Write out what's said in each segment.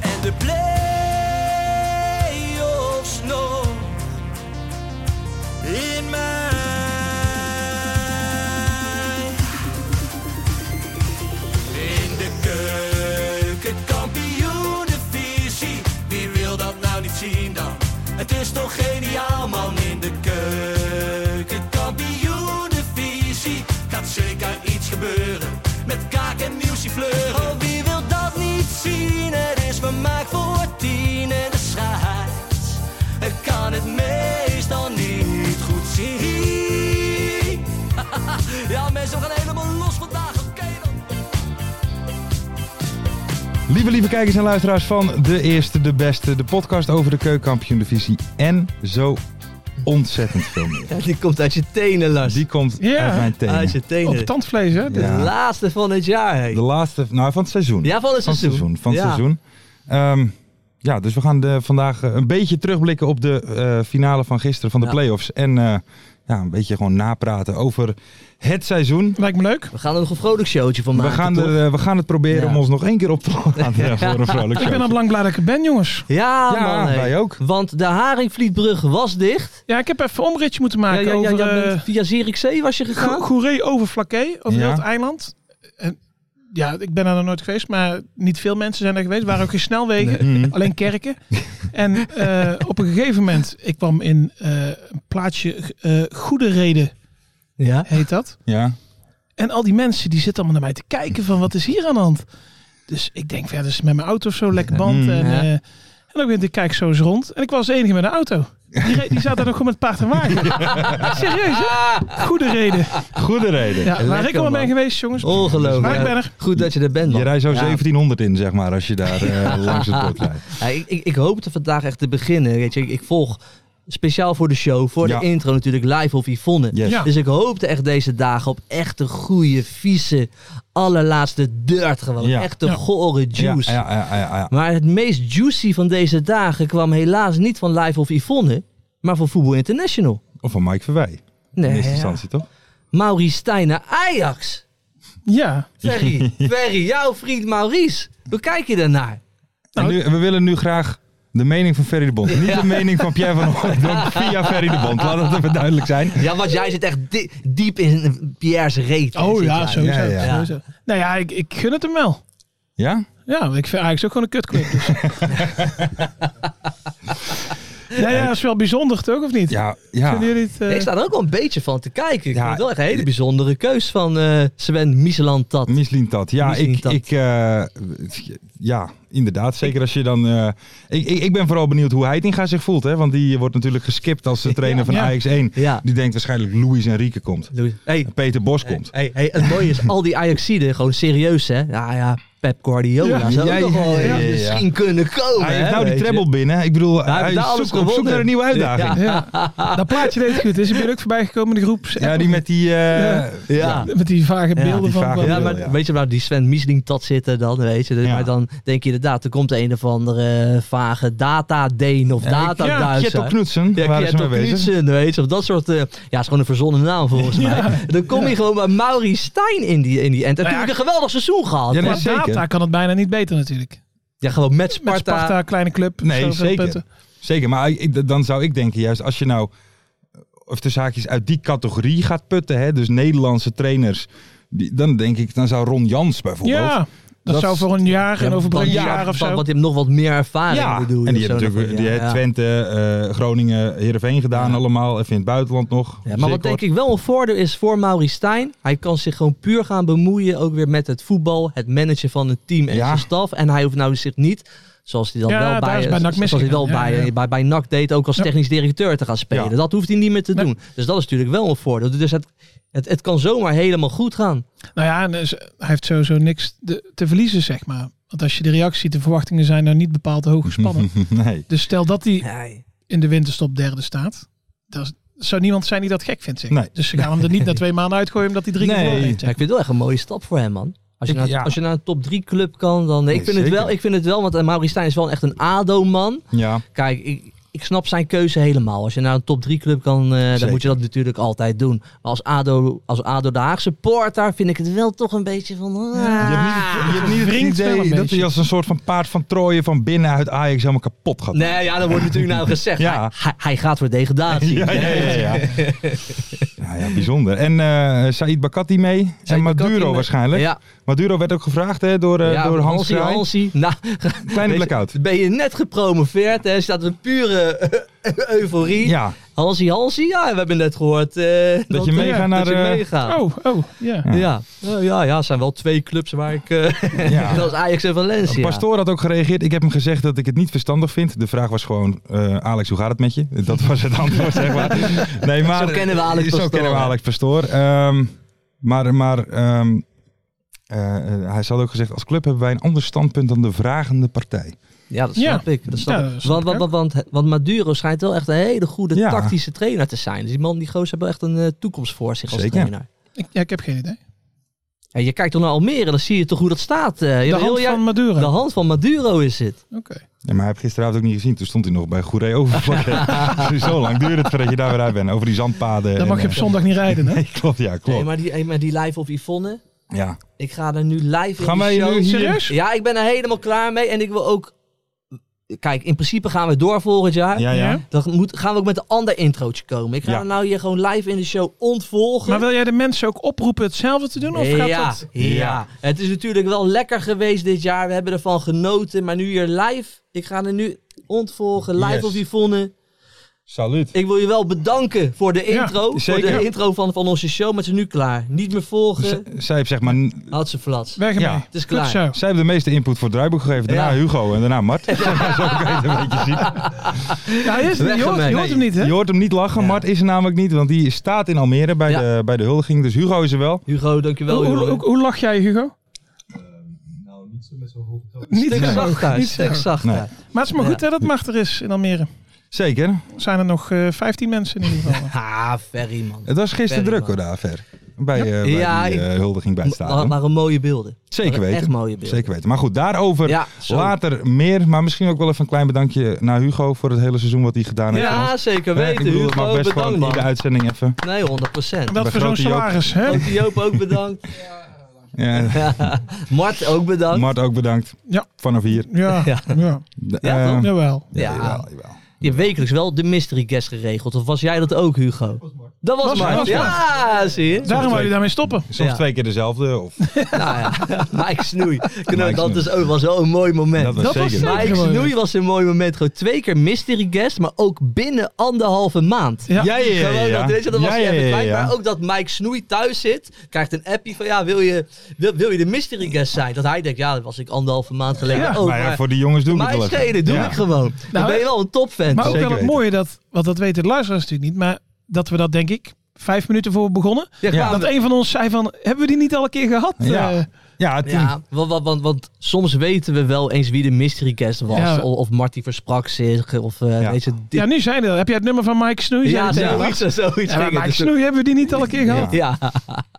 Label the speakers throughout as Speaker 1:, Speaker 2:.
Speaker 1: En de play-offs nog
Speaker 2: In mij.
Speaker 1: in de keuken, kampioenenvisie. Wie wil dat nou niet zien dan? Het is toch geniaal man in de keuken, kampioenenvisie. Gaat zeker iets gebeuren met kaak en muziek fleuren. Oh, wie wil dat niet zien? Het is vermaakt voor tien en de scheids. Ik kan het meestal niet goed zien. Ja, mensen, we gaan helemaal los vandaag. Oké dan.
Speaker 3: Lieve, lieve kijkers en luisteraars van De Eerste, De Beste, de podcast over de keukenkampioen-divisie en zo ontzettend veel meer.
Speaker 4: Ja, die komt uit je tenen, Lars.
Speaker 3: Die komt
Speaker 5: Ja.
Speaker 3: uit mijn
Speaker 4: Uit
Speaker 3: tenen.
Speaker 4: je tenen.
Speaker 5: Op tandvlees, hè?
Speaker 4: De
Speaker 3: Ja.
Speaker 4: laatste van het jaar, hé.
Speaker 3: De laatste, nou van het seizoen.
Speaker 4: Ja, van het
Speaker 3: Van het
Speaker 4: seizoen.
Speaker 3: seizoen. Van het
Speaker 4: Ja.
Speaker 3: seizoen. Ehm, ja, dus we gaan de, vandaag eh, een beetje terugblikken op de eh, finale van gisteren van de
Speaker 4: Ja.
Speaker 3: play-offs. En eh, ja, een beetje gewoon napraten over het seizoen.
Speaker 5: Lijkt me leuk.
Speaker 4: We gaan er nog een vrolijk showtje van
Speaker 3: We
Speaker 4: maken,
Speaker 3: gaan, er,
Speaker 4: toch?
Speaker 3: eh, we gaan het proberen
Speaker 4: Ja.
Speaker 3: om ons nog één keer op te laden eh, voor een vrolijk
Speaker 5: Ik ben al
Speaker 3: show.
Speaker 5: lang blij dat ik er ben, jongens.
Speaker 4: Ja,
Speaker 3: Ja,
Speaker 4: man, hé.
Speaker 3: wij ook.
Speaker 4: Want de Haringvlietbrug was dicht.
Speaker 5: Ja, ik heb even een omritje moeten maken
Speaker 4: ja, ja, ja,
Speaker 5: over
Speaker 4: ja,
Speaker 5: eh,
Speaker 4: bent- via Zierikzee was je gegaan.
Speaker 5: Go- Goeree over Flaké, over
Speaker 3: Ja.
Speaker 5: heel het eiland. En, ja, ik ben er nog nooit geweest, maar niet veel mensen zijn er geweest. Er waren ook geen snelwegen,
Speaker 4: Mm-hmm.
Speaker 5: alleen kerken. en eh, op een gegeven moment, ik kwam in eh, een plaatsje eh Goede Reden,
Speaker 4: Ja.
Speaker 5: heet dat.
Speaker 3: Ja,
Speaker 5: En al die mensen die zitten allemaal naar mij te kijken van wat is hier aan de hand? Dus ik denk, ja, dat is met mijn auto of zo, lekker band.
Speaker 3: Mm,
Speaker 5: en,
Speaker 4: ja.
Speaker 5: eh, en dan ben ik, ik kijk zo eens rond. En ik was de enige met een auto. Die, re- die zat daar nog gewoon met paard en wagen. Serieus, hè? Goede reden.
Speaker 3: goede reden.
Speaker 5: Ja, waar ik
Speaker 4: Lekker,
Speaker 5: allemaal
Speaker 4: man. Oh.
Speaker 5: ben geweest, jongens.
Speaker 4: Ongelooflijk.
Speaker 5: Maar ik ben er.
Speaker 4: Goed dat je er bent, man.
Speaker 3: Je rijdt zo
Speaker 4: Ja.
Speaker 3: 1700 in, zeg maar, als je daar eh, langs het bord rijdt.
Speaker 4: Ja, ik, ik, ik hoopte vandaag echt te beginnen. Weet je, ik, ik volg speciaal voor de show, voor
Speaker 3: Ja.
Speaker 4: de intro natuurlijk, live of Yvonne.
Speaker 3: Yes.
Speaker 5: Ja.
Speaker 4: Dus ik hoopte echt deze dagen op echte goede, vieze, allerlaatste dirt gewoon.
Speaker 3: Ja.
Speaker 4: Echte
Speaker 5: Ja.
Speaker 4: gore juice.
Speaker 3: Ja, ja, ja, ja, ja.
Speaker 4: Maar het meest juicy van deze dagen kwam helaas niet van Live of Yvonne, maar van Voetbal International.
Speaker 3: Of van Mike Verwij. In eerste
Speaker 4: Nee,
Speaker 3: instantie, toch?
Speaker 4: Maurice Stijn naar Ajax.
Speaker 5: Ja.
Speaker 4: Ferry, Ferry, jouw vriend Maurice. Hoe kijk je daarnaar?
Speaker 3: En
Speaker 5: Nou,
Speaker 3: nu, we willen nu graag de mening van Ferry de Bond. Niet de mening van Pierre van Hooydonk via Ferry de Bond. Laat dat even duidelijk zijn.
Speaker 4: Ja, want jij zit echt di- diep in Pierre's reet.
Speaker 5: Oh
Speaker 4: Zit
Speaker 5: ja,
Speaker 4: jij.
Speaker 5: sowieso.
Speaker 3: Ja, ja.
Speaker 5: sowieso. Nou ja, ik, ik gun het hem wel.
Speaker 3: Ja?
Speaker 5: Ja, want ik vind Ajax ook gewoon een kutclub. Dus. nou ja, dat is wel bijzonder toch, of niet?
Speaker 3: Ja, ja.
Speaker 5: Vinden jullie het... eh,
Speaker 4: Nee, Ik sta er ook wel een beetje van te kijken. Ik
Speaker 3: Ja,
Speaker 4: vond het wel echt een hele bijzondere keus van eh Sven Miseland dat.
Speaker 3: Mislien dat. Ja,
Speaker 4: Mislien
Speaker 3: ik,
Speaker 4: Tat.
Speaker 3: ik, eh, ja, inderdaad. Zeker als je dan... eh, ik, ik, ik ben vooral benieuwd hoe Heitinga zich voelt. Hè? Want die wordt natuurlijk geskipt als de trainer van
Speaker 5: Ja.
Speaker 3: Ajax 1.
Speaker 4: Ja.
Speaker 3: Die denkt waarschijnlijk Louis en Rieke komt.
Speaker 4: Hey,
Speaker 3: En Peter Bos komt.
Speaker 4: hey, hey, het mooie is, al die Ajaxiden, gewoon serieus hè. Ja, ja, Pep Guardiola
Speaker 3: Ja,
Speaker 4: zou
Speaker 3: ja,
Speaker 4: ook nog
Speaker 3: ja,
Speaker 4: wel
Speaker 3: ja, ja, ja.
Speaker 4: misschien kunnen komen.
Speaker 3: Hij heeft
Speaker 4: hè,
Speaker 3: nou die
Speaker 4: weet je.
Speaker 3: treble binnen. Ik bedoel,
Speaker 4: heeft
Speaker 3: hij
Speaker 4: daar
Speaker 3: is
Speaker 4: alles
Speaker 3: zoek- op zoek
Speaker 4: gewonnen.
Speaker 3: naar een nieuwe uitdaging.
Speaker 5: Ja, dat plaatje deed het goed. Is er ben je ook voorbij gekomen in de groep?
Speaker 3: Ja, die met die... eh,
Speaker 5: Ja.
Speaker 4: Ja.
Speaker 5: Met die vage
Speaker 4: Ja,
Speaker 5: beelden
Speaker 3: die
Speaker 5: van...
Speaker 3: vage
Speaker 5: van-
Speaker 4: Ja, maar
Speaker 3: Ja.
Speaker 4: weet je waar die Sven Miesling dat zitten dan, weet je. Dus-
Speaker 3: Ja.
Speaker 4: Maar dan denk je inderdaad, er komt een of andere vage data-deen of
Speaker 3: Ja,
Speaker 4: data
Speaker 3: ja, Kjetil Knutsen,
Speaker 4: Ja,
Speaker 3: waren ze mee
Speaker 4: Kjetil
Speaker 3: bezig.
Speaker 4: Knutsen, weet je, of dat soort... eh, ja, het is gewoon een verzonnen naam volgens mij. Dan kom je gewoon bij Mauri Stijn in die, in die end. En
Speaker 5: Nou
Speaker 4: toen
Speaker 5: ja,
Speaker 4: heb ik een geweldig seizoen gehad.
Speaker 3: Ja,
Speaker 4: Ja,
Speaker 3: nee,
Speaker 5: Qua
Speaker 3: zeker.
Speaker 5: data kan het bijna niet beter natuurlijk.
Speaker 4: gewoon met
Speaker 5: Met
Speaker 4: Sparta.
Speaker 5: Sparta, kleine club.
Speaker 3: Nee,
Speaker 5: zoveel
Speaker 3: zeker.
Speaker 5: punten.
Speaker 3: Zeker, maar ik- dan zou ik denken, juist als je nou, of de zaakjes uit die categorie gaat putten, hè, dus Nederlandse trainers, die, dan denk ik, dan zou Ron Jans bijvoorbeeld,
Speaker 5: Ja, Dat, zou voor een jaar, en over een
Speaker 3: ja,
Speaker 5: jaar of zo.
Speaker 4: Want je hebt nog wat meer ervaring, bedoel je.
Speaker 3: en die
Speaker 4: of
Speaker 3: heeft
Speaker 4: zo
Speaker 3: natuurlijk
Speaker 4: daarvan.
Speaker 3: die
Speaker 4: Ja,
Speaker 3: heeft
Speaker 4: ja.
Speaker 3: Twente, eh, Groningen, Heerenveen gedaan allemaal. Even in het buitenland nog.
Speaker 4: Ja, maar wat denk ik wel een voordeel is voor Mauri Stijn, hij kan zich gewoon puur gaan bemoeien ook weer met het voetbal, het managen van het team en
Speaker 3: Ja.
Speaker 4: zijn staf. En hij hoeft nou zich niet, zoals hij dan
Speaker 5: Ja,
Speaker 4: wel
Speaker 5: daar
Speaker 4: bij,
Speaker 5: is bij NAC
Speaker 4: zoals hij wel
Speaker 5: misgegaan. Ja,
Speaker 4: bij,
Speaker 5: ja.
Speaker 4: bij, bij NAC deed, ook als
Speaker 5: Ja.
Speaker 4: technisch directeur te gaan spelen.
Speaker 3: Ja.
Speaker 4: Dat hoeft hij niet meer te
Speaker 5: Nee.
Speaker 4: doen. Dus dat is natuurlijk wel een voordeel. Dus het, het, het kan zomaar helemaal goed gaan.
Speaker 5: Nou ja, en, eh, ze- hij heeft sowieso niks te, te verliezen, zeg maar. Want als je de reactie ziet, de verwachtingen zijn nou niet bepaald hoog gespannen.
Speaker 3: Nee.
Speaker 5: dus stel dat hij
Speaker 4: Nee.
Speaker 5: in de winterstop derde staat, dan is- zou niemand zijn die dat gek vindt, zeg.
Speaker 3: Nee.
Speaker 5: Dus ze gaan hem er niet na twee maanden uitgooien omdat hij drie keer
Speaker 3: Nee.
Speaker 5: verloren heeft.
Speaker 4: Ja, ik vind het wel echt een mooie stap voor hem, man. Als je,
Speaker 3: Ik-
Speaker 4: naar,
Speaker 3: ja.
Speaker 4: als je naar een top 3 club kan, dan...
Speaker 3: Nee,
Speaker 4: ik, vind het
Speaker 3: zeker.
Speaker 4: wel, ik vind het wel, want eh, Mauri Stijn is wel echt een ADO-man.
Speaker 3: Ja,
Speaker 4: Kijk, ik, ik snap zijn keuze helemaal. Als je naar een top 3 club kan, eh, dan
Speaker 3: Zeker.
Speaker 4: moet je dat natuurlijk altijd doen. Maar als ADO, als ADO de Haagse supporter vind ik het wel toch een beetje van... ah.
Speaker 3: je hebt niet, je hebt niet het
Speaker 5: wringt wel een
Speaker 3: idee dat hij
Speaker 5: beetje.
Speaker 3: als een soort van paard van Troje van binnenuit Ajax helemaal kapot gaat.
Speaker 4: Nee, ja, dat wordt natuurlijk nou gezegd.
Speaker 3: Ja.
Speaker 4: Hij, hij, hij gaat voor degradatie.
Speaker 3: Ja, ja, ja, ja. ja, ja, bijzonder. En eh, Said Bakati mee. en
Speaker 4: Zijn
Speaker 3: Maduro
Speaker 4: Ducati met-
Speaker 3: waarschijnlijk.
Speaker 4: Ja.
Speaker 3: Maduro werd ook gevraagd hè, door, eh,
Speaker 4: Ja,
Speaker 3: door Hans
Speaker 4: Hansie,
Speaker 3: Kraai.
Speaker 4: Hansie. Nou,
Speaker 3: Kleine
Speaker 4: weet je,
Speaker 3: blackout.
Speaker 4: Ben je net gepromoveerd, hè? staat een pure eh, euforie.
Speaker 3: Ja,
Speaker 4: Hansie, Hansie, ja, we hebben net gehoord eh, dat,
Speaker 3: je
Speaker 4: eh,
Speaker 3: meegaat naar,
Speaker 4: dat je
Speaker 3: eh,
Speaker 4: meegaat.
Speaker 5: Oh, oh, ja.
Speaker 4: Ja. Ja. Eh, ja, ja, het zijn wel twee clubs waar ik... eh,
Speaker 3: Ja.
Speaker 4: dat is Ajax en Valencia.
Speaker 3: Pastoor had ook gereageerd. Ik heb hem gezegd dat ik het niet verstandig vind. De vraag was gewoon, eh, Alex, hoe gaat het met je? Dat was het antwoord, zeg maar. Nee, maar
Speaker 4: Zo kennen we Alex
Speaker 3: Zo
Speaker 4: Pastoor.
Speaker 3: kennen we Alex Pastoor. Ehm, maar maar ehm, eh, eh, hij had ook gezegd, als club hebben wij een ander standpunt dan de vragende partij.
Speaker 4: Ja, dat
Speaker 5: Ja.
Speaker 4: snap ik. Dat snap
Speaker 5: Ja,
Speaker 4: ik.
Speaker 5: dat snap
Speaker 4: want,
Speaker 5: ik
Speaker 4: want, want, want- want Maduro schijnt wel echt een hele goede
Speaker 3: Ja.
Speaker 4: tactische trainer te zijn. Dus die man, die goos, hebben echt een eh, toekomst voor zich als
Speaker 3: Zeker.
Speaker 4: trainer.
Speaker 5: Ik, ja, ik heb geen idee.
Speaker 4: En je kijkt toch naar Almere, dan zie je toch hoe dat staat. eh. Je
Speaker 5: De
Speaker 4: hebt heel
Speaker 5: hand
Speaker 4: jaar-
Speaker 5: van Maduro.
Speaker 4: de hand van Maduro is het.
Speaker 5: Oké.
Speaker 3: Ja, maar hij heeft gisteravond ook niet gezien. Toen stond hij nog bij Goeree overvlakken. dus zo lang duurde het voordat je daar weer uit bent. Over die zandpaden. eh,
Speaker 5: Dan mag je op zondag niet rijden, hè?
Speaker 3: Nee, klopt. Ja,
Speaker 4: Nee,
Speaker 3: klopt.
Speaker 4: maar, die, hey, maar die live of Yvonne,
Speaker 3: Ja.
Speaker 4: ik ga er nu live
Speaker 3: Gaan
Speaker 4: in
Speaker 3: wij
Speaker 4: die show.
Speaker 3: nu hier-
Speaker 5: Serieus?
Speaker 4: Ja, ik ben er helemaal klaar mee. En ik wil ook... Kijk, in principe gaan we door volgend jaar.
Speaker 3: Ja, ja.
Speaker 4: Dan moet, gaan we ook met een ander introotje komen. Ik ga
Speaker 3: Ja.
Speaker 4: er nou hier gewoon live in de show ontvolgen.
Speaker 5: Maar wil jij de mensen ook oproepen hetzelfde te doen? Of gaat
Speaker 4: ja,
Speaker 5: dat...
Speaker 4: Ja.
Speaker 3: Ja.
Speaker 4: het is natuurlijk wel lekker geweest dit jaar. We hebben ervan genoten. Maar nu hier live, ik ga er nu ontvolgen. Live
Speaker 3: Yes.
Speaker 4: op Yvonne.
Speaker 3: Salut.
Speaker 4: Ik wil je wel bedanken voor de
Speaker 5: Ja,
Speaker 4: intro. voor
Speaker 3: zeker.
Speaker 4: de intro van, van onze show. Maar het is nu klaar. Niet meer
Speaker 3: Z-
Speaker 4: volgen.
Speaker 3: zij heeft zeg maar...
Speaker 4: Had ze flats.
Speaker 5: Weg ermee.
Speaker 3: Ja,
Speaker 4: het is
Speaker 5: Goed
Speaker 4: klaar.
Speaker 5: zo.
Speaker 3: Zij hebben de meeste input voor het draaiboek gegeven. Daarna
Speaker 4: Oh. Ja.
Speaker 3: Hugo en daarna Mart. Zo kan je het een beetje zien.
Speaker 5: Ja, hij is er niet. je,
Speaker 4: Weg
Speaker 5: hoort,
Speaker 4: ermee.
Speaker 5: je hoort hem niet, hè?
Speaker 3: Je hoort hem niet lachen.
Speaker 4: Ja.
Speaker 3: Mart is er namelijk niet, want die staat in Almere bij,
Speaker 4: Ja.
Speaker 3: de, bij de huldiging. Dus Hugo is er wel.
Speaker 4: Hugo, dankjewel.
Speaker 5: Hoe, hoe,
Speaker 4: Hugo.
Speaker 5: hoe, hoe lach jij, Hugo?
Speaker 4: Niet
Speaker 5: Niet zo.
Speaker 4: zacht daar.
Speaker 5: Niet
Speaker 4: Stuk
Speaker 5: zo.
Speaker 4: zacht
Speaker 3: Nee.
Speaker 4: daar.
Speaker 5: Maar het is maar
Speaker 4: Ja.
Speaker 5: goed hè, dat macht er is in Almere.
Speaker 3: Zeker.
Speaker 5: Zijn er nog eh 15 mensen in ieder geval.
Speaker 4: Ha, Ferry man.
Speaker 3: Het was gisteren
Speaker 4: Very
Speaker 3: druk hoor,
Speaker 4: man.
Speaker 3: daar ver. Bij, eh, bij
Speaker 4: Ja,
Speaker 3: die
Speaker 4: ik-
Speaker 3: eh, huldiging bij het
Speaker 4: Maar,
Speaker 3: stadion.
Speaker 4: waren mooie beelden.
Speaker 3: Zeker
Speaker 4: Waren
Speaker 3: weten.
Speaker 4: Echt mooie beelden.
Speaker 3: Zeker weten. Maar goed, daarover
Speaker 4: Ja, zo.
Speaker 3: later meer. Maar misschien ook wel even een klein bedankje naar Hugo voor het hele seizoen wat hij gedaan heeft. voor ons.
Speaker 4: Ja, zeker
Speaker 3: Hè,
Speaker 4: weten.
Speaker 3: ik bedoel, het mag
Speaker 4: Hugo,
Speaker 3: best
Speaker 4: bedankt
Speaker 3: gewoon in de
Speaker 4: man.
Speaker 3: uitzending even.
Speaker 4: Nee, 100 procent.
Speaker 5: Dat
Speaker 3: Bij
Speaker 5: voor zo'n
Speaker 3: grote Joop.
Speaker 5: salaris, hè?
Speaker 4: Joop ook bedankt.
Speaker 3: Ja.
Speaker 4: Mart ook bedankt.
Speaker 3: Mart ook bedankt.
Speaker 5: Ja.
Speaker 3: Vanaf hier.
Speaker 5: Ja,
Speaker 4: Ja.
Speaker 5: ja. ja.
Speaker 3: De-
Speaker 4: Ja,
Speaker 3: eh,
Speaker 4: toch?
Speaker 5: Jawel.
Speaker 3: ja,
Speaker 4: Ja.
Speaker 3: jawel, jawel.
Speaker 4: Je hebt wekelijks wel de mystery guest geregeld. Of was jij dat ook, Hugo? Dat was
Speaker 5: Was
Speaker 4: Mart.
Speaker 5: Mart.
Speaker 4: Ja, zie je.
Speaker 5: Daarom wou je daarmee stoppen.
Speaker 3: Soms
Speaker 4: Ja.
Speaker 3: twee keer dezelfde. Of,
Speaker 4: Nou ja, Mike Snoei. Kunnen we-
Speaker 3: Mike
Speaker 4: Dat
Speaker 3: Snoei.
Speaker 4: is ook, was wel een mooi moment.
Speaker 3: dat was
Speaker 5: Dat was
Speaker 3: zeker.
Speaker 5: zeker.
Speaker 4: Mike
Speaker 5: mooi.
Speaker 4: Snoei was een mooi moment. Gewoon twee keer mystery guest, maar ook binnen anderhalve maand.
Speaker 5: Ja.
Speaker 3: Ja, ja, ja.
Speaker 4: Gewoon
Speaker 3: ja.
Speaker 4: dat, weet je, dat was
Speaker 3: Ja,
Speaker 4: hij
Speaker 3: ja,
Speaker 4: even
Speaker 3: ja,
Speaker 4: kwijt.
Speaker 3: ja.
Speaker 4: Maar ook dat Mike Snoei thuis zit, krijgt een appie van ja, wil je, wil, wil je de mystery guest zijn? Dat hij denkt, ja, dat was ik anderhalve maand geleden ook.
Speaker 3: maar ja,
Speaker 4: maar-
Speaker 3: voor die jongens doen we
Speaker 4: maar
Speaker 3: het wel
Speaker 4: is
Speaker 3: even.
Speaker 4: reden, doe
Speaker 3: Ja.
Speaker 4: ik gewoon. Dan
Speaker 5: Nou,
Speaker 4: ben je wel een topfan.
Speaker 5: Maar ook
Speaker 3: Zeker
Speaker 5: wel het
Speaker 3: weten.
Speaker 5: mooie dat, want dat weten de luisteraars natuurlijk niet, maar dat we dat denk ik vijf minuten voor we begonnen,
Speaker 4: Ja,
Speaker 3: Ja.
Speaker 5: dat een van ons zei van, hebben we die niet al een keer gehad?
Speaker 3: Ja.
Speaker 5: Eh,
Speaker 3: Ja, het-
Speaker 4: Ja, want, want, want, want soms weten we wel eens wie de mystery guest was.
Speaker 5: Ja.
Speaker 4: Of, of Marty versprak zich. Of eh
Speaker 3: Ja.
Speaker 4: deze
Speaker 5: ja, nu zijn er. Heb jij het nummer van Mike Snoei?
Speaker 4: ja,
Speaker 5: Zei hij tegen
Speaker 4: zoiets.
Speaker 5: Lars.
Speaker 4: zoiets
Speaker 5: Ja, maar
Speaker 4: ging het. dus-
Speaker 5: Mike Snoei, hebben we die niet al een keer gehad?
Speaker 4: Ja.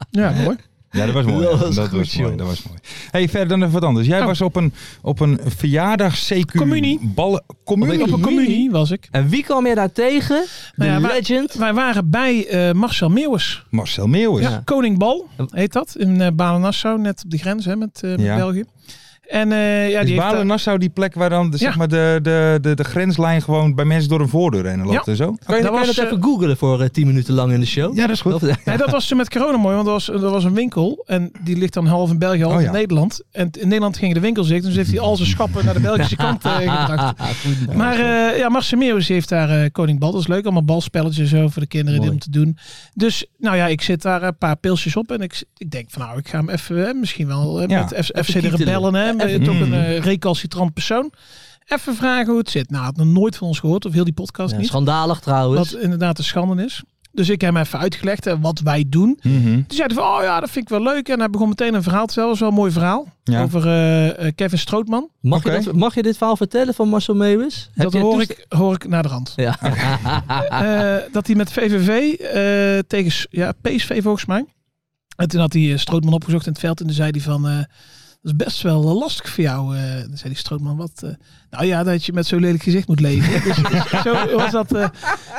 Speaker 5: Ja, mooi.
Speaker 3: Ja, dat was mooi.
Speaker 4: Dat
Speaker 3: Dat,
Speaker 4: was
Speaker 3: was,
Speaker 4: goed,
Speaker 3: mooi.
Speaker 4: joh.
Speaker 3: Dat was mooi. Hey, verder dan even wat anders. Jij
Speaker 5: Oh.
Speaker 3: was op een, op een verjaardags CQ
Speaker 5: Communie.
Speaker 3: ballen communie.
Speaker 5: Op een communie was ik.
Speaker 4: En wie kwam je daar tegen? De
Speaker 5: Nou ja, wij-
Speaker 4: legend.
Speaker 5: Wij waren bij eh, Marcel Meeuwers.
Speaker 3: Marcel Meeuwis. Dus
Speaker 5: Ja. Koningbal
Speaker 4: Ja.
Speaker 5: heet dat. In eh Balen-Nassau, net op de grens hè, met, eh, met
Speaker 3: Ja.
Speaker 5: België. En eh, ja,
Speaker 3: is
Speaker 5: die heeft daar-
Speaker 3: Balen-Nassau die plek waar dan de, zeg
Speaker 5: Ja.
Speaker 3: maar de, de, de, de grenslijn gewoon bij mensen door een voordeur heen loopt en zo?
Speaker 4: Kan je,
Speaker 5: Dat
Speaker 4: kan je
Speaker 5: was,
Speaker 4: dat
Speaker 5: eh,
Speaker 4: even googlen voor eh, 10 minuten lang in de show?
Speaker 3: Ja, dat is goed.
Speaker 4: Of-
Speaker 5: Nee, dat was ze met corona mooi, want er was, er was een winkel en die ligt dan half in België, half
Speaker 3: Oh, ja.
Speaker 5: in Nederland. En in Nederland gingen de winkels dicht, dus heeft hij al zijn schappen naar de Belgische kant eh, gebracht.
Speaker 4: Goed.
Speaker 5: Maar eh ja, Marcel Meeuwis heeft daar eh, Koning Bal. Dat is leuk. Allemaal balspelletjes en zo voor de kinderen
Speaker 4: Mooi.
Speaker 5: om te doen. Dus nou ja, ik zit daar een paar pilsjes op. En ik, ik denk van nou, ik ga hem even eh, misschien wel eh,
Speaker 3: Ja,
Speaker 5: met F- FC de
Speaker 4: kietelen.
Speaker 5: Rebellen. Hè, met
Speaker 4: Even-
Speaker 5: toch een
Speaker 3: Mm.
Speaker 5: eh, recalcitrant persoon. Even vragen hoe het zit. Nou, had nog nooit van ons gehoord. Of heel die podcast
Speaker 4: Ja,
Speaker 5: niet.
Speaker 4: schandalig trouwens.
Speaker 5: Wat inderdaad een schande is. Dus ik heb hem even uitgelegd eh, wat wij doen.
Speaker 3: Mhm.
Speaker 5: Toen zei hij van, oh ja, dat vind ik wel leuk. En hij begon meteen een verhaal. Zelfs wel een mooi verhaal.
Speaker 3: Ja.
Speaker 5: Over eh, eh, Kevin Strootman.
Speaker 4: Mag,
Speaker 3: Oké.
Speaker 4: je dat- mag je dit verhaal vertellen van Marcel Meeuwis? Heb dus
Speaker 5: Dat
Speaker 4: jij
Speaker 5: hoor
Speaker 4: toest-
Speaker 5: ik, hoor ik naar de rand.
Speaker 4: Ja.
Speaker 5: Eh, dat hij met VVV eh, tegen S- ja, PSV volgens mij. En toen had hij eh, Strootman opgezocht in het veld. En toen zei hij van, eh, dat is best wel eh, lastig voor jou. eh. dan zei die Strootman, wat? eh, nou ja, dat je met zo'n lelijk gezicht moet leven. Dus- dus zo was dat. eh.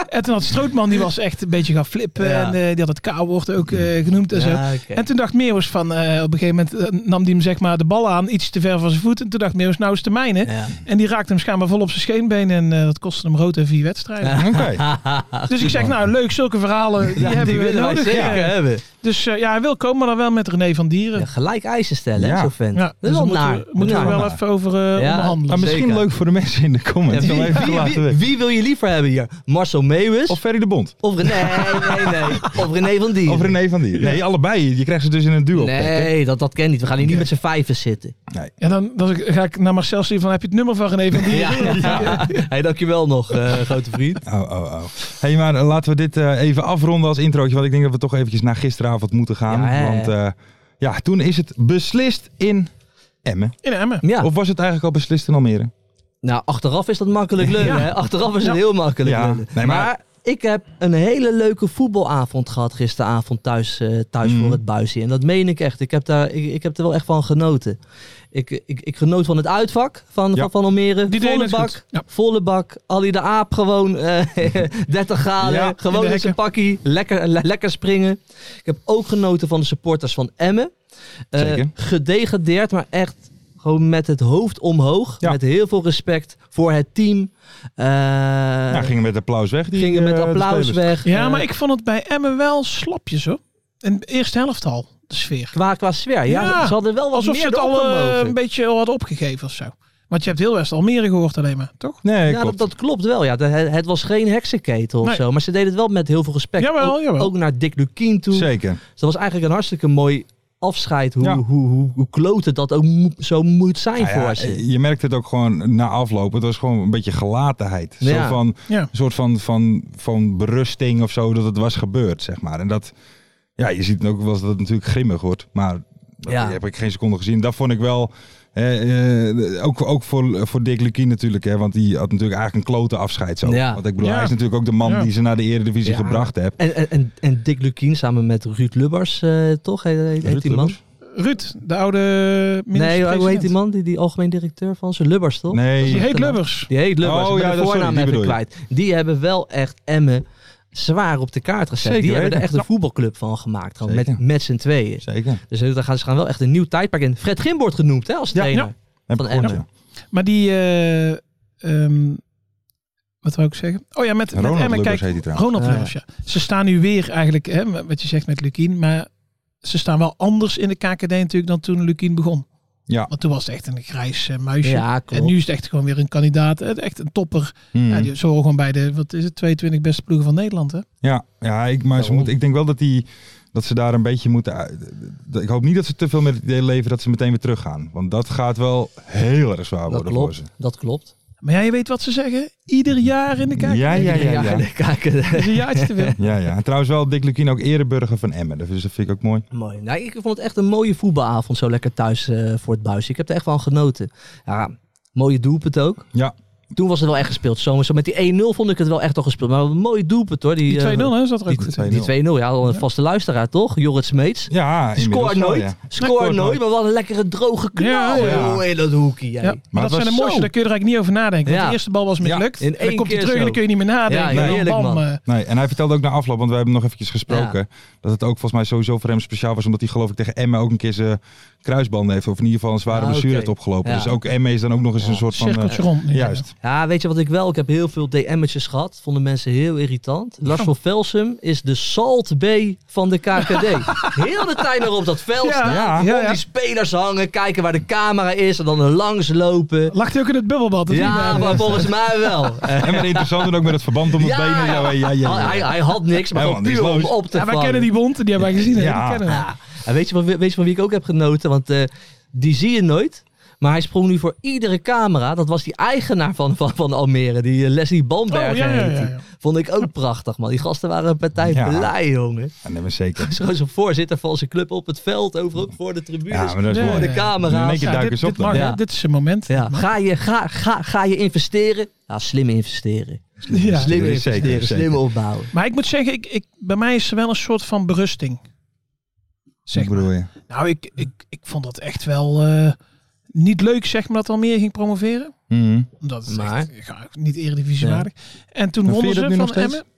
Speaker 5: En toen had Strootman, die was echt een beetje gaan flippen.
Speaker 4: Ja.
Speaker 5: En eh, die had het K-woord ook eh, genoemd en zo.
Speaker 4: Ja, oké.
Speaker 5: En toen dacht Meeuwis van, eh, op een gegeven moment eh, nam die hem zeg maar de bal aan, iets te ver van zijn voet. En toen dacht Meeuwis, nou is het de mijne.
Speaker 4: Ja.
Speaker 5: En die raakte hem schijnbaar vol op zijn scheenbeen. En eh, dat kostte hem rood en vier wedstrijden.
Speaker 3: Oké.
Speaker 5: Dus ik zeg, nou leuk, zulke verhalen die
Speaker 4: Ja,
Speaker 5: hebben
Speaker 4: die
Speaker 5: we
Speaker 4: willen wij
Speaker 5: nodig.
Speaker 4: zeker
Speaker 5: Ja.
Speaker 4: hebben.
Speaker 5: Dus eh, ja, hij wil komen, maar dan wel met René van Dieren.
Speaker 4: Ja,
Speaker 5: Ja.
Speaker 4: gelijk eisen stellen,
Speaker 3: Ja.
Speaker 4: hè, zo'n vent. dat is
Speaker 5: dus
Speaker 4: wel
Speaker 5: daar moeten,
Speaker 4: naar.
Speaker 5: we, moeten we
Speaker 4: Naar.
Speaker 5: wel even over eh,
Speaker 4: Ja.
Speaker 3: Maar
Speaker 5: onderhandelen.
Speaker 3: Nou, misschien
Speaker 4: Zeker.
Speaker 3: leuk voor de mensen in de comments.
Speaker 4: Ja,
Speaker 3: om even te
Speaker 4: wie,
Speaker 3: laten
Speaker 4: wie,
Speaker 3: weten.
Speaker 4: wie wil je liever hebben hier? Marcel Meeuwis
Speaker 3: Of
Speaker 4: of,
Speaker 3: Ferry de Bond.
Speaker 4: René, nee, nee, nee. of René van Dieren?
Speaker 3: Of René van Dier. Nee, allebei. Je krijgt ze dus in een duo.
Speaker 4: Nee, dat, dat ken niet. We gaan hier niet met z'n vijven zitten.
Speaker 5: Ja, dan, dan ga ik naar Marcel sturen van, heb je het nummer van René van Dieren?
Speaker 4: Ja. Hey, dankjewel nog, eh, grote vriend.
Speaker 3: Oh, oh, oh. hey, maar eh, laten we dit eh, even afronden als introotje. Want ik denk dat we toch eventjes naar gisteravond moeten gaan.
Speaker 4: Ja, hè.
Speaker 3: Want eh, ja, toen is het beslist in Emmen.
Speaker 5: In Emmen.
Speaker 4: Ja.
Speaker 3: Of was het eigenlijk al beslist in Almere?
Speaker 4: Nou, achteraf is dat makkelijk lullen.
Speaker 5: Ja.
Speaker 4: Hè? Achteraf is het heel makkelijk
Speaker 3: Ja.
Speaker 4: lullen.
Speaker 3: Nee, maar-
Speaker 4: maar... ik heb een hele leuke voetbalavond gehad gisteravond thuis, eh, thuis voor het buisje. En dat meen ik echt. Ik heb, daar, ik, ik heb er wel echt van genoten. Ik, ik, ik genoot van het uitvak van,
Speaker 3: Ja.
Speaker 4: van, van Almere.
Speaker 5: Die deden
Speaker 4: volle
Speaker 5: het goed.
Speaker 4: bak,
Speaker 5: Ja.
Speaker 4: volle bak. Ali de Aap gewoon eh 30 graden.
Speaker 3: Ja, in de
Speaker 4: gewoon in zijn pakkie. Lekker, le- lekker springen. Ik heb ook genoten van de supporters van Emmen. Eh,
Speaker 3: Zeker.
Speaker 4: gedegradeerd, maar echt gewoon met het hoofd omhoog.
Speaker 3: Ja.
Speaker 4: Met heel veel respect voor het team. Eh
Speaker 3: nou, gingen met applaus weg. Die,
Speaker 4: gingen met
Speaker 3: eh, de
Speaker 4: applaus
Speaker 3: spelers.
Speaker 4: weg.
Speaker 5: Ja,
Speaker 4: Eh,
Speaker 5: maar ik vond het bij Emmen wel slapjes hoor. In de eerste helft al, de sfeer.
Speaker 4: Qua, qua sfeer. Ja,
Speaker 5: Ja,
Speaker 4: ze- ze hadden wel wat
Speaker 5: Alsof
Speaker 4: meer
Speaker 5: ze het al
Speaker 4: erop
Speaker 5: eh,
Speaker 4: gemogen.
Speaker 5: een beetje al hadden opgegeven of zo. Want je hebt heel West Almere gehoord alleen maar, toch?
Speaker 3: Nee,
Speaker 4: Ja, dat,
Speaker 3: klopt.
Speaker 4: dat klopt wel. Ja. Dat- Het, het was geen heksenketel of
Speaker 5: Nee.
Speaker 4: zo. Maar ze deden het wel met heel veel respect.
Speaker 5: Jawel,
Speaker 4: ook,
Speaker 5: jawel.
Speaker 4: ook naar Dick Lukien toe.
Speaker 3: Zeker.
Speaker 4: Dus dat was eigenlijk een hartstikke mooi afscheid. Hoe,
Speaker 3: Ja.
Speaker 4: hoe, hoe, hoe kloten dat ook mo- zo moet zijn
Speaker 3: Nou ja,
Speaker 4: voor ze.
Speaker 5: eh,
Speaker 3: je merkt het ook gewoon na afloop. Het was gewoon een beetje gelatenheid. Zo
Speaker 4: Ja.
Speaker 3: van,
Speaker 5: Ja.
Speaker 3: een soort van, van, van berusting of zo dat het was gebeurd, zeg maar. En dat, ja, je ziet ook wel eens dat het natuurlijk grimmig wordt, maar dat
Speaker 4: Ja.
Speaker 3: heb ik geen seconde gezien. Dat vond ik wel, eh, eh, ook, ook voor, voor Dick Lukien natuurlijk, hè, want die had natuurlijk eigenlijk een klote afscheid zo.
Speaker 4: Ja.
Speaker 3: Want ik bedoel,
Speaker 5: Ja.
Speaker 3: hij is natuurlijk ook de man
Speaker 5: Ja.
Speaker 3: die ze naar de Eredivisie
Speaker 4: Ja.
Speaker 3: gebracht heeft.
Speaker 4: En, en- en, en Dick Lukien samen met Ruud Lubbers, eh, toch? Heet, heet- heet die man?
Speaker 3: Lubbers?
Speaker 5: Ruud, de oude
Speaker 4: Nee, hoe heet die
Speaker 5: minister-president.
Speaker 4: man? Die, die algemeen directeur van zijn Lubbers, toch?
Speaker 3: Nee,
Speaker 5: Die heet
Speaker 4: Achternaam.
Speaker 5: Lubbers.
Speaker 4: Die heet Lubbers.
Speaker 3: Oh,
Speaker 4: Oh,
Speaker 3: ja,
Speaker 4: de
Speaker 3: dat- sorry,
Speaker 4: voornaam
Speaker 3: die
Speaker 4: even
Speaker 3: bedoel je.
Speaker 4: kwijt. Die hebben wel echt Emmen zwaar op de kaart gezet.
Speaker 3: Zeker
Speaker 4: die hebben
Speaker 3: weten.
Speaker 4: er echt een voetbalclub van gemaakt. Gewoon met,
Speaker 3: Zeker.
Speaker 4: met z'n tweeën.
Speaker 3: zeker.
Speaker 4: Dus daar gaan ze gaan wel echt een nieuw tijdperk in. Fred Grim wordt genoemd hè, als
Speaker 5: Ja,
Speaker 4: trainer.
Speaker 5: ja.
Speaker 3: Heb
Speaker 4: Van
Speaker 3: ik gehoord,
Speaker 4: Emmen.
Speaker 5: Maar die, eh, ehm, wat wou ik zeggen? Oh ja, met,
Speaker 3: ja. Ronald
Speaker 5: met Emmen,
Speaker 3: Lubbers
Speaker 5: kijk,
Speaker 3: heet hij trouwens.
Speaker 5: Ronald
Speaker 4: Ah,
Speaker 5: Lubbers, ja. Ze staan nu weer eigenlijk, hè, wat je zegt met Lukien, maar ze staan wel anders in de KKD natuurlijk dan toen Lukien begon.
Speaker 3: Ja.
Speaker 5: Want toen was het echt een grijs eh, muisje.
Speaker 4: Ja,
Speaker 5: en
Speaker 4: klopt.
Speaker 5: nu is het echt gewoon weer een kandidaat, eh, echt een topper.
Speaker 3: Mhm.
Speaker 5: Ja, die zo gewoon bij de, wat is het, 22 beste ploegen van Nederland, hè?
Speaker 3: Ja, ja ik, maar ze
Speaker 4: Daarom.
Speaker 3: moet, ik denk wel dat, die, dat ze daar een beetje moeten uit. Ik hoop niet dat ze te veel met het idee leven dat ze meteen weer teruggaan. Want dat gaat wel heel erg zwaar
Speaker 4: Dat
Speaker 3: worden voor
Speaker 4: klopt.
Speaker 3: ze.
Speaker 4: Dat klopt.
Speaker 5: Maar ja, je weet wat ze zeggen. Ieder jaar in de KKD.
Speaker 3: Ja, ja, ja. ja.
Speaker 4: de KKD.
Speaker 5: Is een jaartje te veel.
Speaker 3: Ja, ja. En trouwens wel Dick Lukien ook ereburger van Emmen. Dus dat vind ik ook mooi.
Speaker 4: Mooi. Nou, ik vond het echt een mooie voetbalavond zo lekker thuis eh, voor het buis. Ik heb er echt van genoten. Ja, mooie doelpunt ook.
Speaker 3: Ja,
Speaker 4: Toen was het wel echt gespeeld. Zo, zo met die 1-0 vond ik het wel echt al gespeeld. Maar wat een mooi doelpunt hoor. Die,
Speaker 5: Die 2-0
Speaker 4: eh,
Speaker 5: hè, zat er ook
Speaker 3: die
Speaker 5: goed in.
Speaker 3: 2-0.
Speaker 4: Die 2-0, ja, al een vaste luisteraar toch? Jorrit Smeets.
Speaker 3: Ja,
Speaker 4: Scoort
Speaker 3: inmiddels wel,
Speaker 4: nooit.
Speaker 3: ja.
Speaker 4: Scoort nooit, maar wel een lekkere droge knal.
Speaker 5: Ja,
Speaker 3: ja.
Speaker 4: joh, in dat hoekje. jij.
Speaker 5: Ja, maar,
Speaker 3: Maar
Speaker 5: dat
Speaker 3: het
Speaker 5: zijn de
Speaker 3: was
Speaker 5: mooiste,
Speaker 3: zo.
Speaker 5: daar kun je er eigenlijk niet over nadenken. Want
Speaker 4: Ja.
Speaker 5: de eerste bal was mislukt.
Speaker 4: In
Speaker 5: en
Speaker 4: één
Speaker 5: dan komt hij
Speaker 4: keer
Speaker 5: terug en
Speaker 4: zo.
Speaker 5: dan kun je niet meer nadenken.
Speaker 4: Ja,
Speaker 5: En dan
Speaker 4: heerlijk,
Speaker 5: bam,
Speaker 4: man.
Speaker 5: eh,
Speaker 3: Nee, en hij vertelde ook na afloop, want we hebben nog eventjes gesproken, dat het ook volgens mij sowieso voor hem speciaal was, omdat hij geloof ik tegen Emme ook een keer zijn kruisbanden heeft, of in ieder geval een zware
Speaker 4: Ah,
Speaker 3: blessure
Speaker 4: oké.
Speaker 3: heeft opgelopen.
Speaker 4: Ja.
Speaker 3: Dus ook Emme is dan ook nog eens
Speaker 4: Ja,
Speaker 3: een soort van...
Speaker 5: cirkeltje
Speaker 3: eh,
Speaker 5: rond.
Speaker 3: juist.
Speaker 4: Ja, weet je wat ik wel? Ik heb heel veel DM'tjes gehad. Vonden mensen heel irritant. Lars van Velsum is de Salt B van de KKD. heel de tijd nog op dat veld
Speaker 5: Ja,
Speaker 4: staan.
Speaker 3: ja,
Speaker 5: ja, ja.
Speaker 4: Die spelers hangen, kijken waar de camera is en dan er langs lopen.
Speaker 5: Lag hij ook in het bubbelbad? of niet?
Speaker 4: Ja, maar volgens mij wel.
Speaker 3: En maar interessant en ook met het verband om het
Speaker 4: Ja, Ah,
Speaker 3: benen. Ja, ja, ja, ja.
Speaker 4: Hij, hij had niks, maar
Speaker 3: Hij
Speaker 4: gewoon
Speaker 3: had niks
Speaker 4: puur om
Speaker 3: los.
Speaker 4: op te
Speaker 5: Ja, wij
Speaker 4: vangen.
Speaker 5: kennen die wond, die hebben wij gezien. hè? Die
Speaker 3: Ja.
Speaker 5: kennen we.
Speaker 4: Ja. En weet je, van, wie- weet je van wie ik ook heb genoten? Want eh, die zie je nooit. Maar hij sprong nu voor iedere camera. Dat was die eigenaar van, van, van Almere. Die eh, Leslie Bamberger
Speaker 5: Oh, ja, ja, ja,
Speaker 4: heet die.
Speaker 5: ja.
Speaker 4: Vond ik ook prachtig, man. Die gasten waren een partij
Speaker 3: Ja.
Speaker 4: blij, jongen.
Speaker 3: Ja, nee, maar zeker.
Speaker 4: Zo'n zo'n voorzitter van zijn club op het veld. Overal ook voor de tribunes.
Speaker 3: Ja, maar dat is
Speaker 5: Nee.
Speaker 3: mooi.
Speaker 4: voor de
Speaker 3: In
Speaker 4: camera's.
Speaker 3: één keer
Speaker 4: Ja,
Speaker 3: duik
Speaker 5: dit,
Speaker 3: eens op
Speaker 5: dit
Speaker 3: dan.
Speaker 5: mag, hè?
Speaker 4: Ja.
Speaker 5: dit is een moment.
Speaker 4: Ja. Ga, je, ga, ga, ga je investeren?
Speaker 5: Nou,
Speaker 4: Ja, slim investeren.
Speaker 5: Ja.
Speaker 4: Slim
Speaker 3: Zeker,
Speaker 4: investeren.
Speaker 3: zeker.
Speaker 4: Slim opbouwen.
Speaker 5: Maar ik moet zeggen, ik, ik, bij mij is er wel een soort van berusting. Zeg
Speaker 3: Zeg
Speaker 5: maar.
Speaker 3: bedoel je?
Speaker 5: Nou, ik, ik, ik vond dat echt wel eh, niet leuk, zeg maar, dat Almere ging promoveren.
Speaker 3: Mhm.
Speaker 5: Omdat het
Speaker 4: Maar?
Speaker 5: echt ja, niet eredivisiewaardig. En toen
Speaker 3: Maar
Speaker 5: wonnen
Speaker 3: vind je
Speaker 5: ze
Speaker 3: dat nu
Speaker 5: van
Speaker 3: nog steeds?
Speaker 5: Emmen.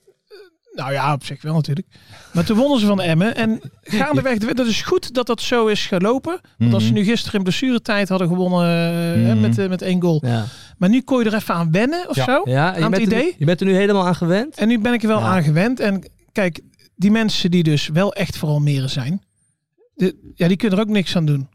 Speaker 5: Eh, Nou ja, op zich wel natuurlijk. Maar toen wonnen ze van Emmen. En gaandeweg, de wed- dat is goed dat dat zo is gelopen. Want als ze nu gisteren in blessuretijd hadden gewonnen eh,
Speaker 3: Mhm.
Speaker 5: met, eh, met één goal.
Speaker 4: Ja.
Speaker 5: Maar nu kon je er even aan wennen of
Speaker 3: Ja.
Speaker 5: zo.
Speaker 4: Ja, en je,
Speaker 5: Aan het
Speaker 4: bent er, nu-
Speaker 5: idee?
Speaker 4: je bent er nu helemaal aan gewend.
Speaker 5: En nu ben ik er wel
Speaker 4: Ja.
Speaker 5: aan gewend. En kijk, die mensen die dus wel echt voor Almere zijn, de, ja, die kunnen er ook niks aan doen.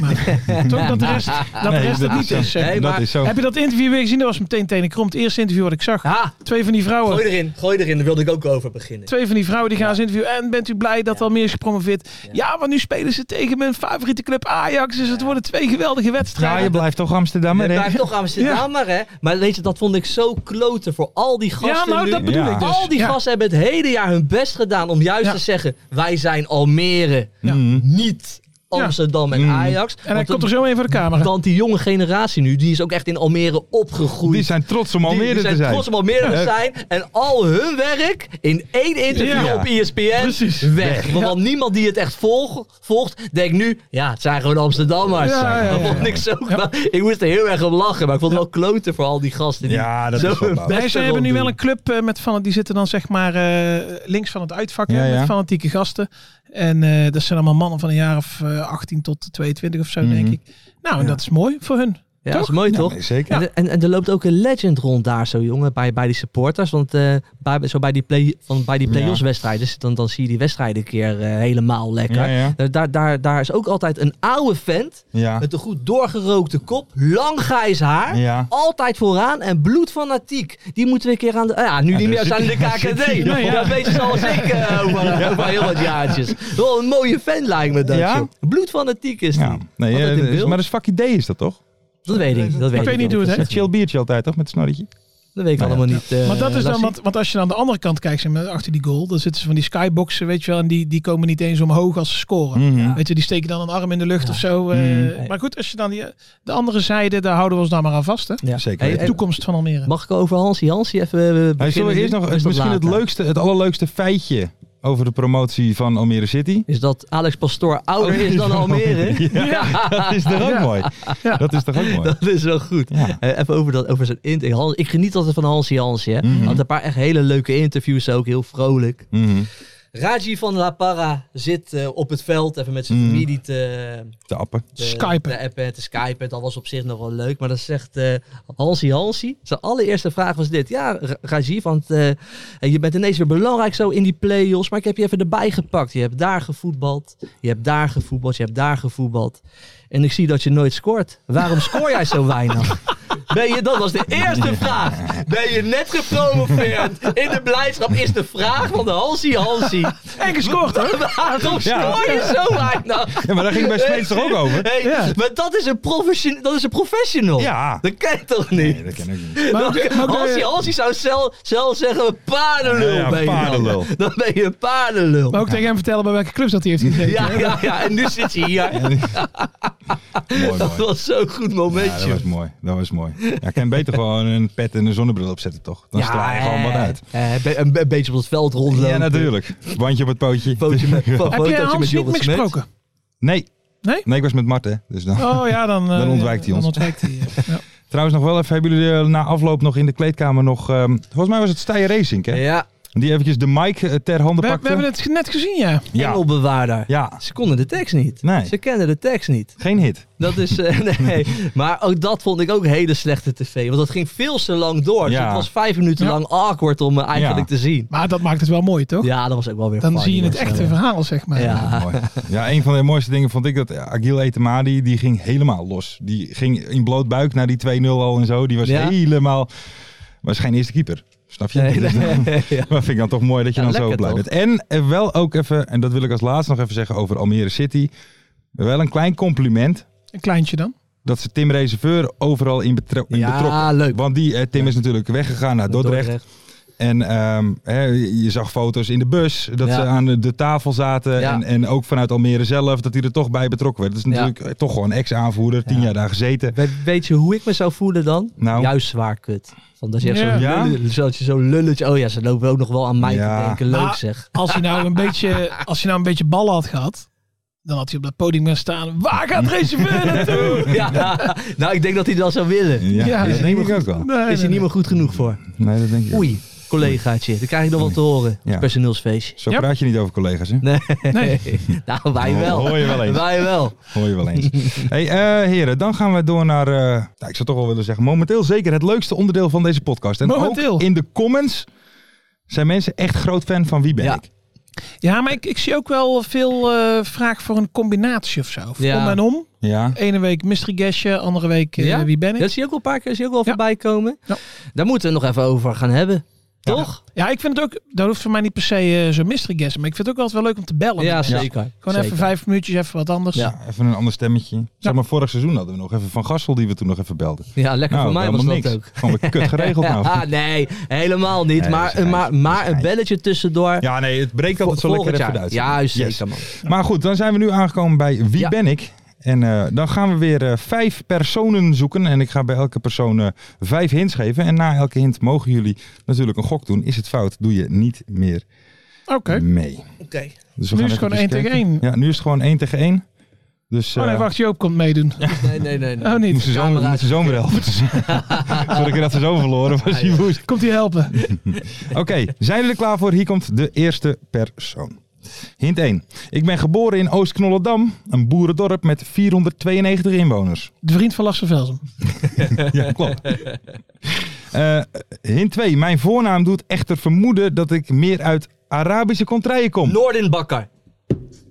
Speaker 5: maar. Toch dat de rest, dat de
Speaker 3: Nee,
Speaker 5: rest het
Speaker 3: dat
Speaker 5: niet
Speaker 3: is
Speaker 5: is. zeg
Speaker 4: Nee,
Speaker 5: maar.
Speaker 3: Dat
Speaker 4: maar-
Speaker 3: is zo.
Speaker 5: Heb je dat interview weer gezien? Dat was meteen tenen krom. Het eerste interview wat ik zag.
Speaker 4: Ha,
Speaker 5: Twee van die
Speaker 4: gooi
Speaker 3: Oh,
Speaker 5: vrouwen.
Speaker 4: erin. Gooi erin. Daar wilde ik ook over beginnen.
Speaker 5: Twee van die vrouwen die gaan ze interviewen. En bent u blij dat
Speaker 4: Ja.
Speaker 5: Almere is gepromoveerd? Ja. want nu spelen ze tegen mijn favoriete club Ajax. Dus het worden twee geweldige
Speaker 3: Ja,
Speaker 5: wedstrijden.
Speaker 3: je blijft toch Amsterdammer,
Speaker 4: Maar
Speaker 3: hè?
Speaker 4: blijft toch Amsterdammer, hè? Maar weet je, dat vond ik zo kloten voor al die gasten
Speaker 5: Ja, nou,
Speaker 4: nu.
Speaker 5: dat bedoel
Speaker 3: Ja.
Speaker 5: ik dus.
Speaker 4: Al die
Speaker 5: Ja.
Speaker 4: gasten hebben het hele jaar hun best gedaan om juist
Speaker 5: Ja.
Speaker 4: te zeggen... wij zijn Almere,
Speaker 5: Ja.
Speaker 3: Mhm.
Speaker 4: niet Amsterdam en
Speaker 3: Mm.
Speaker 4: Ajax.
Speaker 5: En hij
Speaker 4: Want
Speaker 5: komt er
Speaker 4: de-
Speaker 5: zo even voor de camera.
Speaker 4: Want die jonge generatie nu, die is ook echt in Almere opgegroeid.
Speaker 3: Die zijn trots om
Speaker 4: Die- die
Speaker 3: Almere te zijn.
Speaker 4: trots om Almere te
Speaker 3: Ja.
Speaker 4: zijn. En al hun werk in één interview
Speaker 3: Ja.
Speaker 4: op E ESPN
Speaker 5: Precies.
Speaker 4: weg. Want niemand die het echt volg- volgt, denkt nu... Ja, het zijn gewoon Amsterdammers.
Speaker 5: Ja, ja, ja,
Speaker 4: Dat vond ik zo... Ik moest er heel erg om lachen. Maar ik vond het wel kloten voor al die gasten. Die
Speaker 3: Ja, dat
Speaker 4: zo
Speaker 3: is wel
Speaker 4: hun
Speaker 3: waar.
Speaker 4: best
Speaker 5: Nee, ze
Speaker 4: erop
Speaker 5: hebben nu
Speaker 4: doen.
Speaker 5: wel een club eh, met van, die zitten dan zeg maar eh, links van het uitvak hè,
Speaker 3: Ja, ja.
Speaker 5: met fanatieke gasten. En eh, dat zijn allemaal mannen van een jaar of eh, 18 tot 22 of zo, denk
Speaker 3: Mhm.
Speaker 5: ik. Nou, en dat is mooi voor hun.
Speaker 4: Ja, dat is mooi toch?
Speaker 3: Nee, zeker.
Speaker 4: En, en, en er loopt ook een legend rond daar zo, jongen, bij, bij die supporters. Want eh, bij, zo bij die, play, van, bij die play-offs wedstrijden, dan, dan zie je die wedstrijden een keer eh, helemaal lekker.
Speaker 3: Ja, ja.
Speaker 4: Daar- Daar, daar, daar is ook altijd een oude vent
Speaker 3: Ja.
Speaker 4: met een goed doorgerookte kop, lang grijs haar,
Speaker 3: Ja.
Speaker 4: altijd vooraan en bloedfanatiek. Die moeten we een keer aan de... ah Ja, nu niet meer,
Speaker 3: daar
Speaker 4: zijn in de KKD.
Speaker 5: Ja, ja.
Speaker 4: Dat weten ze al zeker eh, over, over heel wat jaartjes. Wel een mooie fan lijkt me dat,
Speaker 3: Ja?
Speaker 4: joh. Bloedfanatiek is die.
Speaker 3: Ja. Nee,
Speaker 4: Altijd
Speaker 3: eh,
Speaker 4: in
Speaker 3: dat is-
Speaker 4: beeld.
Speaker 3: maar dat is vak idee is dat toch?
Speaker 4: Dat weet ik. Dat weet
Speaker 5: weet niet hoe het
Speaker 3: Een
Speaker 5: heet.
Speaker 3: chill biertje altijd toch, met een snorretje?
Speaker 4: Dat weet ik allemaal niet. eh,
Speaker 5: maar dat is dan,
Speaker 4: Lassie.
Speaker 5: want, want als je aan de andere kant kijkt, zeg maar, achter die goal, dan zitten ze van die skyboxen, weet je wel, en die, die komen niet eens omhoog als ze scoren.
Speaker 3: Mhm.
Speaker 5: Weet je, die steken dan een arm in de lucht
Speaker 4: Ja.
Speaker 5: of zo. eh,
Speaker 3: Mhm.
Speaker 5: Maar goed, als je dan die, de andere zijde, daar houden we ons dan maar aan vast, hè.
Speaker 4: Ja.
Speaker 3: Zeker
Speaker 4: Hey,
Speaker 5: De
Speaker 3: weten.
Speaker 4: hey,
Speaker 5: toekomst van Almere.
Speaker 4: mag ik over Hansie Hansie even eh, beginnen?
Speaker 3: Hij zullen we eerst
Speaker 4: nu?
Speaker 3: nog
Speaker 4: Of is
Speaker 3: het,
Speaker 4: dat
Speaker 3: misschien het,
Speaker 4: later?
Speaker 3: leukste, het allerleukste feitje over de promotie van Almere City.
Speaker 4: Is dat Alex Pastoor ouder is dan Almere?
Speaker 3: Ja, dat is toch ook mooi. Dat is toch ook mooi.
Speaker 4: Dat is wel goed.
Speaker 3: Ja.
Speaker 4: Eh, even over, dat, over zijn interview. Hans- Ik geniet altijd van Hansie Hansie. Hè. Had een paar echt hele leuke interviews ook. Heel vrolijk.
Speaker 3: Mhm.
Speaker 4: Raji van La Parra zit eh, op het veld even met zijn
Speaker 3: Mm.
Speaker 4: familie te,
Speaker 3: Te appen.
Speaker 4: te
Speaker 5: Skypen.
Speaker 4: Te appen, te skypen. Dat was op zich nog wel leuk. Maar dan zegt eh Hansie Hansie. Zijn allereerste vraag was dit. Ja, Ra- Rajiv, want eh, je bent ineens weer belangrijk zo in die play-offs. Maar ik heb je even erbij gepakt. Je hebt daar gevoetbald. Je hebt daar gevoetbald. Je hebt daar gevoetbald. En ik zie dat je nooit scoort. Waarom scoor jij zo weinig? Ben je, dat was de eerste vraag. Ben je net gepromoveerd? In de blijdschap is de vraag van de Hansie Hansie.
Speaker 5: En gescoord, hè.
Speaker 4: Waarom scoor je zo weinig?
Speaker 3: Ja, maar daar ging bij Smeets toch ook over?
Speaker 4: Hey,
Speaker 5: Ja.
Speaker 4: Maar dat is, een profession- dat is een professional.
Speaker 3: Ja.
Speaker 4: Dat kan je toch niet?
Speaker 3: Nee, dat ken ik niet.
Speaker 4: Dan- als, hij, als hij zou zelf, zelf zeggen, paardenlul
Speaker 3: Ja, ja,
Speaker 4: ben je dan.
Speaker 3: paardenlul.
Speaker 4: Dan. ben je een paardenlul.
Speaker 5: Maar ook tegen hem vertellen bij welke clubs dat hij heeft gezeten.
Speaker 4: Ja, ja, ja, en nu zit hij hier.
Speaker 3: mooi,
Speaker 4: Dat
Speaker 3: mooi.
Speaker 4: was zo'n goed
Speaker 3: Ja, dat
Speaker 4: momentje.
Speaker 3: was mooi. Dat was mooi. mooi. Ja, kan je beter gewoon een pet en een zonnebril opzetten, toch? Dan sla je gewoon wat uit.
Speaker 4: eh, eh, be- een, be- een beetje op het veld rondlopen.
Speaker 3: Ja, natuurlijk. Bandje op het pootje.
Speaker 4: Fotootje met,
Speaker 5: Heb
Speaker 4: fotootje
Speaker 5: je
Speaker 4: met
Speaker 5: Hans niet
Speaker 4: Jorrit
Speaker 5: meer
Speaker 4: Smet.
Speaker 5: gesproken?
Speaker 3: Nee.
Speaker 5: Nee?
Speaker 3: Nee, ik was met Mart, hè. Dus dan.
Speaker 5: Oh ja, dan, eh,
Speaker 3: Dan ontwijkt hij
Speaker 5: dan
Speaker 3: ons.
Speaker 5: ontwijkt hij, eh, ja.
Speaker 3: Trouwens nog wel even, hebben jullie eh, na afloop nog in de kleedkamer nog... ehm, volgens mij was het Steyr Racing, hè?
Speaker 4: Ja,
Speaker 3: Die eventjes de mic eh, ter handen
Speaker 5: We, we
Speaker 3: pakte.
Speaker 5: hebben het net gezien, ja.
Speaker 3: ja.
Speaker 4: engelbewaarder.
Speaker 3: ja,
Speaker 4: Ze konden de tekst niet.
Speaker 3: Nee.
Speaker 4: Ze kenden de tekst niet.
Speaker 3: geen hit.
Speaker 4: Dat is, eh, nee. Maar ook dat vond ik ook hele slechte tv. Want dat ging veel te lang door. Dus
Speaker 3: Ja.
Speaker 4: het was vijf minuten
Speaker 5: Ja.
Speaker 4: lang awkward om eh, eigenlijk
Speaker 3: Ja.
Speaker 4: te zien.
Speaker 5: Maar dat maakt het wel mooi, toch?
Speaker 4: Ja, dat was ook wel weer
Speaker 5: Dan
Speaker 4: funny
Speaker 5: zie je het
Speaker 4: of zo.
Speaker 5: echte verhaal, zeg maar.
Speaker 4: Ja.
Speaker 3: Mooi. Ja, een van de mooiste dingen vond ik dat Agil Etemadi, die ging helemaal los. Die ging in bloot buik naar die 2-0 al en zo. Die was
Speaker 4: Ja.
Speaker 3: helemaal... Was geen eerste keeper. Snap je?
Speaker 4: Nee,
Speaker 3: Dus dan-
Speaker 4: nee, ja.
Speaker 3: Maar vind ik dan toch mooi dat je
Speaker 4: Ja,
Speaker 3: dan zo
Speaker 4: lekker
Speaker 3: blij
Speaker 4: toch?
Speaker 3: bent. En eh, wel ook even, en dat wil ik als laatste nog even zeggen over Almere City. Wel een klein compliment
Speaker 5: Een kleintje dan.
Speaker 3: dat ze Tim Reserveur overal in, betro- in
Speaker 4: Ja,
Speaker 3: betrokken.
Speaker 4: leuk.
Speaker 3: Want die, eh, Tim is natuurlijk weggegaan naar Dordrecht. En ehm, hè, je zag foto's in de bus dat
Speaker 4: Ja.
Speaker 3: ze aan de- de tafel zaten.
Speaker 4: Ja.
Speaker 3: En, en ook vanuit Almere zelf dat hij er toch bij betrokken werd. Dat is
Speaker 4: Ja.
Speaker 3: natuurlijk eh, toch gewoon ex-aanvoerder, tien
Speaker 4: Ja.
Speaker 3: jaar daar gezeten.
Speaker 4: We- weet je hoe ik me zou voelen dan?
Speaker 3: Nou.
Speaker 4: Juist zwaar kut. Want als je echt
Speaker 5: Ja.
Speaker 4: zo'n
Speaker 3: Ja?
Speaker 4: lulle- zoals je zo'n lulletje... Oh ja, ze lopen ook nog wel aan mij
Speaker 3: Ja.
Speaker 4: te denken. Leuk
Speaker 5: Maar-
Speaker 4: zeg.
Speaker 5: Als hij nou een beetje, als hij nou een beetje ballen had gehad, dan had hij op dat podium gaan staan. Waar gaat Reserveur naartoe?
Speaker 4: Ja, nou ik denk dat hij dat zou willen.
Speaker 3: Ja,
Speaker 5: Ja,
Speaker 3: dat
Speaker 5: is
Speaker 3: denk ik ook wel.
Speaker 5: Nee, nee,
Speaker 4: Is hij niet
Speaker 5: nee.
Speaker 4: meer goed genoeg voor?
Speaker 3: Nee, dat denk ik ook.
Speaker 4: Oei, collegaatje. Dan krijg ik nog wat te horen.
Speaker 3: Ja.
Speaker 4: Personeelsfeestje.
Speaker 3: Zo
Speaker 5: Ja.
Speaker 3: praat je niet over collega's, hè?
Speaker 4: Nou, wij wel.
Speaker 3: Hoor je wel eens.
Speaker 4: Wij wel.
Speaker 3: Hoor je wel eens. hey, eh, heren, dan gaan we door naar, eh, nou, ik zou toch wel willen zeggen, momenteel zeker het leukste onderdeel van deze podcast. En
Speaker 5: Momenteel.
Speaker 3: ook in de comments zijn mensen echt groot fan van Wie ben
Speaker 4: Ja.
Speaker 3: ik?
Speaker 5: Ja, maar ik, ik zie ook wel veel eh, vraag voor een combinatie of zo. Voor
Speaker 4: Ja.
Speaker 5: Om en om.
Speaker 3: Ja,
Speaker 5: Ene week Mystery Guestje, andere week eh,
Speaker 4: Ja?
Speaker 5: Wie ben ik?
Speaker 4: Dat zie je ook wel een paar keer. zie je ook wel
Speaker 5: Ja.
Speaker 4: voorbij komen.
Speaker 5: Ja.
Speaker 4: Daar moeten we het nog even over gaan hebben. Toch?
Speaker 5: Ja, ik vind het ook, dat hoeft voor mij niet per se eh, zo'n Mystery Guest. Maar ik vind het ook altijd wel leuk om te bellen.
Speaker 4: Ja,
Speaker 5: met mensen.
Speaker 4: zeker.
Speaker 5: Gewoon even
Speaker 4: Zeker.
Speaker 5: vijf minuutjes, even wat anders.
Speaker 4: Ja.
Speaker 3: even een ander stemmetje. Zeg maar, vorig seizoen hadden we nog even Van Gassel die we toen nog even belden.
Speaker 4: Ja, lekker
Speaker 3: nou,
Speaker 4: voor mij was
Speaker 3: helemaal
Speaker 4: dat
Speaker 3: niks.
Speaker 4: ook.
Speaker 3: Gewoon weer kut geregeld nou.
Speaker 4: Ah, nee, helemaal niet.
Speaker 3: Nee, dat
Speaker 4: maar,
Speaker 3: is een
Speaker 4: maar,
Speaker 3: geintje,
Speaker 4: maar
Speaker 3: dat is
Speaker 4: een
Speaker 3: een
Speaker 4: belletje tussendoor.
Speaker 3: Ja, nee, het breekt
Speaker 4: Vol-
Speaker 3: altijd zo lekker
Speaker 4: volgend
Speaker 3: even
Speaker 4: jaar.
Speaker 3: de uitzending.
Speaker 4: Juist,
Speaker 3: Yes.
Speaker 4: zeker man.
Speaker 3: Maar goed, dan zijn we nu aangekomen bij Wie
Speaker 4: Ja.
Speaker 3: ben ik? En eh, dan gaan we weer eh, vijf personen zoeken. En ik ga bij elke persoon eh, vijf hints geven. En na elke hint mogen jullie natuurlijk een gok doen. Is het fout, doe je niet meer
Speaker 5: Oké.
Speaker 4: Mm,
Speaker 3: mee.
Speaker 5: Oké.
Speaker 3: Dus
Speaker 5: Nu
Speaker 3: gaan
Speaker 5: is het gewoon
Speaker 3: even
Speaker 5: één tegen
Speaker 3: kijken.
Speaker 5: één.
Speaker 3: Ja, nu is het gewoon één tegen één. Dus
Speaker 5: Oh nee,
Speaker 3: eh,
Speaker 5: wacht, Joop komt meedoen.
Speaker 4: Nee, nee, nee. nee.
Speaker 5: Oh
Speaker 3: ik
Speaker 5: niet.
Speaker 3: moest de zoon,
Speaker 4: camera
Speaker 3: ik moest de zoon weer helpen. Sorry dat ze zo verloren was. die woest.
Speaker 5: Komt hij helpen?
Speaker 3: Oké, zijn jullie er klaar voor? Hier komt de eerste persoon. Hint 1. Ik ben geboren in Oost-Knollendam, een boerendorp met 492 inwoners.
Speaker 5: De vriend van Lasse Velsen.
Speaker 3: Ja, klopt. Eh, hint 2. Mijn voornaam doet echter vermoeden dat ik meer uit Arabische contraien kom.
Speaker 4: Noordinbakker.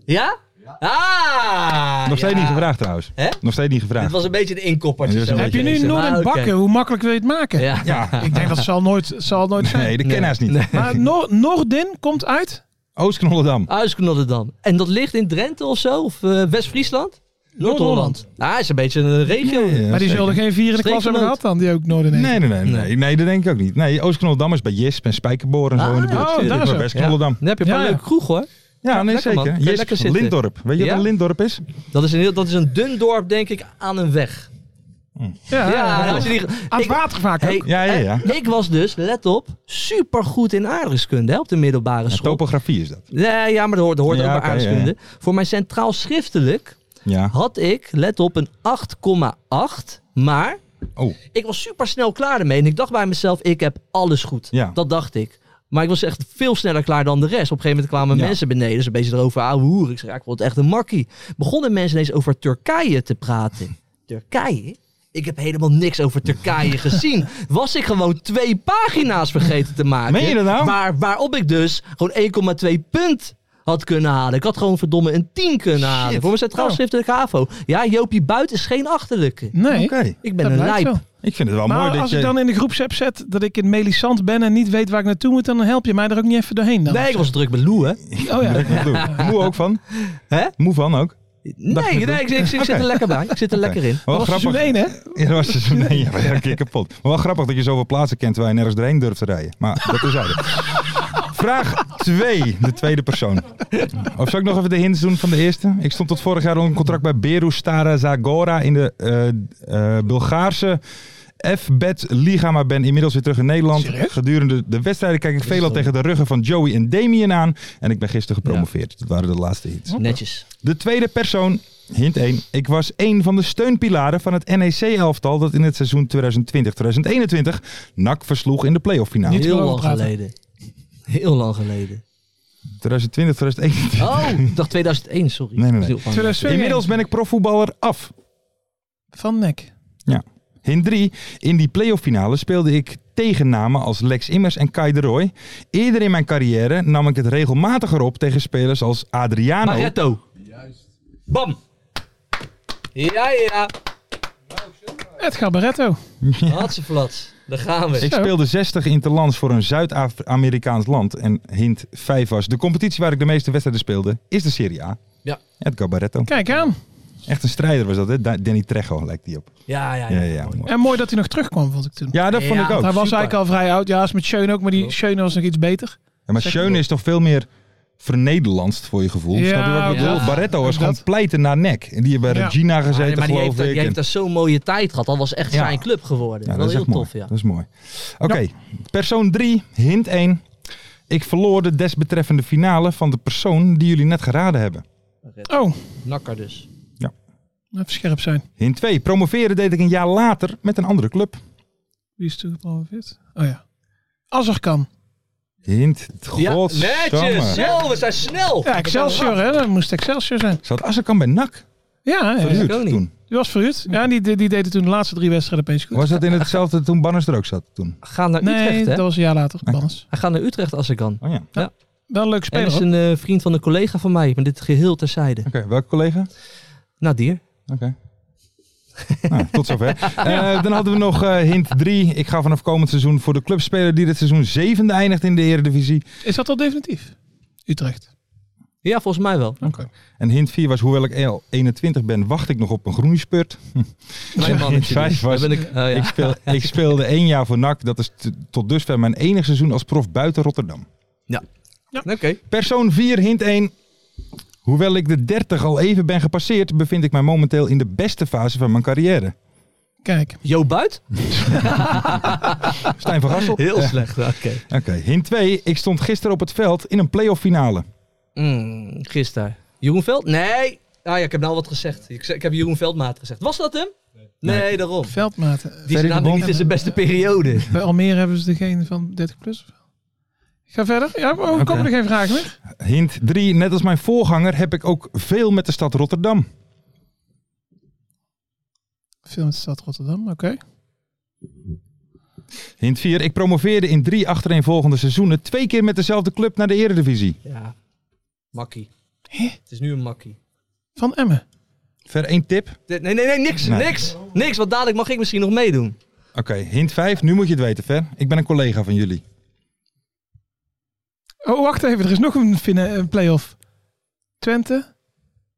Speaker 4: Ja? Ah!
Speaker 3: Nog steeds
Speaker 4: ja.
Speaker 3: niet gevraagd trouwens.
Speaker 4: Hè?
Speaker 3: Nog steeds niet
Speaker 4: Dit
Speaker 3: gevraagd.
Speaker 4: was een beetje de inkoppertje.
Speaker 3: Dit
Speaker 4: zo
Speaker 3: was een
Speaker 5: Heb je
Speaker 4: deze.
Speaker 5: nu nog
Speaker 4: Maar
Speaker 5: in
Speaker 4: Nou, oké.
Speaker 5: bakken? Hoe makkelijk wil je het maken?
Speaker 4: Ja.
Speaker 3: Ja,
Speaker 5: Ik denk dat zal nooit, zal nooit zijn.
Speaker 3: nee, de kennaars niet.
Speaker 5: Maar Noor- Noordin komt uit?
Speaker 3: Oost-Knollendam.
Speaker 4: Ah, Uisknotterdam. En dat ligt in Drenthe of zo? Of eh, West-Friesland?
Speaker 5: Noord-Holland.
Speaker 4: Ah, is een beetje een regio.
Speaker 3: Ja,
Speaker 5: maar die
Speaker 3: zeker.
Speaker 5: zullen geen vier in de klas
Speaker 4: Streekgenoot.
Speaker 5: hebben gehad dan, die ook Noordin heeft.
Speaker 3: Nee, nee, nee, nee, nee, dat denk ik ook niet. Nee, Oost-Knollendam is bij Jisp en Spijkerboor en zo
Speaker 4: Ah,
Speaker 3: in de buurt.
Speaker 5: oh, daar
Speaker 3: Maar
Speaker 5: zo.
Speaker 3: West-Knollendam.
Speaker 4: Dan heb je een
Speaker 5: Ja,
Speaker 4: paar
Speaker 5: ja.
Speaker 4: leuke kroeg hoor.
Speaker 3: Ja, nee,
Speaker 4: lekker, man.
Speaker 3: zeker.
Speaker 4: Kan je lekker
Speaker 3: Jisp,
Speaker 4: zitten.
Speaker 3: Lindorp. Weet je
Speaker 4: Ja?
Speaker 3: wat een Lindorp is?
Speaker 4: Dat is, een heel, dat is een dun dorp, denk ik, aan een weg.
Speaker 5: Ja,
Speaker 4: Ja,
Speaker 5: Ah, ja.
Speaker 4: als je die,
Speaker 5: Aan het
Speaker 4: ik,
Speaker 5: water vaak
Speaker 4: hey,
Speaker 5: ook.
Speaker 3: Ja, ja, ja.
Speaker 4: eh, ik was dus, let op, supergoed in aardrijkskunde hè, op de middelbare school.
Speaker 3: Topografie is dat.
Speaker 4: nee, ja, maar dat hoort, dat hoort
Speaker 3: Ja,
Speaker 4: ook bij
Speaker 3: oké,
Speaker 4: aardrijkskunde. Voor mijn centraal schriftelijk
Speaker 3: Ja.
Speaker 4: had ik, let op, een 8,8. Maar
Speaker 3: Oh,
Speaker 4: ik was super snel klaar ermee. En ik dacht bij mezelf, ik heb alles goed.
Speaker 3: Ja.
Speaker 4: Dat dacht ik. Maar ik was echt veel sneller klaar dan de rest. Op een gegeven moment kwamen
Speaker 3: Ja.
Speaker 4: mensen beneden. Ze een beetje erover ouwe hoer. Ik zei, ja, ik word echt een makkie. Begonnen mensen ineens over Turkije te praten. Turkije? Ik heb helemaal niks over Turkije gezien. Was ik gewoon twee pagina's vergeten te maken.
Speaker 3: Meen je dat nou?
Speaker 4: Waar, waarop ik dus gewoon 1,2 punt had kunnen halen. Ik had gewoon verdomme een 10 kunnen halen. Voor mijn centraal
Speaker 5: Oh.
Speaker 4: schriftelijk HAVO. Ja, Joopie Buiten is geen achterlijke.
Speaker 5: Nee,
Speaker 3: oké.
Speaker 4: Ik
Speaker 5: dat
Speaker 4: ben een
Speaker 5: blijkt
Speaker 4: lijp.
Speaker 5: wel.
Speaker 3: Ik vind het wel mooi
Speaker 5: Maar
Speaker 3: dat
Speaker 5: als
Speaker 3: je...
Speaker 5: ik dan in de groepsapp zet dat ik in Melisand ben en niet weet waar ik naartoe moet, dan help je mij er ook niet even doorheen dan.
Speaker 4: Nee, ik was druk met Lou, hè?
Speaker 5: Oh ja.
Speaker 3: Dat doe ik. Moe ook van.
Speaker 4: Hè?
Speaker 3: Moe van ook.
Speaker 4: Nee, nee, ik, ik- ik zit er lekker bij. Ik zit er lekker in.
Speaker 3: Wel
Speaker 5: Dat was seizoen één, hè?
Speaker 3: Ja, dat was seizoen één. Ja, we waren een keer kapot. Maar wel grappig dat je zoveel plaatsen kent waar je nergens doorheen durft te rijden. Maar dat is eigenlijk. Vraag 2, de tweede persoon. Of zou ik nog even de hints doen van de eerste? Ik stond tot vorig jaar onder contract bij Beru Stara Zagora in de eh, eh, Bulgaarse F-Bet Liga, maar ben inmiddels weer terug in Nederland.
Speaker 5: Serieus?
Speaker 3: Gedurende de wedstrijden kijk ik veelal tegen de ruggen van Joey en Damien aan. En ik ben gisteren gepromoveerd. Dat waren de laatste hints.
Speaker 4: Netjes.
Speaker 3: De tweede persoon, hint 1. Ik was een van de steunpilaren van het NEC-elftal dat in het seizoen 2020-2021 NAC versloeg in de playoff finale.
Speaker 5: Niet-
Speaker 4: Heel
Speaker 5: erover
Speaker 4: lang
Speaker 5: praten.
Speaker 4: geleden. Heel lang geleden.
Speaker 3: 2020-2021.
Speaker 4: Oh, ik dacht 2001, sorry.
Speaker 3: Nee, nee, nee.
Speaker 4: Heel lang.
Speaker 5: 2002.
Speaker 3: Inmiddels ben ik profvoetballer af.
Speaker 5: Van Nek.
Speaker 3: Hint 3. In die playoff finale speelde ik tegen namen als Lex Immers en Kai de Roy. Eerder in mijn carrière nam ik het regelmatiger op tegen spelers als Adriano.
Speaker 4: Maretto. Bam. Ja, ja.
Speaker 5: Het Gabaretto.
Speaker 4: Hatseflat. Daar gaan we.
Speaker 3: Ik speelde 60 interlands voor een Zuid-Amerikaans land. En hint 5 was. De competitie waar ik de meeste wedstrijden speelde is de Serie A.
Speaker 4: Ja.
Speaker 3: Het Gabaretto.
Speaker 5: Kijk aan.
Speaker 3: Echt een strijder was dat, hè? Da- Danny Trejo lijkt die op.
Speaker 4: Ja, ja,
Speaker 3: Ja,
Speaker 4: ja.
Speaker 3: ja, mooi.
Speaker 5: En mooi dat hij nog terugkwam, vond ik toen.
Speaker 3: ja dat vond
Speaker 4: Ja,
Speaker 3: ik ook.
Speaker 5: Hij was
Speaker 4: super.
Speaker 5: eigenlijk al vrij oud. Ja, is met Schöne ook, maar die Schöne was nog iets beter.
Speaker 3: Ja, maar Schöne is toch veel meer vernederlandst voor je gevoel.
Speaker 5: Ja,
Speaker 3: Snap je wat ik
Speaker 5: ja.
Speaker 3: bedoel? Barretto was
Speaker 5: Dat-
Speaker 3: gewoon pleiten naar nek. En die hebben bij
Speaker 5: Ja.
Speaker 3: Regina
Speaker 4: Ah,
Speaker 3: gezeten,
Speaker 4: maar die
Speaker 3: geloof
Speaker 4: heeft, die
Speaker 3: ik.
Speaker 4: heeft
Speaker 3: En-
Speaker 4: daar zo'n mooie tijd gehad. Dat was echt
Speaker 3: Ja.
Speaker 4: zijn club geworden.
Speaker 3: Ja,
Speaker 4: dat
Speaker 3: dat
Speaker 4: is
Speaker 3: is
Speaker 4: heel
Speaker 3: echt mooi.
Speaker 4: tof, ja.
Speaker 3: Dat is mooi. Oké, persoon 3, hint 1. Ik verloor de desbetreffende finale van de persoon die jullie net geraden hebben.
Speaker 5: Oh,
Speaker 4: Nakker dus.
Speaker 5: even scherp zijn.
Speaker 3: Hint 2, promoveren deed ik een jaar later met een andere club.
Speaker 5: Wie is toen gepromoveerd? Oh ja. Azarkan.
Speaker 3: Hint, godsamme.
Speaker 4: netjes. Zo, we zijn snel.
Speaker 5: Ja, Excelsior, hè. Dat moest Excelsior zijn.
Speaker 3: Zat Assekan bij NAC?
Speaker 5: Ja, hè.
Speaker 3: Verhuurd
Speaker 4: ook niet.
Speaker 3: toen.
Speaker 5: die was verhuurd. Ja, en die, die, die deden toen de laatste drie wedstrijden opeens goed.
Speaker 3: Was dat in hetzelfde toen Banners er ook zat? Toen?
Speaker 4: Ga naar
Speaker 5: nee,
Speaker 4: Utrecht, hè. Ah.
Speaker 5: dat was een jaar later. Bannes.
Speaker 4: Hij gaat naar Utrecht als ik kan.
Speaker 3: Oh ja. Oké,
Speaker 5: Wel een leuke
Speaker 4: En
Speaker 5: speler,
Speaker 4: is
Speaker 5: hoor.
Speaker 4: een eh, vriend van een collega van mij. Maar dit geheel terzijde.
Speaker 3: welke collega?
Speaker 4: Nadir.
Speaker 3: Oké. nou, tot zover. Eh, dan hadden we nog eh, hint 3. Ik ga vanaf komend seizoen voor de clubspeler die dit seizoen zevende eindigt in de Eredivisie.
Speaker 5: Is dat al definitief? Utrecht.
Speaker 4: Ja, volgens mij wel.
Speaker 3: En hint 4 was, hoewel ik EL 21 ben, wacht ik nog op een groene spurt.
Speaker 4: Klein
Speaker 3: Hint
Speaker 4: mannetje. dus.
Speaker 3: vijf was,
Speaker 4: Daar ben ik, oh, ja.
Speaker 3: ik, speel, ik speelde één jaar voor NAC. Dat is t- tot dusver mijn enig seizoen als prof buiten Rotterdam.
Speaker 4: Oké.
Speaker 3: Persoon 4, hint 1. Hoewel ik de 30 al even ben gepasseerd, bevind ik mij momenteel in de beste fase van mijn carrière.
Speaker 5: Kijk.
Speaker 4: Jo Buit?
Speaker 3: Stijn van Gassel.
Speaker 4: Heel
Speaker 3: Eh,
Speaker 4: slecht. Oké.
Speaker 3: Oké, hint 2. Ik stond gisteren op het veld in een playoff finale.
Speaker 4: Mm, gisteren. Jeroen Veld? Nee. Ah ja, ik heb nou wat gezegd. Ik, ze- ik heb Jeroen Veldmaat gezegd. Was dat hem? Nee, daarom.
Speaker 5: Veldmaten.
Speaker 4: Die is namelijk niet in zijn beste periode.
Speaker 5: Bij Almere hebben ze degene van 30 plus. Ga verder. Ja, oh, komen er geen vragen meer?
Speaker 3: Hint 3. Net als mijn voorganger heb ik ook veel met de stad Rotterdam.
Speaker 5: Film in de stad Rotterdam, oké.
Speaker 3: Hint 4. Ik promoveerde in drie achtereenvolgende seizoenen twee keer met dezelfde club naar de Eredivisie.
Speaker 4: Ja. Makkie. Het is nu een makkie.
Speaker 5: Van Emmen.
Speaker 3: Ver één tip.
Speaker 4: Nee, nee, nee, niks.
Speaker 3: Nee.
Speaker 4: Niks. Niks, want dadelijk mag ik misschien nog meedoen.
Speaker 3: Oké, hint 5. Nu moet je het weten, Ver. Ik ben een collega van jullie.
Speaker 5: Oh, wacht even. Er is nog een, finale- een play-off. Twente.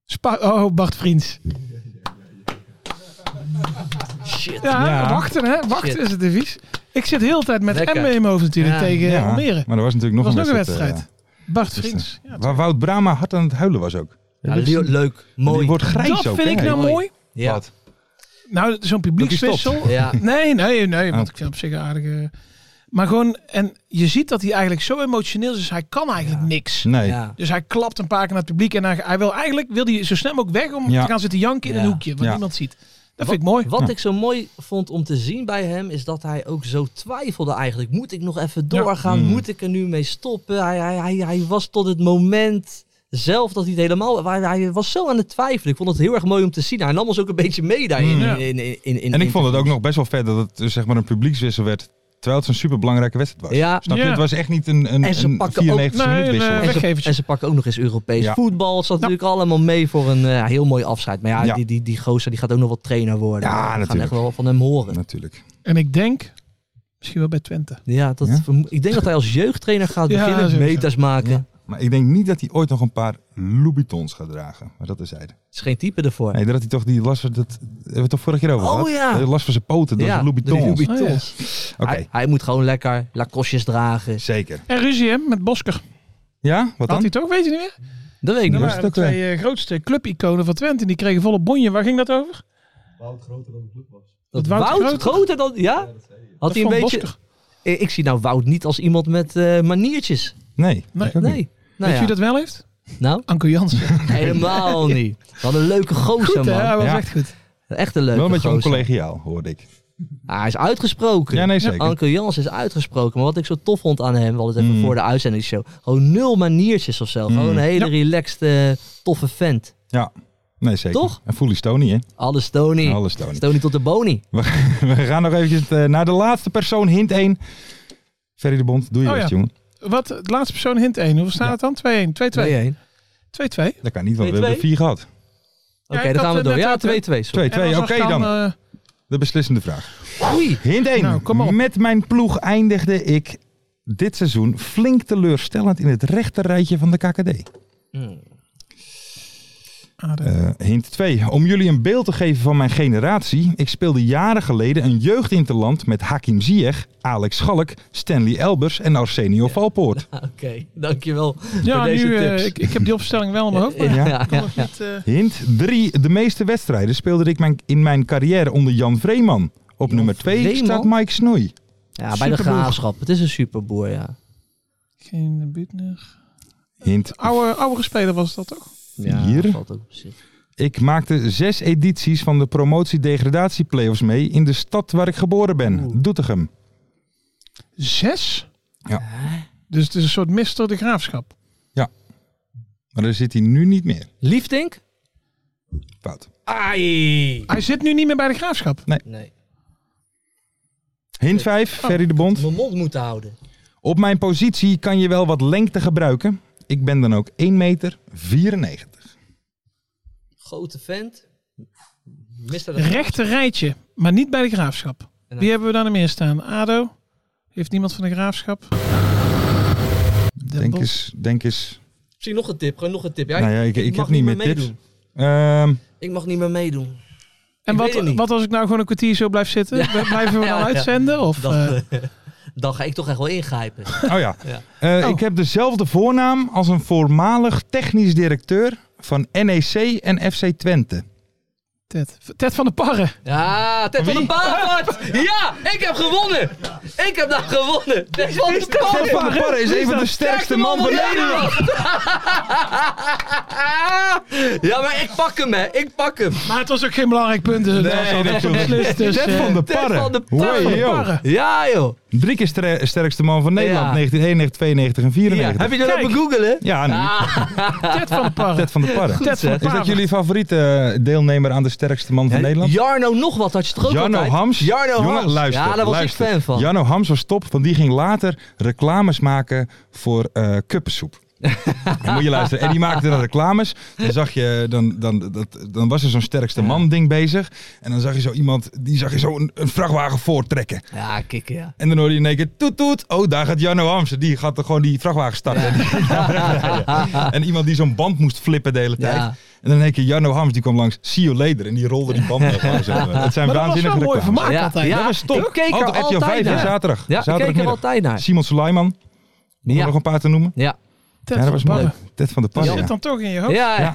Speaker 5: Spa oh, Bart Vriends.
Speaker 4: Shit.
Speaker 5: Ja,
Speaker 3: Ja.
Speaker 5: wachten hè. Wachten
Speaker 4: Shit.
Speaker 5: is het devies. Ik zit heel de tijd met
Speaker 4: Lekker.
Speaker 5: Emmen in mijn hoofd natuurlijk
Speaker 4: Ja.
Speaker 5: tegen eh, Almere.
Speaker 3: maar er was natuurlijk nog,
Speaker 5: was
Speaker 3: een,
Speaker 5: nog een
Speaker 3: wedstrijd,
Speaker 5: wedstrijd. Bart
Speaker 3: Dus,
Speaker 5: Vriends. Ja,
Speaker 3: eh, waar Wout Brama hard aan het huilen was ook.
Speaker 4: Ja, le- leuk. Mooi.
Speaker 3: Die wordt grijs
Speaker 5: dat
Speaker 3: ook.
Speaker 5: vind ik
Speaker 3: hè?
Speaker 5: nou
Speaker 4: Mooi.
Speaker 5: mooi.
Speaker 4: ja.
Speaker 3: Wat?
Speaker 5: Nou, zo'n publiekswissel.
Speaker 4: Ja.
Speaker 5: Nee, nee, nee. Want
Speaker 3: Oh.
Speaker 5: ik vind op zich een aardige... Maar gewoon... En je ziet dat hij eigenlijk zo emotioneel is. dus Hij kan eigenlijk niks.
Speaker 3: Nee.
Speaker 4: ja.
Speaker 5: Dus hij klapt een paar keer naar het publiek. En hij, hij wil eigenlijk wil hij zo snel mogelijk weg om
Speaker 3: Ja.
Speaker 5: te gaan zitten janken in
Speaker 4: Ja.
Speaker 5: een hoekje. Wat
Speaker 3: Ja.
Speaker 5: niemand ziet. Dat vind ik mooi.
Speaker 4: Wat ik zo mooi vond om te zien bij hem, is dat hij ook zo twijfelde eigenlijk. Moet ik nog even doorgaan?
Speaker 3: Mm.
Speaker 4: Moet ik er nu mee stoppen? Hij, hij, hij, hij was tot het moment zelf dat hij het helemaal... Hij, hij was zo aan het twijfelen. Ik vond het heel erg mooi om te zien. Hij nam ons ook een beetje mee daarin.
Speaker 5: Ja.
Speaker 4: In, in, in, in,
Speaker 3: Hmm. En ik vond het ook
Speaker 4: interviews.
Speaker 3: nog best wel vet dat het dus zeg maar een publiekswissel werd. Terwijl het zo'n superbelangrijke wedstrijd was.
Speaker 4: Ja.
Speaker 3: Snap je?
Speaker 5: Ja.
Speaker 3: Het was echt niet een, een,
Speaker 4: En ze
Speaker 3: een
Speaker 4: pakken
Speaker 3: 94
Speaker 5: ook-
Speaker 3: minuut
Speaker 5: Nee,
Speaker 3: wissel.
Speaker 5: nee.
Speaker 4: En ze,
Speaker 5: Weggevers.
Speaker 4: en ze pakken ook nog eens Europees
Speaker 3: Ja.
Speaker 4: voetbal. Het zat natuurlijk allemaal mee voor een eh, heel mooi afscheid. Maar ja,
Speaker 3: Ja.
Speaker 4: Die, die, die gozer die gaat ook nog wel trainer worden.
Speaker 3: Ja,
Speaker 4: We gaan
Speaker 3: natuurlijk.
Speaker 4: echt wel van hem horen.
Speaker 3: Natuurlijk.
Speaker 5: En ik denk... Misschien wel bij Twente.
Speaker 4: Ja, dat,
Speaker 3: Ja?
Speaker 4: vermo- ik denk dat hij als jeugdtrainer gaat
Speaker 5: Ja,
Speaker 4: beginnen.
Speaker 5: sowieso.
Speaker 4: Meters maken.
Speaker 3: Ja. Maar ik denk niet dat hij ooit nog een paar Louboutins gaat dragen. Maar dat is hij.
Speaker 4: is geen type ervoor.
Speaker 3: Nee, dat had hij toch die last van dat hebben we het toch vorig jaar over
Speaker 4: Oh,
Speaker 3: gehad?
Speaker 4: ja.
Speaker 3: Eh, Last van zijn poten door zijn
Speaker 4: de
Speaker 3: Louboutins.
Speaker 5: Oh,
Speaker 3: Oké,
Speaker 4: Louboutins. hij, hij moet gewoon lekker lacoste's dragen.
Speaker 3: zeker.
Speaker 5: En ruzie hè, met Bosker.
Speaker 3: Ja? Wat dan?
Speaker 5: Had hij toch? Weet je niet meer?
Speaker 4: Dat weet ik niet.
Speaker 3: Ja,
Speaker 5: Dat
Speaker 3: maar-
Speaker 5: waren de
Speaker 3: dat ook,
Speaker 5: twee eh, grootste clubiconen van Twente. En die kregen volle bonje. Waar ging dat over? Dat Wout groter-
Speaker 4: groter dan... Ja? Had
Speaker 5: Dat
Speaker 4: hij een
Speaker 5: Van
Speaker 4: beetje...
Speaker 5: Bosker.
Speaker 4: Eh, Ik zie nou Wout niet als iemand met eh, maniertjes.
Speaker 3: Nee.
Speaker 5: Nee.
Speaker 3: ik ook niet.
Speaker 4: Nee. Nou
Speaker 5: Weet je
Speaker 4: ja.
Speaker 5: wie dat wel heeft?
Speaker 4: Nou,
Speaker 5: Anko Jansen.
Speaker 4: helemaal niet. Wat een leuke gozer,
Speaker 5: Goed, hè?
Speaker 4: man.
Speaker 5: Hij was
Speaker 3: Ja.
Speaker 5: echt goed.
Speaker 4: Echt een leuke
Speaker 3: Wel een beetje
Speaker 4: gozer.
Speaker 3: oncollegiaal, hoorde ik.
Speaker 4: Ah, hij is uitgesproken.
Speaker 3: Ja, nee, zeker.
Speaker 4: Anko Jans is uitgesproken. Maar wat ik zo tof vond aan hem, we hadden het even
Speaker 3: Mm.
Speaker 4: voor de uitzendingsshow. Gewoon nul maniertjes of zo. Gewoon
Speaker 3: Mm.
Speaker 4: een hele relaxed, eh, toffe vent.
Speaker 3: Nee, zeker.
Speaker 4: Toch?
Speaker 3: En fully Stony, hè?
Speaker 4: Alles Tony.
Speaker 3: Alles Stony.
Speaker 4: Tony tot de boni.
Speaker 3: We gaan nog eventjes eh, naar de laatste persoon, hint 1. Ferry de Bond, doe je
Speaker 5: Oh
Speaker 3: best,
Speaker 5: ja.
Speaker 3: jongen.
Speaker 5: Wat, de laatste persoon hint 1. Hoeveel staat het dan? 2-1, 2-2.
Speaker 4: 2-1.
Speaker 5: 2-2.
Speaker 3: Dat kan niet, want we
Speaker 4: Twee,
Speaker 3: hebben er vier gehad. 2-2,
Speaker 4: Oké,
Speaker 5: Ja, ik
Speaker 4: dan
Speaker 5: had,
Speaker 4: gaan we
Speaker 5: eh,
Speaker 4: door.
Speaker 5: net
Speaker 4: Ja, 2-2.
Speaker 5: ook,
Speaker 4: sorry.
Speaker 5: hè. En als
Speaker 3: oké
Speaker 5: Askan,
Speaker 3: dan.
Speaker 5: eh,
Speaker 3: De beslissende vraag.
Speaker 4: Oei.
Speaker 3: Hint 1.
Speaker 5: Nou, kom op.
Speaker 3: Met mijn ploeg eindigde ik dit seizoen flink teleurstellend in het rechterrijtje van de KKD.
Speaker 5: Hmm. ah, dat-
Speaker 3: Eh, hint 2. Om jullie een beeld te geven van mijn generatie. Ik speelde jaren geleden een jeugdinterland met Hakim Ziyech, Alex Schalk, Stanley Elbers en Arsenio Valpoort.
Speaker 4: Oké, dankjewel
Speaker 5: ja,
Speaker 4: voor deze
Speaker 5: nu, eh,
Speaker 4: tips.
Speaker 5: ik, ik heb die opstelling wel in mijn hoofd, maar
Speaker 3: ja,
Speaker 5: ik kon het niet... eh,
Speaker 3: Hint 3. De meeste wedstrijden speelde ik mijn, in mijn carrière onder Jan Vreeman. Op
Speaker 4: Jan
Speaker 3: nummer 2
Speaker 4: Vreeman?
Speaker 3: staat Mike Snoei.
Speaker 4: Ja, bij de
Speaker 5: Superboer.
Speaker 4: graafschap. Het is een superboer, ja.
Speaker 5: geen buurtner.
Speaker 3: Hint
Speaker 5: Oude, oude speler was dat toch?
Speaker 4: ja
Speaker 3: Hier.
Speaker 4: dat valt ook op zich.
Speaker 3: Ik maakte zes edities van de promotie-degradatie-playoffs mee in de stad waar ik geboren ben, Doetinchem.
Speaker 5: Zes?
Speaker 3: Ja.
Speaker 5: Dus het is een soort mister de graafschap.
Speaker 3: Maar daar zit hij nu niet meer.
Speaker 4: Liefdink?
Speaker 3: Fout.
Speaker 4: Ai.
Speaker 5: Hij zit nu niet meer bij de graafschap.
Speaker 4: Nee.
Speaker 3: Hint 5,
Speaker 4: Oh.
Speaker 3: Ferry de Bond.
Speaker 4: Mijn mond moeten houden.
Speaker 3: Op mijn positie kan je wel wat lengte gebruiken. Ik ben dan ook 1 meter 94.
Speaker 4: Grote vent. Mister de
Speaker 5: Rechter rijtje, maar niet bij de graafschap.
Speaker 4: dan-
Speaker 5: Wie hebben we dan meer staan? Ado? Heeft niemand van de graafschap? Den
Speaker 3: Denk
Speaker 5: Bosch?
Speaker 3: eens, denk eens.
Speaker 4: Misschien nog een tip, gewoon nog een tip. Ja,
Speaker 3: Nou ja, ik- ik
Speaker 4: mag
Speaker 3: heb niet meer tips.
Speaker 4: meedoen.
Speaker 3: Ehm,
Speaker 4: Ik mag niet meer meedoen.
Speaker 5: En
Speaker 4: Ik weet het
Speaker 5: wat,
Speaker 4: niet.
Speaker 5: wat als ik nou gewoon een kwartier zo blijf zitten? We- Blijven we
Speaker 4: Ja,
Speaker 5: dan
Speaker 4: ja.
Speaker 5: uitzenden? Of,
Speaker 4: Dan,
Speaker 5: eh,
Speaker 4: eh, dan ga ik toch echt wel ingrijpen.
Speaker 3: oh ja.
Speaker 4: Ja.
Speaker 3: Eh,
Speaker 5: Oh.
Speaker 3: Ik heb dezelfde voornaam als een voormalig technisch directeur van NEC en FC Twente.
Speaker 5: Ted. Ted van de Parren.
Speaker 4: Ja, Ted van
Speaker 3: Wie?
Speaker 4: de Paapart! Ja, ik heb gewonnen! Ik heb nou gewonnen! Ted van de
Speaker 3: Ted van der
Speaker 4: Paapart!
Speaker 3: Parre is een van de sterkste man van Nederland.
Speaker 4: Ja, maar ik pak hem, hè. Ik pak hem.
Speaker 5: Maar het was ook geen belangrijk punt. Dus het was al
Speaker 3: dat klopt.
Speaker 5: beslist, dus,
Speaker 3: Ted
Speaker 5: eh,
Speaker 3: van de
Speaker 4: Ted
Speaker 3: Parre.
Speaker 4: van de Parre.
Speaker 3: Hoi,
Speaker 5: Ted van de
Speaker 3: yo.
Speaker 5: Parren.
Speaker 4: Ja, joh.
Speaker 3: Drie keer stre- sterkste man van Nederland.
Speaker 4: Ja.
Speaker 3: 1991, 92 en
Speaker 4: Ja,
Speaker 3: 94.
Speaker 4: heb je dat
Speaker 5: Kijk.
Speaker 4: even googelen?
Speaker 3: Ja, nu.
Speaker 4: Ah.
Speaker 5: Ted van de Parren.
Speaker 3: Ted van de Parre.
Speaker 5: Ted van de
Speaker 4: zeg.
Speaker 3: Is
Speaker 5: Parren.
Speaker 3: dat jullie favoriete eh, deelnemer aan de sterkste man van Nederland?
Speaker 4: Jarno nog wat had je toch ook
Speaker 3: Jarno
Speaker 4: altijd?
Speaker 3: Hams.
Speaker 4: Jarno
Speaker 3: Jongen,
Speaker 4: Hams.
Speaker 3: Luister,
Speaker 4: ja, daar was
Speaker 3: luister.
Speaker 4: ik fan van.
Speaker 3: Jarno Hams was top, want die ging later reclames maken voor eh kuppensoep. en moet je luisteren. En die maakte dan reclames. Dan zag je, dan, dan, dat, dan was er zo'n sterkste man ding bezig. En dan zag je zo iemand, die zag je zo een, een vrachtwagen voortrekken.
Speaker 4: Ja, kikken, ja.
Speaker 3: En dan hoor je in één keer toet toet. Oh, daar gaat Janno Hamsen. Die gaat er gewoon die vrachtwagen starten. En, die ging daar wegrijden. En iemand die zo'n band moest flippen de hele tijd.
Speaker 4: Ja.
Speaker 3: En dan in één keer Janno Hams die kwam langs. See you later. En die rolde die band weg. Het zijn
Speaker 5: Maar dat was wel
Speaker 3: waanzinnige
Speaker 5: mooi
Speaker 3: reclames.
Speaker 5: vermaakt
Speaker 4: Ja,
Speaker 5: altijd. Dus
Speaker 4: ja.
Speaker 3: Oh, Dat was top.
Speaker 4: Ik keek er
Speaker 3: Altijd RTL
Speaker 4: altijd
Speaker 3: 5, hè,
Speaker 4: naar.
Speaker 3: zaterdag.
Speaker 4: Ja, ik keek er
Speaker 3: Zaterdagmiddag.
Speaker 4: altijd naar.
Speaker 3: Simon Suleiman. Om
Speaker 4: Ja.
Speaker 3: er nog een paar te noemen.
Speaker 4: Ja.
Speaker 5: Ted
Speaker 3: ja, dat
Speaker 5: van
Speaker 3: was
Speaker 5: de Parren.
Speaker 3: mooi. Ted van de
Speaker 5: Die
Speaker 3: Parre.
Speaker 5: zit
Speaker 3: Oh. Ja.
Speaker 5: dan toch in je hoofd.
Speaker 4: Ja, ja.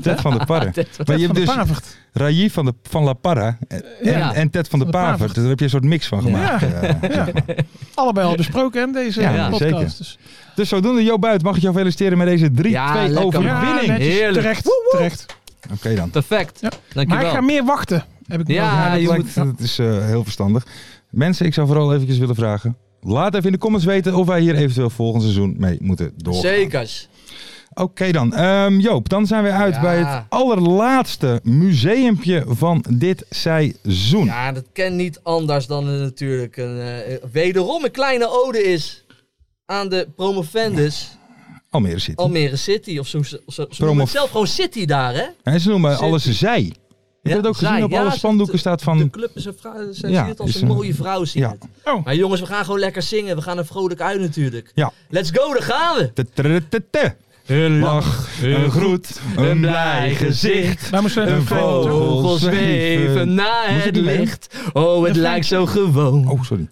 Speaker 3: Ted van de Parre. Maar je hebt
Speaker 5: Ted van de
Speaker 3: dus
Speaker 5: Pavert.
Speaker 3: Rajiv van, de, van La Parra en,
Speaker 4: Ja.
Speaker 3: en Ted van de
Speaker 5: Van de
Speaker 3: Paver.
Speaker 5: Pavert.
Speaker 3: Dus daar heb je een soort mix van gemaakt. eh,
Speaker 5: Ja. Allebei al besproken hè, deze
Speaker 3: Ja,
Speaker 5: eh, podcast.
Speaker 3: zeker.
Speaker 5: Dus.
Speaker 3: Dus zodoende, Jo Buit, mag ik jou feliciteren met deze 3-2
Speaker 4: Ja, lekker,
Speaker 3: overwinning.
Speaker 4: man.
Speaker 3: Oké
Speaker 5: netjes.
Speaker 4: Heerlijk.
Speaker 5: Terecht. terecht.
Speaker 3: dan.
Speaker 4: Perfect.
Speaker 5: Ja.
Speaker 4: Dankjewel.
Speaker 5: Maar ik ga meer wachten. Heb ik
Speaker 4: Ja,
Speaker 5: wel.
Speaker 3: Ja, dat,
Speaker 4: je
Speaker 3: lijkt- dat is eh, heel verstandig. Mensen, ik zou vooral eventjes willen vragen. Laat even in de comments weten of wij hier eventueel volgend seizoen mee moeten door.
Speaker 4: Zekers.
Speaker 3: Oké dan. Ehm, Joop, dan zijn we uit
Speaker 4: Ja.
Speaker 3: bij het allerlaatste museumpje van dit seizoen.
Speaker 4: Ja, dat kan niet anders dan er natuurlijk een, eh, wederom een kleine ode is aan de promovendus
Speaker 3: Almere City.
Speaker 4: Almere City. Of zo, zo, zo, ze noemen
Speaker 3: Promo-
Speaker 4: het zelf gewoon City daar, hè?
Speaker 3: En ze noemen
Speaker 4: City.
Speaker 3: alles zij. Heb je
Speaker 4: Ja,
Speaker 3: dat ook gezien?
Speaker 4: zij.
Speaker 3: Op
Speaker 4: Ja,
Speaker 3: alle
Speaker 4: ze-
Speaker 3: spandoeken staat
Speaker 4: De
Speaker 3: van...
Speaker 4: club is een vrouw, ze
Speaker 3: Ja,
Speaker 4: zien het als
Speaker 3: is
Speaker 4: een,
Speaker 3: een-
Speaker 4: mooie vrouw, zien
Speaker 3: ja.
Speaker 4: het.
Speaker 5: Oh.
Speaker 4: Maar jongens, we gaan gewoon lekker zingen. We gaan er vrolijk uit natuurlijk.
Speaker 3: Ja.
Speaker 4: Let's go, daar gaan we.
Speaker 3: Te- te- te- te.
Speaker 4: Een
Speaker 3: Lach, een groet, een blij gezicht.
Speaker 5: Daar moesten we
Speaker 3: Een
Speaker 5: een
Speaker 3: vogel.
Speaker 5: vogel.
Speaker 4: Vogels zweven naar
Speaker 3: Moet ik
Speaker 4: het
Speaker 3: die mee?
Speaker 4: licht. Oh, het lijkt zo gewoon.
Speaker 3: Oh, sorry.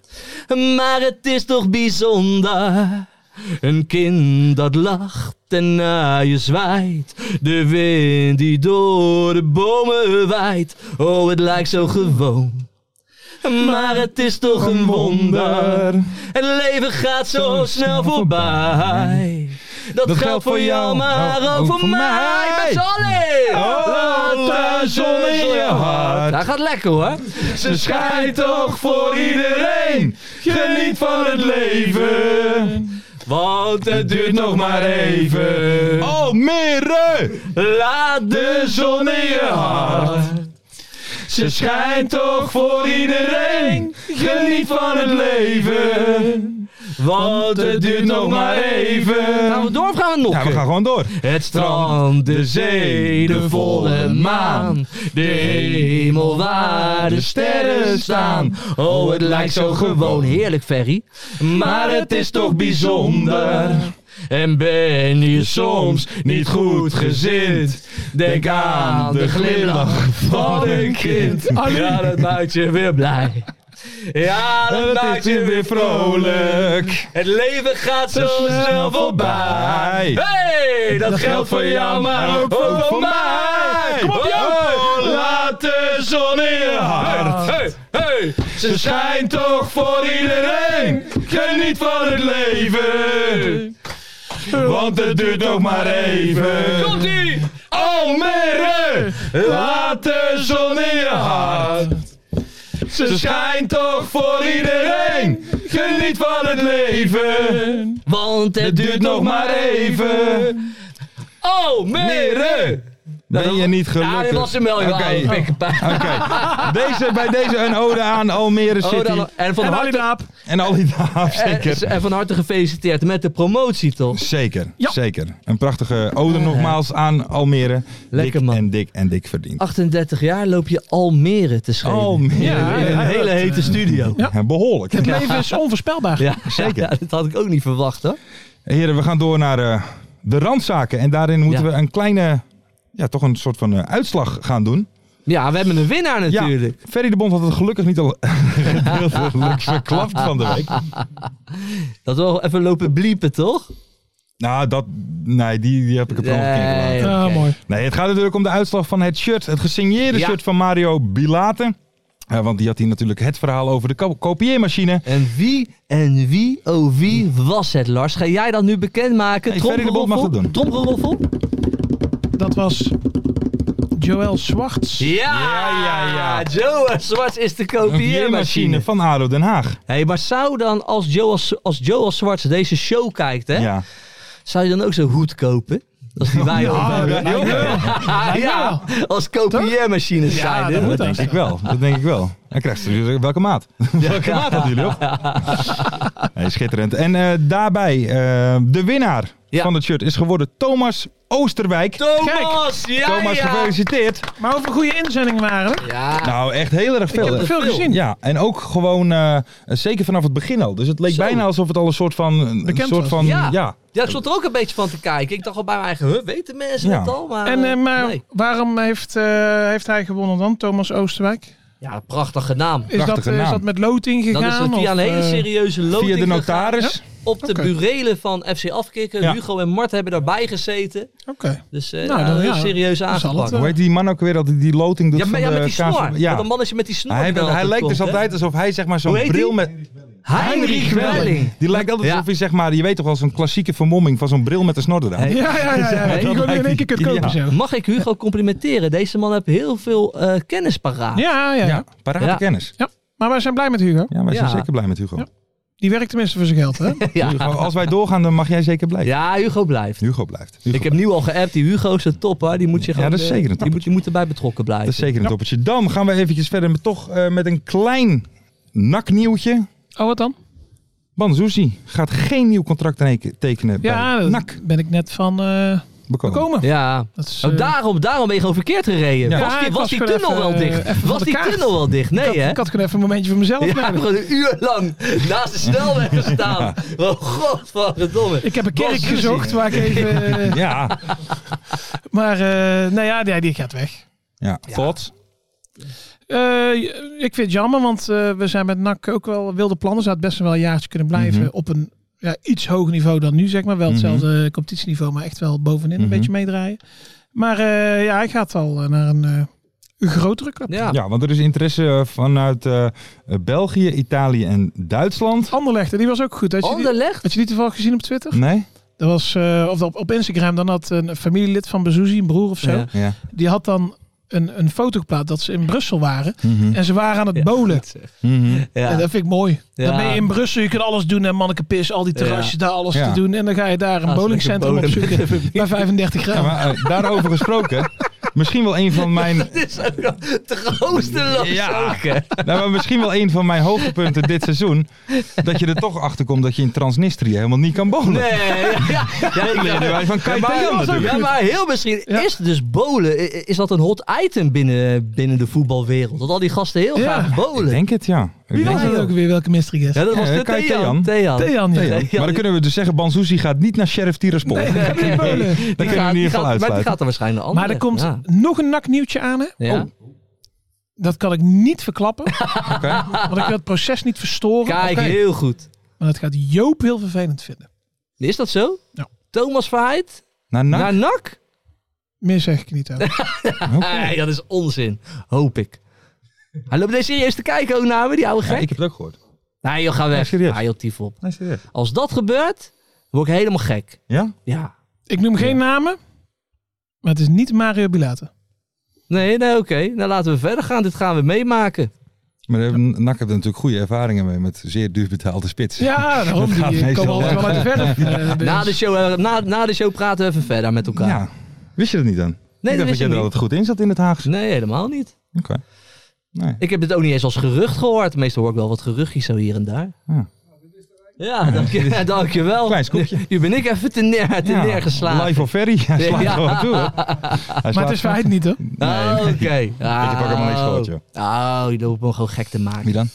Speaker 4: Maar het is toch bijzonder. Een kind dat lacht en naar je zwaait. De wind die door de bomen waait. Oh, het lijkt zo gewoon. Maar het is toch een wonder. Het leven gaat zo snel voorbij. Dat, geldt voor jou, maar ook voor mij. Met z'n allen!
Speaker 3: Oh, laat de zon in je hart.
Speaker 4: Dat gaat lekker hoor. Ze
Speaker 3: Schijnt toch voor iedereen. Geniet van het leven.
Speaker 4: Want het duurt nog maar even.
Speaker 3: Oh, Mere!
Speaker 4: Laat de zon in je hart.
Speaker 3: Ze schijnt toch voor iedereen. Geniet van het leven.
Speaker 4: Want
Speaker 3: Het duurt nog maar
Speaker 4: Gaan we
Speaker 3: even.
Speaker 4: door of gaan we nog?
Speaker 3: Ja, we gaan gewoon door.
Speaker 4: Het strand, de zee, de volle maan. De hemel waar de sterren staan. Oh, het lijkt zo gewoon heerlijk, Ferry. Maar het is toch bijzonder. En ben je soms niet goed gezind? Denk aan de glimlach van een kind. Ja, dat maakt je weer blij. Ja, dat
Speaker 3: Het is
Speaker 4: maakt je
Speaker 3: hier weer vrolijk.
Speaker 4: het leven gaat zo snel voorbij.
Speaker 3: voorbij.
Speaker 4: Hey, dat geldt voor jou, maar ook voor, voor mij. Kom op,
Speaker 3: Oh, laat de zon in je hart.
Speaker 4: Hey, hey.
Speaker 3: Ze schijnt toch voor iedereen. Geniet van het leven. Want het duurt ook maar even.
Speaker 4: Komt-ie!
Speaker 3: Almere, laat de zon in je hart. Ze schijnt toch voor iedereen. Geniet van het leven.
Speaker 4: Want het
Speaker 3: Het duurt nog maar even.
Speaker 4: Oh, meren!
Speaker 3: Ben je niet gelukkig?
Speaker 4: Ja, dit was hem wel, joh.
Speaker 3: Oké.
Speaker 4: oude pikkenpijn.
Speaker 3: Oké. Deze, bij deze een ode aan Almere
Speaker 4: Oh,
Speaker 3: City.
Speaker 4: dan- en, van
Speaker 5: En Ali
Speaker 4: harte,
Speaker 5: Daap.
Speaker 3: en al die naam,
Speaker 4: en,
Speaker 3: zeker.
Speaker 4: en van harte gefeliciteerd met de promotie, toch?
Speaker 3: Zeker,
Speaker 5: Ja.
Speaker 3: zeker. Een prachtige ode nogmaals aan Almere.
Speaker 4: Lekker,
Speaker 3: dik
Speaker 4: man.
Speaker 3: en dik en dik verdiend.
Speaker 4: 38 jaar loop je Almere te schrijven.
Speaker 3: Almere.
Speaker 5: Ja,
Speaker 4: In een
Speaker 5: ja,
Speaker 4: hele
Speaker 5: dat,
Speaker 4: hete
Speaker 5: eh,
Speaker 4: studio.
Speaker 5: Ja.
Speaker 3: Ja, Behoorlijk.
Speaker 5: Het leven is onvoorspelbaar.
Speaker 4: Ja,
Speaker 3: zeker.
Speaker 4: Ja, dat had ik ook niet verwacht, hoor.
Speaker 3: Heren, we gaan door naar eh, de randzaken. En daarin moeten
Speaker 4: Ja.
Speaker 3: we een kleine, ja, toch een soort van eh, uitslag gaan doen.
Speaker 4: Ja, we hebben een winnaar natuurlijk.
Speaker 3: Ja, Ferry de Bond had het gelukkig niet al gedeeltelijk verklapt van de week.
Speaker 4: Dat we wel even lopen bliepen, toch?
Speaker 3: Nou, dat, nee, die, die heb ik het nog een keer gelaten.
Speaker 5: Ah,
Speaker 4: oké.
Speaker 5: mooi.
Speaker 3: Nee, het gaat natuurlijk om de uitslag van het shirt. Het gesigneerde
Speaker 4: Ja.
Speaker 3: shirt van Mario Bilate. Eh, want die had hier natuurlijk het verhaal over de ko- kopieermachine.
Speaker 4: En wie, en wie, oh wie was het, Lars? Ga jij dat nu bekendmaken?
Speaker 3: Hey, Ferry de Bond mag het doen.
Speaker 4: Tromgeroffel?
Speaker 5: Dat was Joël Zwarts.
Speaker 4: Ja!
Speaker 3: ja, ja.
Speaker 4: Joe Swarts is de kopieermachine.
Speaker 3: van ADO Den Haag.
Speaker 4: Hey, maar zou dan, als Joe, als, als Joe als Swarts deze show kijkt, hè,
Speaker 3: Ja.
Speaker 4: zou je dan ook zo'n hoed kopen? Als die wij op hebben.
Speaker 3: Ja,
Speaker 4: Ja, ja, als kopieermachine zijn.
Speaker 5: dat
Speaker 4: hè?
Speaker 5: moet
Speaker 3: Dat denk ik wel. Dat denk ik wel. Dan krijgt ze natuurlijk welke maat. welke maat hadden jullie op? Nee, schitterend. En eh, daarbij, eh, de winnaar
Speaker 4: Ja.
Speaker 3: van het shirt is geworden Thomas Oosterwijk.
Speaker 4: Thomas! ja,
Speaker 3: Thomas,
Speaker 4: ja.
Speaker 3: gefeliciteerd.
Speaker 5: Maar over goede inzendingen waren er.
Speaker 4: Ja.
Speaker 3: Nou, echt heel erg
Speaker 5: Ik
Speaker 3: veel.
Speaker 5: heb er
Speaker 3: hè?
Speaker 5: veel
Speaker 4: Veel.
Speaker 5: gezien.
Speaker 3: Ja, en ook gewoon, eh, zeker vanaf het begin al. Dus het leek
Speaker 4: Zo.
Speaker 3: bijna alsof het al een soort van... Een
Speaker 5: Bekend
Speaker 3: soort
Speaker 5: was.
Speaker 3: van ja.
Speaker 4: Ja. Ja, ik stond er ook een beetje van te kijken. Ik dacht al bij mijn eigen, huh, weten mensen
Speaker 3: Ja.
Speaker 4: dat al? Maar,
Speaker 5: En eh,
Speaker 4: eh,
Speaker 5: maar
Speaker 4: nee.
Speaker 5: waarom heeft, eh, heeft hij gewonnen dan, Thomas Oosterwijk?
Speaker 4: Ja, prachtige naam.
Speaker 5: Is dat, eh,
Speaker 3: Prachtige
Speaker 5: is
Speaker 3: naam.
Speaker 5: dat met loting
Speaker 4: Dat is
Speaker 5: gegaan?
Speaker 4: via een
Speaker 5: of,
Speaker 4: hele
Speaker 5: eh,
Speaker 4: serieuze loting
Speaker 3: via de
Speaker 4: gegaan.
Speaker 3: notaris.
Speaker 4: Op de
Speaker 5: Oké.
Speaker 4: burelen van FC Afkikken.
Speaker 3: Ja.
Speaker 4: Hugo en Mart hebben daarbij gezeten.
Speaker 5: Oké.
Speaker 4: Dus eh
Speaker 5: Nou,
Speaker 4: ja,
Speaker 5: dan-
Speaker 4: heel
Speaker 5: ja,
Speaker 4: serieus
Speaker 5: zal het,
Speaker 4: aangepakt.
Speaker 5: eh,
Speaker 3: Hoe heet die man ook weer dat die- die loting doet
Speaker 4: Ja, maar,
Speaker 3: van
Speaker 4: ja,
Speaker 3: de
Speaker 4: met die snor.
Speaker 3: KNVB?
Speaker 4: Ja.
Speaker 3: Ja.
Speaker 4: Dat mannetje met die snor.
Speaker 3: Hij,
Speaker 4: die dan
Speaker 3: hij lijkt
Speaker 4: komt,
Speaker 3: dus
Speaker 4: hè?
Speaker 3: altijd alsof hij zeg maar
Speaker 4: Hoe
Speaker 3: zo'n
Speaker 4: heet
Speaker 3: bril
Speaker 4: die?
Speaker 3: met...
Speaker 4: Heinrich Welling.
Speaker 3: Die lijkt altijd
Speaker 4: Ja.
Speaker 3: alsof hij zeg maar... Je weet toch wel zo'n klassieke vermomming van zo'n bril met een snor eraan.
Speaker 4: Hey.
Speaker 5: Ja, ja, ja. ja.
Speaker 3: dat
Speaker 5: Je kon in één
Speaker 3: lijkt
Speaker 5: keer kunnen
Speaker 3: ideaal.
Speaker 5: kopen zo.
Speaker 4: Mag ik Hugo complimenteren? Deze man heeft heel veel eh, kennis paraat.
Speaker 5: Ja, ja, ja.
Speaker 3: Ja, parate
Speaker 4: Ja.
Speaker 3: kennis.
Speaker 5: Maar wij zijn blij met Hugo.
Speaker 3: Ja, wij zijn
Speaker 4: Ja.
Speaker 3: zeker blij met Hugo.
Speaker 5: Ja. Die werkt tenminste voor zijn geld, hè?
Speaker 4: ja.
Speaker 3: Hugo, als wij doorgaan, dan mag jij zeker blijven.
Speaker 4: Ja, Hugo blijft.
Speaker 3: Hugo blijft. Hugo
Speaker 4: Ik heb nu al geappt, die Hugo is een topper. Die moet je
Speaker 3: Ja,
Speaker 4: gewoon,
Speaker 3: dat is
Speaker 4: eh,
Speaker 3: zeker een
Speaker 4: die moet, je moet erbij betrokken blijven.
Speaker 3: Dat is zeker een toppetje. Dan gaan we eventjes verder met, toch eh, met een klein naknieuwtje.
Speaker 5: Oh, wat dan?
Speaker 3: Banzuzi gaat geen nieuw contract teken- tekenen
Speaker 5: Ja,
Speaker 3: bij
Speaker 5: dat
Speaker 3: NAC
Speaker 5: ben ik net van eh,
Speaker 3: bekomen.
Speaker 5: gekomen.
Speaker 4: Ja.
Speaker 5: Dat is,
Speaker 4: Oh,
Speaker 5: eh,
Speaker 4: daarom, daarom ben je gewoon verkeerd gereden.
Speaker 3: Ja.
Speaker 4: Was
Speaker 5: Ja,
Speaker 4: die,
Speaker 5: ik
Speaker 4: was
Speaker 5: was
Speaker 4: die
Speaker 5: gewoon
Speaker 4: tunnel
Speaker 5: even,
Speaker 4: wel
Speaker 5: eh,
Speaker 4: dicht?
Speaker 5: even van
Speaker 4: was
Speaker 5: de
Speaker 4: die
Speaker 5: kaart.
Speaker 4: tunnel wel dicht? Nee,
Speaker 5: ik, had,
Speaker 4: hè?
Speaker 5: ik had gewoon even een momentje voor mezelf
Speaker 4: Ja, ik heb
Speaker 5: nemen.
Speaker 4: gewoon een uur lang naast de snelweg gestaan. Oh, godverdomme.
Speaker 5: Ik heb een kerk
Speaker 4: Bas Ruzie.
Speaker 5: gezocht waar ik even... eh,
Speaker 3: Ja,
Speaker 5: maar, eh, nou ja, die, die gaat weg.
Speaker 3: ja. Thoughts?
Speaker 5: Eh, ik vind het jammer, want eh, we zijn met NAC ook wel wilde plannen. Zou het best wel een jaartje kunnen blijven
Speaker 3: Mhm.
Speaker 5: op een ja, iets hoger niveau dan nu, zeg maar.
Speaker 4: Mhm.
Speaker 5: Wel hetzelfde competitieniveau, maar echt wel bovenin
Speaker 3: Mhm.
Speaker 5: een beetje meedraaien. Maar eh, ja, hij gaat al eh, naar een eh, grotere club.
Speaker 4: Ja.
Speaker 3: Ja, want er is interesse vanuit eh, België, Italië en Duitsland.
Speaker 5: Anderlecht, die was ook goed. Had je, die,
Speaker 4: Anderlecht?
Speaker 5: had je die toevallig gezien op Twitter?
Speaker 3: Nee?
Speaker 5: Dat was, eh, of op, op Instagram, dan had een familielid van Bezoezie, een broer of zo,
Speaker 4: Ja.
Speaker 3: Ja.
Speaker 5: die had dan een, een foto geplaatst dat ze in Brussel waren.
Speaker 3: Mhm.
Speaker 5: En ze waren aan het
Speaker 4: Ja,
Speaker 5: bowlen.
Speaker 4: goed zeg.
Speaker 3: Mhm.
Speaker 5: En
Speaker 4: Ja.
Speaker 5: dat vind ik mooi. Dan
Speaker 4: Ja.
Speaker 5: ben je in Brussel, je kunt alles doen en mannenkenpis, al die terrasjes, daar alles
Speaker 3: Ja.
Speaker 5: te doen. En dan ga je daar een
Speaker 4: Als
Speaker 5: bowlingcentrum
Speaker 4: Ah, lekker bowlen.
Speaker 5: opzoeken bij 35
Speaker 3: Ja,
Speaker 5: graden.
Speaker 3: maar eh, daarover gesproken. Misschien wel een van mijn.
Speaker 4: Dit is ook wel troosteloos
Speaker 3: Ja.
Speaker 4: ook, hè.
Speaker 3: Nou, maar misschien wel een van mijn hoogtepunten dit seizoen. Dat je er toch achter komt dat je in Transnistrië helemaal niet kan bowlen.
Speaker 4: Nee, ja, ja, ja, ik-
Speaker 3: Leren wij van
Speaker 4: Ja, maar,
Speaker 3: Kaitajan
Speaker 4: ja,
Speaker 3: natuurlijk.
Speaker 4: maar heel misschien is dus bolen i- i- is dat een hot item binnen, binnen de voetbalwereld. Dat al die gasten heel
Speaker 5: Ja.
Speaker 4: graag
Speaker 3: Ik
Speaker 4: bolen.
Speaker 3: denk het, ja. Ik
Speaker 5: Wie
Speaker 3: denk
Speaker 5: was
Speaker 3: het
Speaker 5: het
Speaker 3: wel.
Speaker 5: ook weer? Welke mystery guest?
Speaker 4: Ja, dat was
Speaker 3: Ja,
Speaker 4: de
Speaker 3: Kai
Speaker 4: Thean.
Speaker 3: Thean.
Speaker 4: Thean.
Speaker 5: Thean, ja.
Speaker 3: Nee,
Speaker 4: Nee,
Speaker 3: maar dan
Speaker 4: die-
Speaker 3: kunnen we dus zeggen, Banzuzi gaat niet naar Sheriff Tiraspol.
Speaker 5: Nee,
Speaker 3: dat
Speaker 5: dat kan niet bowlen.
Speaker 3: kunnen we
Speaker 4: gaat-
Speaker 3: in ieder
Speaker 4: gaat- Maar
Speaker 3: geval
Speaker 4: die
Speaker 3: uitsluiten.
Speaker 4: gaat er waarschijnlijk een
Speaker 5: Maar
Speaker 4: andere.
Speaker 5: er komt
Speaker 4: Ja.
Speaker 5: nog een naknieuwtje aan, hè?
Speaker 4: Ja.
Speaker 5: Dat kan ik niet verklappen,
Speaker 3: Oké.
Speaker 5: want ik wil het proces niet verstoren.
Speaker 4: Kijk,
Speaker 5: Oké.
Speaker 4: heel goed.
Speaker 5: Maar dat gaat Joop heel vervelend vinden.
Speaker 4: Is dat zo?
Speaker 5: Ja.
Speaker 4: Thomas Verheid
Speaker 3: Naar NAC?
Speaker 4: naar NAC?
Speaker 5: Meer zeg ik niet over.
Speaker 4: Nee, Eh, dat is onzin. Hoop ik. Hij loopt deze serieus te kijken, Oname, die oude
Speaker 3: Ja,
Speaker 4: gek.
Speaker 3: ik heb het ook gehoord.
Speaker 4: Nee, joh, ga weg.
Speaker 3: serieus.
Speaker 4: Nee, joh, tief op.
Speaker 3: Nee, serieus.
Speaker 4: Als dat gebeurt, word ik helemaal gek.
Speaker 3: Ja?
Speaker 4: Ja.
Speaker 5: Ik noem geen namen, maar het is niet Mario Bilate.
Speaker 4: Nee, nee, oké. Nou, laten we verder gaan. Dit gaan we meemaken.
Speaker 3: Maar daar hebben- NAC heeft er natuurlijk goede ervaringen mee met zeer duur betaalde spits.
Speaker 5: Ja, daarom.
Speaker 3: Dat gaat
Speaker 5: Die eh,
Speaker 3: meestal
Speaker 5: komen altijd
Speaker 3: wel.
Speaker 5: wel uit de verf. eh, dus.
Speaker 4: Na de, show, eh, na, na de show praten we even verder met elkaar.
Speaker 3: Ja. Wist je dat niet dan?
Speaker 4: dat
Speaker 3: ik dacht
Speaker 4: wist
Speaker 3: dat jij
Speaker 4: ik
Speaker 3: er
Speaker 4: niet. Mm.
Speaker 3: altijd goed in zat in het Haagse.
Speaker 4: Nee, helemaal niet.
Speaker 3: Oké. Nee.
Speaker 4: Ik heb dit ook niet eens als gerucht gehoord. Meestal hoor ik wel wat geruchtjes zo hier en daar.
Speaker 3: Ja.
Speaker 4: Ja, dank je, dankjewel.
Speaker 3: Klein scoopje.
Speaker 4: Nu, nu ben ik even te, neer, te
Speaker 3: Ja,
Speaker 4: neergeslagen.
Speaker 3: Live of ferry. Hij
Speaker 4: Ja.
Speaker 3: slaat gewoon toe. hoor. Hij
Speaker 5: Maar
Speaker 3: slaat
Speaker 5: het is
Speaker 3: gewoon-
Speaker 5: waarheid niet, hoor.
Speaker 4: Ah,
Speaker 3: Nee.
Speaker 4: oké. Ah,
Speaker 3: heb ook helemaal niks gehoord, joh.
Speaker 4: Oh, je loopt me gewoon gek te maken.
Speaker 3: Wie dan?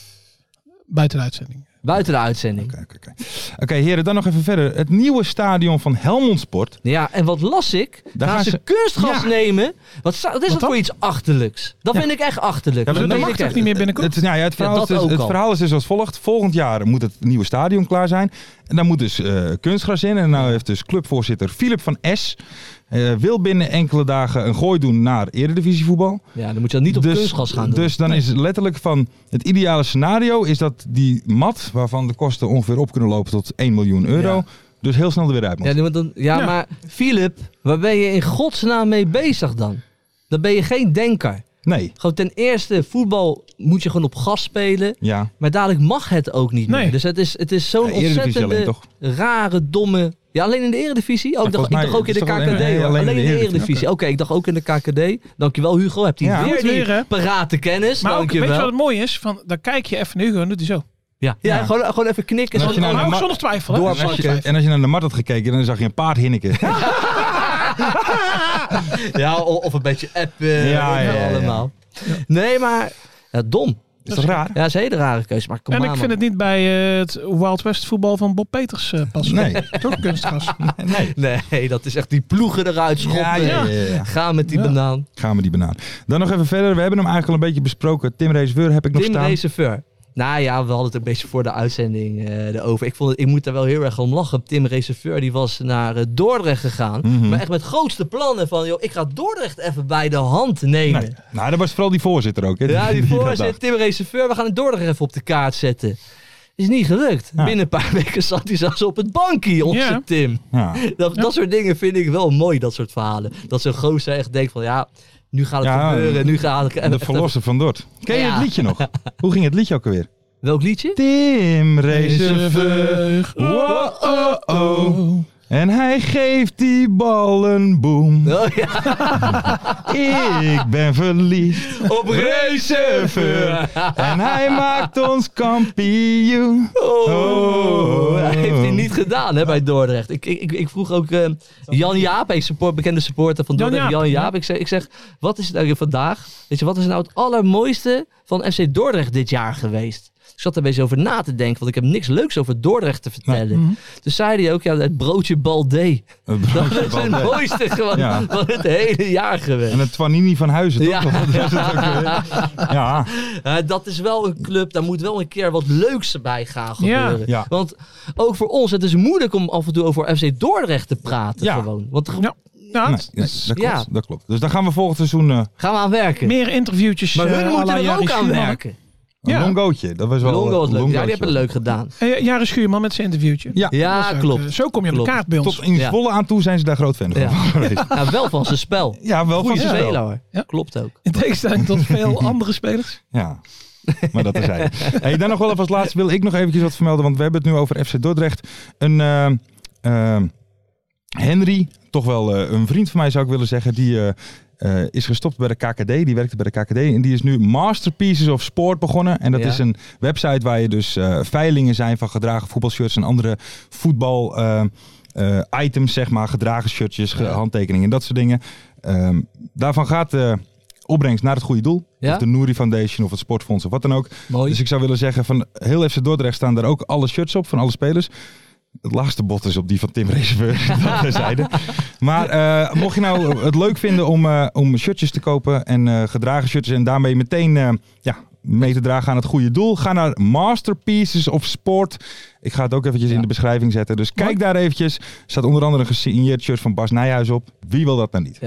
Speaker 5: Buiten de uitzending.
Speaker 4: Buiten de uitzending.
Speaker 3: Oké, oké, oké. Oké, heren, dan nog even verder. Het nieuwe stadion van Helmond Sport.
Speaker 4: Ja, en wat las ik? Daar gaan
Speaker 3: gaan
Speaker 4: ze,
Speaker 3: ze-
Speaker 4: kunstgas
Speaker 3: Ja.
Speaker 4: nemen. Wat, zou- wat is dat
Speaker 5: dan?
Speaker 4: voor iets achterlijks? Dat vind ik echt achterlijk.
Speaker 3: Ja, maar dat
Speaker 5: Dat
Speaker 4: meen
Speaker 5: mag
Speaker 4: ik
Speaker 5: toch
Speaker 4: echt.
Speaker 5: niet meer binnenkort?
Speaker 3: Het, is- nou ja, het, verhaal
Speaker 4: Ja,
Speaker 3: is
Speaker 4: dat
Speaker 3: dus,
Speaker 4: ook
Speaker 3: het
Speaker 4: al.
Speaker 3: verhaal is dus als volgt. Volgend jaar moet het nieuwe stadion klaar zijn. En daar moet dus eh, kunstgras in. En nou heeft dus clubvoorzitter Philip van S. eh, wil binnen enkele dagen een gooi doen naar eredivisievoetbal.
Speaker 4: Ja, dan moet je dat niet op
Speaker 3: dus,
Speaker 4: kunstgas gaan doen.
Speaker 3: Dus dan is letterlijk van het ideale scenario is dat die mat, waarvan de kosten ongeveer op kunnen lopen tot 1 miljoen euro,
Speaker 4: Ja.
Speaker 3: dus heel snel er weer uit moet.
Speaker 4: ja, want dan, ja,
Speaker 5: Ja.
Speaker 4: maar Philip, waar ben je in godsnaam mee bezig dan? Dan ben je geen denker.
Speaker 3: Nee.
Speaker 4: Gewoon ten eerste, voetbal moet je gewoon op gas spelen.
Speaker 3: Ja.
Speaker 4: Maar dadelijk mag het ook niet
Speaker 5: Nee.
Speaker 4: meer. Dus het is, het is zo'n
Speaker 3: Ja, Eredivisie alleen,
Speaker 4: ontzettende,
Speaker 3: toch?
Speaker 4: rare, domme... Ja, alleen in de Eredivisie? Oh, ik, dacht,
Speaker 3: volgens mij
Speaker 4: ik dacht ook in
Speaker 3: is
Speaker 4: de KKD.
Speaker 3: het toch alleen- nee,
Speaker 4: hoor.
Speaker 3: alleen in de Eredivisie.
Speaker 4: Eredivisie. Oké, ik dacht ook in de KKD. Dankjewel Hugo, heb je
Speaker 3: Ja.
Speaker 4: weer
Speaker 5: Goed
Speaker 4: die
Speaker 5: weer, hè?
Speaker 4: parate kennis.
Speaker 5: Maar ook, weet je
Speaker 4: Dankjewel.
Speaker 5: wat het mooi is? Van, dan kijk je even nu gewoon, doet hij zo.
Speaker 4: ja, ja,
Speaker 3: Ja.
Speaker 4: Gewoon, gewoon even knikken.
Speaker 3: Nou, als je
Speaker 4: Zo-
Speaker 3: nou-
Speaker 5: Maar
Speaker 3: maar-
Speaker 5: ook zonder twijfel, hè?
Speaker 3: Door
Speaker 5: Zonder
Speaker 3: als je-
Speaker 5: twijfel.
Speaker 3: en als je naar de mat had gekeken, dan zag je een paard hinniken.
Speaker 4: ja, o- of een beetje appen.
Speaker 3: ja, ja, ja.
Speaker 4: allemaal. Nee, maar ja, dom.
Speaker 3: Is toch raar?
Speaker 4: Ja, dat is een hele rare keuze. Maar kom
Speaker 5: En
Speaker 4: aan,
Speaker 5: ik vind
Speaker 4: man.
Speaker 5: het niet bij eh, het Wild West voetbal van Bob Peters eh, passen.
Speaker 3: Nee.
Speaker 5: Toch kunstgras. Nou,
Speaker 3: Nee.
Speaker 4: Nee, dat is echt die ploegen eruit schoppen.
Speaker 3: Ja, ja, ja, ja.
Speaker 4: Ga met die
Speaker 5: Ja.
Speaker 4: banaan.
Speaker 3: Gaan we die banaan. Dan nog even verder. We hebben hem eigenlijk al een beetje besproken. Tim Reesweur heb ik nog
Speaker 4: Tim
Speaker 3: staan.
Speaker 4: Reserveur. Nou ja, we hadden het een beetje voor de uitzending eh erover. Ik, vond het, ik moet daar wel heel erg om lachen. Tim Reserveur die was naar eh, Dordrecht gegaan.
Speaker 3: Mhm.
Speaker 4: Maar echt met grootste plannen van... Joh, ik ga Dordrecht even bij de hand nemen.
Speaker 3: Nee. Nou, dat was vooral die voorzitter ook. Hè,
Speaker 4: Ja, die
Speaker 3: dat
Speaker 4: voorzet,
Speaker 3: dacht.
Speaker 4: Tim Reserveur, we gaan het Dordrecht even op de kaart zetten. Is niet gelukt.
Speaker 3: Ja.
Speaker 4: Binnen een paar weken zat hij zelfs op het bankje, onze
Speaker 5: Ja.
Speaker 4: Tim.
Speaker 3: Ja.
Speaker 4: Dat, dat soort dingen vind ik wel mooi, dat soort verhalen. Dat zo'n gozer echt denkt van, ja, nu gaat het
Speaker 3: Ja,
Speaker 4: gebeuren, nu gaat het...
Speaker 3: De verlosser van Dort. Ken je
Speaker 4: Ja.
Speaker 3: het liedje nog? Hoe ging het liedje ook alweer?
Speaker 4: Welk liedje?
Speaker 3: Tim Reeseveur.
Speaker 5: Reserveur.
Speaker 3: Oh, oh, oh. En hij geeft die bal een boem.
Speaker 4: Oh ja,
Speaker 3: Ik ben verliefd.
Speaker 4: op Reserveur.
Speaker 3: En hij maakt ons kampioen.
Speaker 4: Oh.
Speaker 3: Oh.
Speaker 4: Dat heeft hij niet gedaan hè, bij Dordrecht. Ik, ik, ik, ik vroeg ook eh, Jan Jaap, een support, bekende supporter van
Speaker 5: Jan
Speaker 4: Dordrecht. Jan
Speaker 5: Jaap,
Speaker 4: Jaap, Ik, zeg, ik zeg, wat is het eigenlijk vandaag? Weet je, wat is nou het allermooiste van FC Dordrecht dit jaar geweest? Ik zat er een beetje over na te denken, want ik heb niks leuks over Dordrecht te vertellen. Dus zei hij ook, ja, het broodje Baldé.
Speaker 3: Het
Speaker 4: Dat
Speaker 3: broodje
Speaker 4: is het
Speaker 3: Baldé.
Speaker 4: mooiste gewoon
Speaker 3: Ja.
Speaker 4: van het hele jaar
Speaker 3: En
Speaker 4: geweest.
Speaker 3: het Twanini van Huizen, toch?
Speaker 4: Ja.
Speaker 3: Dat is het ook weer. ja.
Speaker 4: Eh, dat is wel een club, daar moet wel een keer wat leuks bij gaan gebeuren.
Speaker 5: Ja,
Speaker 3: ja.
Speaker 4: Want ook voor ons, het is moeilijk om af en toe over FC Dordrecht te praten
Speaker 3: Ja.
Speaker 4: gewoon. Want ge-
Speaker 5: Ja. Nou,
Speaker 3: Nee, ja, dat, klopt,
Speaker 4: Ja.
Speaker 3: dat klopt. Dus daar gaan we volgend seizoen eh,
Speaker 4: Gaan we aan werken.
Speaker 5: meer interviewtjes.
Speaker 4: maar hun
Speaker 5: eh, à la
Speaker 4: moeten er
Speaker 5: Jari
Speaker 4: ook aan
Speaker 5: Schuurman.
Speaker 4: werken.
Speaker 3: een
Speaker 5: Ja.
Speaker 3: longootje. Dat was wel
Speaker 4: Longo was leuk. Ja,
Speaker 3: een
Speaker 4: die
Speaker 3: longootje.
Speaker 4: hebben het leuk gedaan.
Speaker 5: Eh, Jari Schuurman met zijn interviewtje.
Speaker 3: Ja,
Speaker 4: Ja,
Speaker 5: Zo, eh,
Speaker 4: klopt.
Speaker 5: Zo kom je op
Speaker 4: Klopt.
Speaker 5: de kaart bij ons.
Speaker 3: tot in
Speaker 4: Ja.
Speaker 3: volle aan toe zijn ze daar groot fan van
Speaker 4: Ja.
Speaker 3: geweest.
Speaker 4: Nou, wel van zijn spel.
Speaker 3: Ja, wel van
Speaker 4: Goeie
Speaker 3: zichzelf.
Speaker 4: speler hoor.
Speaker 5: eh, Ja.
Speaker 4: Klopt ook.
Speaker 5: In tegenstelling tot veel andere spelers.
Speaker 3: Ja, maar dat is hij. Hey, dan nog wel even als laatste wil ik nog eventjes wat vermelden, want we hebben het nu over FC Dordrecht. Een eh, eh, Henry, toch wel eh, een vriend van mij zou ik willen zeggen, die eh, eh, is gestopt bij de KKD. Die werkte bij de KKD en die is nu Masterpieces of Sport begonnen. En dat
Speaker 4: Ja.
Speaker 3: is een website waar je dus eh, veilingen zijn van gedragen voetbalshirts en andere voetbal... eh, eh, items, zeg maar, gedragen shirtjes, ge-
Speaker 4: Ja.
Speaker 3: handtekeningen, dat soort dingen. Ehm, daarvan gaat de opbrengst naar het goede doel.
Speaker 4: Ja?
Speaker 3: Of de Nouri Foundation of het Sportfonds of wat dan ook.
Speaker 4: Mooi.
Speaker 3: Dus ik zou willen zeggen, van heel FC Dordrecht staan daar ook alle shirts op van alle spelers. Het laagste bot is op die van Tim Reserveur, dat terzijde. Maar eh, mocht je nou het leuk vinden om, eh, om shirtjes te kopen en eh, gedragen shirtjes en daarmee meteen eh, ja, mee te dragen aan het goede doel, ga naar Masterpieces of Sport. Ik ga het ook eventjes
Speaker 4: Ja.
Speaker 3: in de beschrijving zetten. Dus kijk daar eventjes. Er staat onder andere een gesigneerd shirt van Bas Nijhuis op. Wie wil dat nou niet?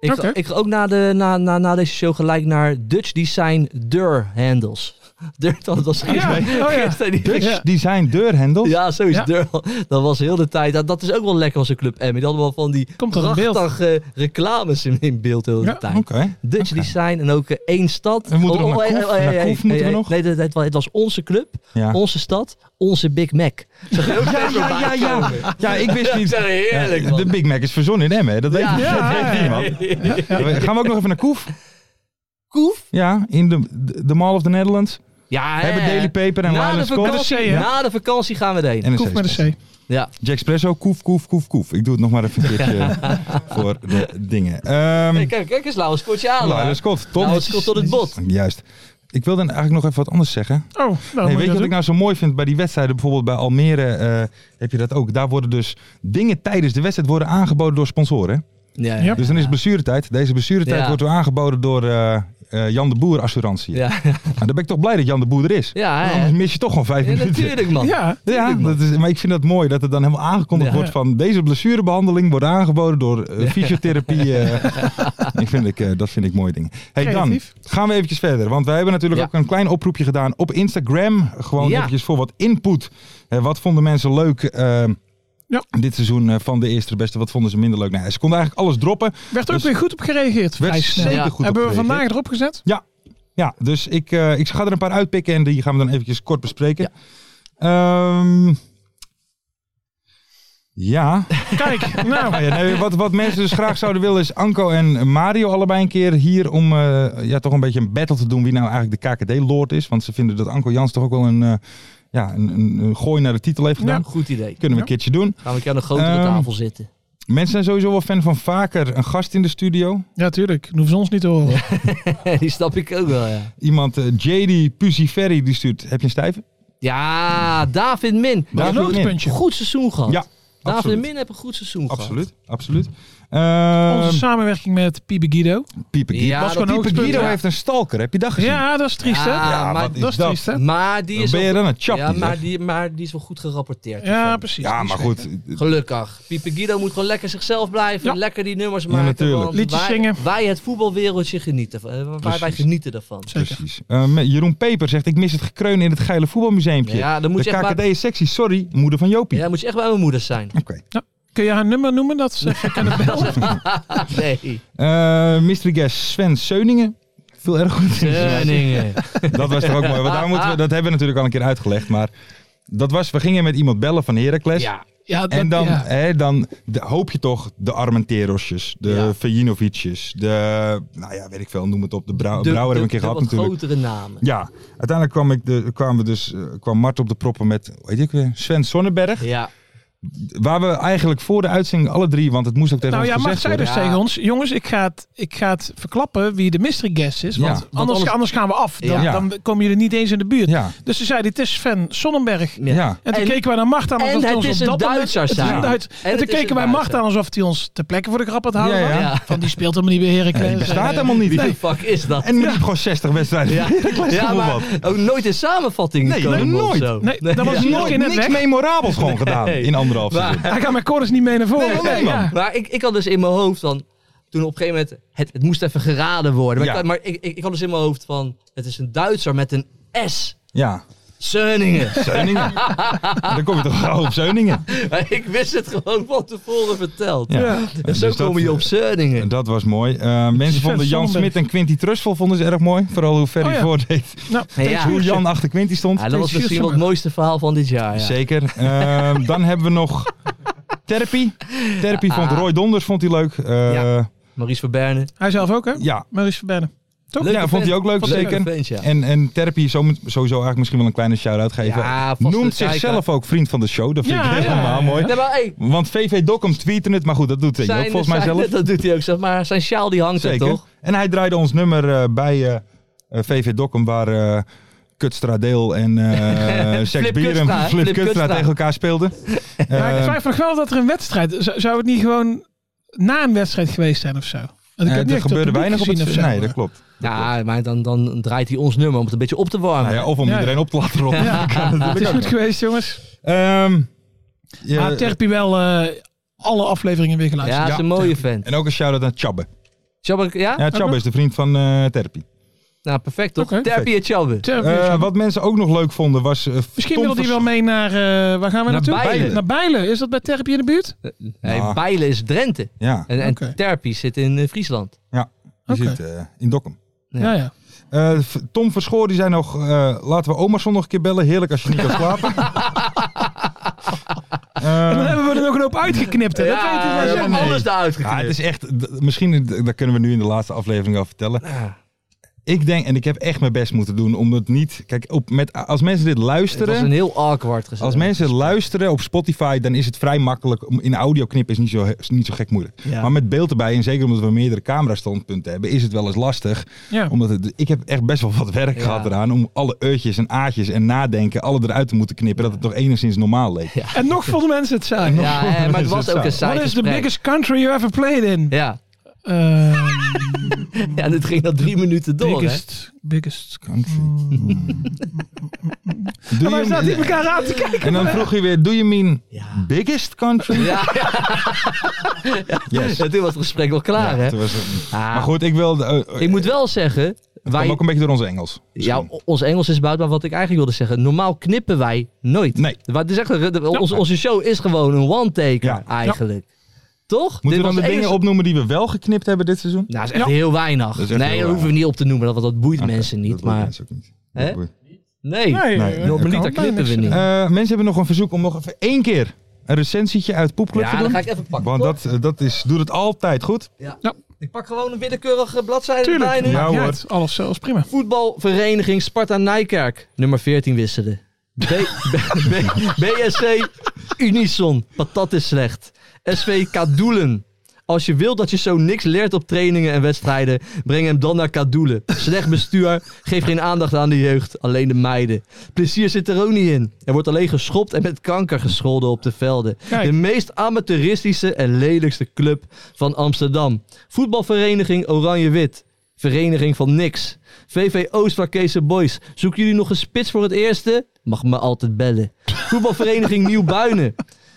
Speaker 4: Ik,
Speaker 5: Oké.
Speaker 4: ga, ik ga ook na, de, na, na, na deze show gelijk naar Dutch Design Deur Handles. Deur, dat was
Speaker 5: Ja,
Speaker 4: gisteren.
Speaker 5: oh ja.
Speaker 4: gisteren die-
Speaker 3: Dutch
Speaker 5: Ja.
Speaker 3: Design Deurhendel.
Speaker 4: Ja, sowieso.
Speaker 5: Ja.
Speaker 4: Deur, dat was heel de tijd. Dat, dat is ook wel lekker als een club Emmy. Die hadden wel van die
Speaker 5: Komt er een beeld.
Speaker 4: prachtige eh, reclames in, in beeld heel de
Speaker 5: Ja,
Speaker 4: tijd.
Speaker 3: Oké.
Speaker 4: Dutch Design en ook eh, één stad. Oh,
Speaker 3: En moeten we nog naar Koef? Naar Koef moeten we nog?
Speaker 4: Nee, dat- dat- het was onze club,
Speaker 3: Ja.
Speaker 4: onze stad, onze Big Mac. Zag je ook
Speaker 3: Ja,
Speaker 4: steeds
Speaker 3: ja, ja,
Speaker 4: voorbij
Speaker 3: ja.
Speaker 4: komen?
Speaker 3: Ja, ik wist niet.
Speaker 4: Dat is heerlijk,
Speaker 3: Ja,
Speaker 4: man.
Speaker 3: de Big Mac is verzonnen in Emmen, hè. dat weet
Speaker 4: Ja.
Speaker 3: ik
Speaker 5: Ja, ja,
Speaker 3: niet. Gaan we ook nog even naar Koef?
Speaker 4: Koef?
Speaker 3: Ja, in de, de, de Mall of the Netherlands.
Speaker 4: Ja,
Speaker 3: Hebben
Speaker 4: hè.
Speaker 3: Daily Paper en
Speaker 4: na de,
Speaker 3: Wireless Scott.
Speaker 4: vakantie,
Speaker 5: hè?
Speaker 4: na de vakantie gaan we erheen.
Speaker 3: NRC
Speaker 5: Koef met
Speaker 3: Sport.
Speaker 5: een C.
Speaker 4: Ja.
Speaker 3: Jack Spresso, koef, koef, koef, koef. Ik doe het nog maar even een keertje voor de dingen. Ehm
Speaker 4: Hey, kijk, kijk eens, Lauwens, kort je aan.
Speaker 3: Wireless
Speaker 4: Lauwens,
Speaker 3: Scott, tot.
Speaker 4: Scott tot Nou, het bot.
Speaker 3: Juist. Ik wilde eigenlijk nog even wat anders zeggen.
Speaker 5: Oh, nou, moet
Speaker 3: Nee, weet
Speaker 5: je
Speaker 3: je
Speaker 5: dat
Speaker 3: wat
Speaker 5: doen?
Speaker 3: ik nou zo mooi vind bij die wedstrijden? Bijvoorbeeld bij Almere eh, heb je dat ook. Daar worden dus dingen tijdens de wedstrijd worden aangeboden door sponsoren.
Speaker 4: Ja,
Speaker 5: Ja.
Speaker 3: Dus dan is het blessuretijd. Deze blessuretijd
Speaker 4: Ja.
Speaker 3: wordt weer aangeboden door eh, eh, Jan de Boer Assurantie.
Speaker 4: ja.
Speaker 3: Nou, dan ben ik toch blij dat Jan de Boer er is.
Speaker 4: Ja,
Speaker 3: Want
Speaker 4: hè.
Speaker 3: Anders mis je toch gewoon vijf
Speaker 4: Ja,
Speaker 3: minuten.
Speaker 4: natuurlijk, man.
Speaker 5: Ja,
Speaker 3: Ja,
Speaker 4: tuurlijk, man.
Speaker 3: dat is, maar ik vind dat mooi dat het dan helemaal aangekondigd
Speaker 4: Ja.
Speaker 3: wordt van deze blessurebehandeling wordt aangeboden door eh, fysiotherapie. eh. ik vind ik, eh, dat vind ik mooie dingen. Hey, dan
Speaker 5: Creatief.
Speaker 3: gaan we eventjes verder, want wij hebben natuurlijk
Speaker 4: Ja.
Speaker 3: ook een klein oproepje gedaan op Instagram. Gewoon
Speaker 4: Ja.
Speaker 3: eventjes voor wat input. Eh, wat vonden mensen leuk eh,
Speaker 5: Ja.
Speaker 3: dit seizoen eh, van de eerste de beste? Wat vonden ze minder leuk? Nou, ze konden eigenlijk alles droppen.
Speaker 5: werd ook
Speaker 3: Dus-
Speaker 5: weer goed op gereageerd.
Speaker 3: Werd
Speaker 5: Vrij snel.
Speaker 3: zeker
Speaker 4: Ja.
Speaker 3: goed op
Speaker 5: Hebben we
Speaker 3: gereageerd.
Speaker 5: vandaag erop gezet?
Speaker 3: Ja, dus ik, eh, ik ga er een paar uitpikken en die gaan we dan eventjes kort bespreken. Ja. ja.
Speaker 5: Kijk, nou.
Speaker 3: Nou ja, nee, wat, wat mensen dus graag zouden willen is Anko en Mario allebei een keer hier om eh, ja, toch een beetje een battle te doen wie nou eigenlijk de KKD-lord is. Want ze vinden dat Anko Jans toch ook wel een, eh, ja, een, een, een gooi naar de titel heeft gedaan.
Speaker 4: Nou, Goed idee.
Speaker 3: Kunnen we een keertje doen.
Speaker 4: Gaan we een keer aan de grotere
Speaker 3: Ehm,
Speaker 4: tafel zitten.
Speaker 3: Mensen zijn sowieso wel fan van vaker een gast in de studio.
Speaker 5: Ja, tuurlijk. Dan hoeven ze ons niet te horen.
Speaker 4: Die snap ik ook wel, ja.
Speaker 3: Iemand, eh, JD Puziferri, die stuurt, heb je een stijve?
Speaker 4: Ja, David Min.
Speaker 3: David
Speaker 4: Een
Speaker 3: Min.
Speaker 4: Een goed seizoen gehad.
Speaker 3: Ja,
Speaker 4: David
Speaker 3: absoluut.
Speaker 4: Min heeft een goed seizoen gehad.
Speaker 3: Absoluut, absoluut.
Speaker 5: Onze
Speaker 3: Ehm
Speaker 5: samenwerking met Pibe Guido.
Speaker 3: Piepe Guido.
Speaker 4: Ja,
Speaker 3: Was
Speaker 4: dat
Speaker 3: gewoon
Speaker 4: Piepe
Speaker 3: Piepe
Speaker 4: Guido,
Speaker 3: Guido
Speaker 4: ja.
Speaker 3: heeft een stalker, heb je dat gezien?
Speaker 5: Ja, dat is triest, hè?
Speaker 4: Ja,
Speaker 3: Ja,
Speaker 4: maar
Speaker 3: wat is
Speaker 5: dat
Speaker 3: dat?
Speaker 5: is triest, hè?
Speaker 4: Maar die
Speaker 3: Dan
Speaker 4: is
Speaker 3: ben je
Speaker 4: wel-
Speaker 3: dan een chap.
Speaker 4: ja, maar die, maar die is wel goed gerapporteerd.
Speaker 5: Ja,
Speaker 4: hiervan.
Speaker 5: precies.
Speaker 3: ja,
Speaker 5: Die
Speaker 3: maar
Speaker 5: is-
Speaker 3: goed. eh,
Speaker 4: Gelukkig. Piepe Guido moet gewoon lekker zichzelf blijven.
Speaker 5: Ja.
Speaker 4: Lekker die nummers maken.
Speaker 3: natuurlijk.
Speaker 4: want
Speaker 5: Liedjes
Speaker 4: wij,
Speaker 5: zingen.
Speaker 4: Wij het voetbalwereldje genieten. van- eh, Wij, wij
Speaker 3: Precies.
Speaker 4: genieten daarvan.
Speaker 5: Zeker.
Speaker 3: Precies. Ehm, Jeroen Peper zegt, ik mis het gekreun in het geile voetbalmuseumpje.
Speaker 4: Ja, dan moet
Speaker 3: de
Speaker 4: je echt
Speaker 3: KKD
Speaker 4: maar-
Speaker 3: is sexy, sorry, moeder van Jopie.
Speaker 4: Ja, dan moet je echt bij mijn moeder zijn.
Speaker 3: Oké.
Speaker 5: Kun je haar nummer noemen? Dat ze even kunnen bellen?
Speaker 4: Nee.
Speaker 3: Eh, mystery guest Sven Seuningen. Veel erg goed.
Speaker 4: Teuningen.
Speaker 3: dat was toch ook mooi. Want daar moeten we, dat hebben we natuurlijk al een keer uitgelegd. Maar dat was, we gingen met iemand bellen van Heracles.
Speaker 4: Ja.
Speaker 5: Ja, dat-
Speaker 3: En dan, eh,
Speaker 5: ja.
Speaker 3: hè, dan de- hoop je toch de Armenterosjes, de
Speaker 4: Ja.
Speaker 3: ja. de, nou ja, weet ik veel, noem het op, de Brau-
Speaker 4: De-
Speaker 3: Brouwer hebben we een
Speaker 4: de- de
Speaker 3: keer gehad
Speaker 4: wat
Speaker 3: natuurlijk.
Speaker 4: grotere namen.
Speaker 3: Ja, uiteindelijk kwam, ik de, kwamen we dus, eh, kwam Mart op de proppen met, weet ik weer, Sven Sonnenberg.
Speaker 4: Ja.
Speaker 3: Waar we eigenlijk voor de uitzending alle drie, want het moest ook tegen
Speaker 5: Nou ja,
Speaker 3: ons
Speaker 5: maar
Speaker 3: gezegd
Speaker 5: zij
Speaker 3: worden.
Speaker 5: dus
Speaker 4: worden.
Speaker 5: tegen ons. Jongens, ik ga, het, ik ga het verklappen wie de mystery guest is. Want,
Speaker 3: Ja.
Speaker 5: anders,
Speaker 4: anders-
Speaker 5: anders gaan we af. Dan,
Speaker 3: Ja.
Speaker 5: dan komen jullie niet eens in de buurt.
Speaker 3: Ja,
Speaker 5: Dus ze zeiden, het is Sven Sonnenberg.
Speaker 4: Ja.
Speaker 3: ja.
Speaker 5: En toen
Speaker 4: En-
Speaker 5: keken wij naar Marta aan
Speaker 4: en
Speaker 5: alsof hij
Speaker 4: het
Speaker 5: ons
Speaker 4: is
Speaker 5: op
Speaker 4: een
Speaker 5: dat moment-
Speaker 4: Duitser
Speaker 5: het is een
Speaker 4: zijn.
Speaker 5: Duits.
Speaker 4: En
Speaker 5: En,
Speaker 4: het
Speaker 5: toen
Speaker 4: is een
Speaker 5: keken wij
Speaker 4: Duitser.
Speaker 5: Marta aan alsof hij ons ter plekke voor de grap had houden.
Speaker 3: Ja, ja.
Speaker 5: was.
Speaker 4: Ja.
Speaker 5: Van die speelt helemaal niet bij Heracles. Eh,
Speaker 3: Nee, die bestaat helemaal niet.
Speaker 4: Wie
Speaker 3: Nee.
Speaker 4: de fuck is dat?
Speaker 3: En die liep gewoon 60 wedstrijden.
Speaker 4: Ja, ja maar ook nooit in samenvatting
Speaker 3: Nee,
Speaker 4: komen
Speaker 3: nooit.
Speaker 4: of zo.
Speaker 5: Nee, dat was
Speaker 3: Er is
Speaker 5: Iedere
Speaker 3: nooit
Speaker 5: keer net
Speaker 3: niks
Speaker 5: weg.
Speaker 3: memorabels gewoon gedaan in anderhalf seizoen.
Speaker 5: Hij gaat met Corus niet mee naar voren.
Speaker 3: Nee, nee, man.
Speaker 5: ja.
Speaker 4: Maar ik, ik had dus in mijn hoofd van. Toen op een gegeven moment. Het, het moest even geraden worden. Maar,
Speaker 3: Ja.
Speaker 4: ik, maar ik, ik, ik had dus in mijn hoofd van. Het is een Duitser met een S.
Speaker 3: Ja,
Speaker 4: Zeuningen.
Speaker 3: Zeuningen. Dan kom je toch gauw op Zeuningen.
Speaker 4: Maar ik wist het gewoon van tevoren verteld.
Speaker 3: Ja.
Speaker 5: Ja.
Speaker 4: En zo
Speaker 3: Dus dat-
Speaker 4: kom je op Zeuningen.
Speaker 3: Dat was mooi. Eh, mensen
Speaker 5: Sven
Speaker 3: vonden Jan
Speaker 5: Sonnenberg.
Speaker 3: Smit en Quinty Trustful vonden ze erg mooi. Vooral hoe ver
Speaker 5: Oh
Speaker 3: hij
Speaker 5: ja.
Speaker 3: voordeed.
Speaker 5: Nou,
Speaker 4: Ja, ja.
Speaker 3: Hoe Jan achter Quinty stond.
Speaker 4: Ja, Ah, dat was misschien wel het mooiste verhaal van dit jaar. Ja.
Speaker 3: Zeker. Ehm, dan hebben we nog Therapy. Therapy vond Roy Donders vond hij leuk. Eh,
Speaker 4: Ah. Ja.
Speaker 3: ja.
Speaker 4: Maurice Verberne.
Speaker 5: hij zelf ook, hè?
Speaker 3: Ja.
Speaker 5: Maurice Verbenne. Toch?
Speaker 4: Leuke
Speaker 3: vond hij
Speaker 4: vent.
Speaker 3: ook leuk,
Speaker 4: Leuke
Speaker 3: zeker.
Speaker 4: vent, ja.
Speaker 3: En, en Therapy, zo- sowieso eigenlijk misschien wel een kleine shout-out geven.
Speaker 4: Ja, vaste
Speaker 3: Noemt
Speaker 4: kijker.
Speaker 3: zichzelf ook vriend van de show. Dat vind
Speaker 5: Ja,
Speaker 3: ik
Speaker 5: ja,
Speaker 3: helemaal
Speaker 5: ja, ja.
Speaker 3: mooi.
Speaker 4: Nee, maar hey,
Speaker 3: Want VV Dokkum tweette het, maar goed, dat doet hij ook
Speaker 4: zijn,
Speaker 3: volgens mij
Speaker 4: zijn-
Speaker 3: zelf.
Speaker 4: Dat doet hij ook zelf. Maar zijn sjaal die hangt er
Speaker 3: Zeker.
Speaker 4: toch?
Speaker 3: En hij draaide ons nummer eh, bij eh, eh, VV Dokkum, waar eh Kutstradeel en eh Sex
Speaker 4: Flip
Speaker 3: Bieren,
Speaker 4: Kutstra, hè?
Speaker 3: Flip
Speaker 4: Flip
Speaker 3: Kutstra
Speaker 4: Kutstra.
Speaker 3: tegen elkaar speelden.
Speaker 5: Maar ik
Speaker 3: Eh,
Speaker 5: twijfel nog wel dat er een wedstrijd... Zou, zou het niet gewoon na een wedstrijd geweest zijn of zo? Want
Speaker 3: eh,
Speaker 5: ik heb niet
Speaker 3: er
Speaker 5: echt
Speaker 3: gebeurde
Speaker 5: dat
Speaker 3: weinig op
Speaker 5: publiek
Speaker 3: het...
Speaker 5: gezien of zo. Ah,
Speaker 3: Nee, dat klopt.
Speaker 4: Ja, maar dan, dan draait hij ons nummer om het een beetje op te warmen.
Speaker 3: Nou ja, of om
Speaker 5: Ja.
Speaker 3: iedereen op te laten rollen.
Speaker 5: Ja. Het is goed Ah, geweest, jongens.
Speaker 3: Ehm, je-
Speaker 5: Maar Terpie wel eh, alle afleveringen weer geluisterd.
Speaker 4: Ja,
Speaker 3: Ja.
Speaker 4: is een mooie fan.
Speaker 3: en ook een shout-out aan Chabbe.
Speaker 4: Chabbe, ja?
Speaker 3: Ja, Chabbe
Speaker 5: Oké.
Speaker 3: is de vriend van eh Therapy.
Speaker 4: Nou, perfect toch?
Speaker 5: Oké.
Speaker 4: Terpie en Chabbe.
Speaker 5: Terpie,
Speaker 3: Eh,
Speaker 5: ja.
Speaker 3: wat mensen ook nog leuk vonden was... eh,
Speaker 5: Misschien
Speaker 3: Tom
Speaker 5: wil hij
Speaker 3: Vers-
Speaker 5: wel mee naar... eh, waar gaan we
Speaker 4: Naar
Speaker 5: naartoe?
Speaker 4: Bijlen.
Speaker 5: Naar Bijlen. Is dat bij Terpie in de buurt?
Speaker 4: Nee,
Speaker 3: Ja.
Speaker 4: Bijlen is Drenthe.
Speaker 3: Ja,
Speaker 4: En, en
Speaker 5: Oké.
Speaker 4: Terpie zit in eh, Friesland.
Speaker 3: die
Speaker 5: Oké.
Speaker 3: zit eh, in Dokkum.
Speaker 4: Ja.
Speaker 5: Nou Ja, ja.
Speaker 3: Eh, v- Tom Verschoor die zei nog, eh, laten we oma nog een keer bellen. Heerlijk als je niet kan slapen. Eh,
Speaker 5: En dan hebben we er nog een hoop uitgeknipt. Hè? Dat weet je wel
Speaker 4: ze
Speaker 3: ja,
Speaker 5: zelf.
Speaker 4: hebben
Speaker 3: nee.
Speaker 4: alles daaruit
Speaker 3: ja, het
Speaker 4: geknipt.
Speaker 3: is echt, d- misschien, d- dat kunnen we nu in de laatste aflevering al vertellen.
Speaker 4: Ja,
Speaker 3: Ik denk, en ik heb echt mijn best moeten doen om het niet... Kijk, op, met, als mensen dit
Speaker 4: Het was
Speaker 3: luisteren...
Speaker 4: een heel awkward gezet.
Speaker 3: Als mensen luisteren op Spotify, dan is het vrij makkelijk. om- In audio knippen is niet zo, is niet zo gek moeilijk.
Speaker 4: Ja.
Speaker 3: Maar met beeld erbij, en zeker omdat we meerdere camerastandpunten hebben, is het wel eens lastig.
Speaker 5: Ja.
Speaker 3: Omdat het, ik heb echt best wel wat werk
Speaker 4: Ja.
Speaker 3: gehad eraan om alle eurtjes en aatjes en nadenken, alle eruit te moeten knippen, dat het toch enigszins normaal leek.
Speaker 5: En nog vonden mensen het saai.
Speaker 4: Ja, hè, maar het was
Speaker 3: Zo.
Speaker 4: ook een saai
Speaker 5: What is the
Speaker 4: gesprek.
Speaker 5: biggest country you ever played in?
Speaker 4: Ja.
Speaker 5: Ehm,
Speaker 4: ja, en het ging dan drie minuten door. hè.
Speaker 5: biggest, biggest.
Speaker 3: Country. Mm. Do
Speaker 5: En wij
Speaker 3: you-
Speaker 5: Mm. zaten hier elkaar aan te kijken.
Speaker 3: en dan vroeg je weer, do you mean
Speaker 4: Ja.
Speaker 3: biggest country?
Speaker 4: Ja, ja.
Speaker 3: Yes.
Speaker 4: Ja, toen was het gesprek wel klaar, hè?
Speaker 3: Toen was het-
Speaker 4: Ah,
Speaker 3: Maar goed, ik wil... eh, eh,
Speaker 4: Ik moet wel zeggen,
Speaker 3: het
Speaker 4: wij,
Speaker 3: kwam ook een beetje door ons Engels.
Speaker 4: ja, ons Engels is buiten, maar wat ik eigenlijk wilde zeggen, normaal knippen wij nooit.
Speaker 3: Nee.
Speaker 4: Wa- dus echt, de- onze, onze show is gewoon een one-taker
Speaker 3: Ja.
Speaker 4: eigenlijk. Toch?
Speaker 3: Moeten we dan
Speaker 4: was
Speaker 3: de
Speaker 4: het
Speaker 3: dingen
Speaker 4: enige-
Speaker 3: opnoemen die we wel geknipt hebben dit seizoen?
Speaker 4: Nou, dat is echt
Speaker 5: Ja.
Speaker 4: heel weinig.
Speaker 3: Dat is echt
Speaker 4: nee,
Speaker 3: heel
Speaker 4: dat hoeven we
Speaker 3: weinig.
Speaker 4: niet
Speaker 3: Ah,
Speaker 4: op te noemen, want dat boeit mensen
Speaker 3: Dat
Speaker 4: niet.
Speaker 3: boeit
Speaker 4: Maar
Speaker 3: mensen ook niet.
Speaker 4: Hè?
Speaker 3: Dat boeit-
Speaker 4: nee,
Speaker 5: Nee,
Speaker 3: Nee,
Speaker 5: eh,
Speaker 4: normaliter
Speaker 5: kan.
Speaker 4: knippen we niet.
Speaker 3: Eh, mensen hebben nog een verzoek om nog even één keer een recensietje uit Poepclub te
Speaker 4: ja,
Speaker 3: doen.
Speaker 4: dan ga ik even pakken.
Speaker 3: Want
Speaker 4: toch?
Speaker 3: dat, eh, dat is, doet het altijd goed.
Speaker 4: Ja.
Speaker 5: Ja.
Speaker 4: Ik pak gewoon een willekeurige bladzijde
Speaker 5: Tuurlijk.
Speaker 4: erbij nu.
Speaker 3: Ja,
Speaker 5: Ja,
Speaker 3: hoor.
Speaker 5: het- alles zelfs prima.
Speaker 4: Voetbalvereniging Sparta Nijkerk. Nummer 14 wisselen. B, B, B- BSC Unison. Patat is slecht. SV Kadoelen. Als je wilt dat je zo niks leert op trainingen en wedstrijden, breng hem dan naar Kadoelen. Slecht bestuur, geef geen aandacht aan de jeugd, alleen de meiden. Plezier zit er ook niet in. Er wordt alleen geschopt en met kanker gescholden op de velden.
Speaker 5: Kijk.
Speaker 4: De meest amateuristische en lelijkste club van Amsterdam. Voetbalvereniging Oranje-Wit. Vereniging van niks. VV Oost van Kees de Boys. Zoeken jullie nog een spits voor het eerste? Mag me altijd bellen. Voetbalvereniging Nieuw-Buinen.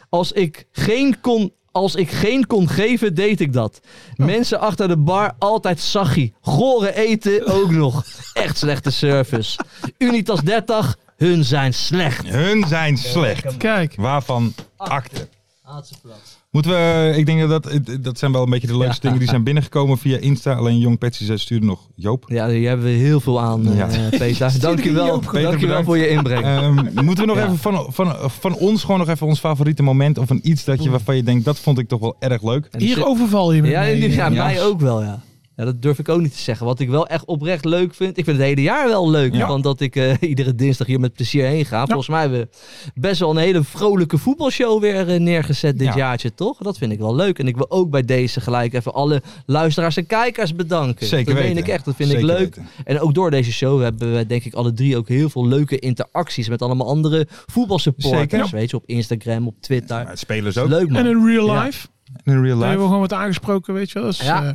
Speaker 4: Als ik geen kon... Als ik geen kon geven, deed ik dat. Mensen achter de bar, altijd saggie. Gore eten ook nog. Echt slechte service. Unitas 30, hun zijn slecht.
Speaker 3: Hun zijn slecht.
Speaker 5: Kijk.
Speaker 3: Waarvan akte.
Speaker 4: Laatste plaats.
Speaker 3: Moeten we, eh, ik denk dat dat, dat zijn wel een beetje de leukste
Speaker 4: Ja.
Speaker 3: dingen die zijn binnengekomen via Insta. Alleen Jong Petsy zei stuurde nog Joop.
Speaker 4: Ja, hier hebben we heel veel aan,
Speaker 3: Ja.
Speaker 4: eh Peter. Dank je wel.
Speaker 3: Peter,
Speaker 4: Dank je wel
Speaker 3: bedankt.
Speaker 4: voor je inbreng.
Speaker 3: Ehm, moeten we nog
Speaker 4: Ja.
Speaker 3: even van, van, van ons gewoon nog even ons favoriete moment of een iets dat je, waarvan je denkt dat vond ik toch wel erg leuk.
Speaker 4: En
Speaker 5: Hier
Speaker 4: dus-
Speaker 5: overval je me.
Speaker 4: Ja,
Speaker 5: mee.
Speaker 4: die, ja,
Speaker 3: Ja.
Speaker 4: mij ook wel, ja. Ja, dat durf ik ook niet te zeggen. Wat ik wel echt oprecht leuk vind. Ik vind het hele jaar wel leuk.
Speaker 3: Ja.
Speaker 4: Want dat ik eh, iedere dinsdag hier met plezier heen ga. Volgens mij hebben we best wel een hele vrolijke voetbalshow weer eh, neergezet dit
Speaker 3: Ja.
Speaker 4: jaartje, toch? Dat vind ik wel leuk. En ik wil ook bij deze gelijk even alle luisteraars en kijkers bedanken.
Speaker 3: Zeker
Speaker 4: dat meen
Speaker 3: weten.
Speaker 4: ik echt. Dat vind
Speaker 3: Zeker
Speaker 4: ik leuk.
Speaker 3: weten.
Speaker 4: En ook door deze show hebben we denk ik alle drie ook heel veel leuke interacties met allemaal andere voetbalsupporters.
Speaker 3: Zeker.
Speaker 4: Weet je, op Instagram, op Twitter.
Speaker 3: Ja, spelers ook.
Speaker 4: Leuk man.
Speaker 5: En in real
Speaker 4: Ja.
Speaker 5: life.
Speaker 3: In real
Speaker 5: Daar
Speaker 3: life.
Speaker 5: hebben we gewoon wat aangesproken, weet je wel. Dus,
Speaker 4: Ja.
Speaker 5: eh,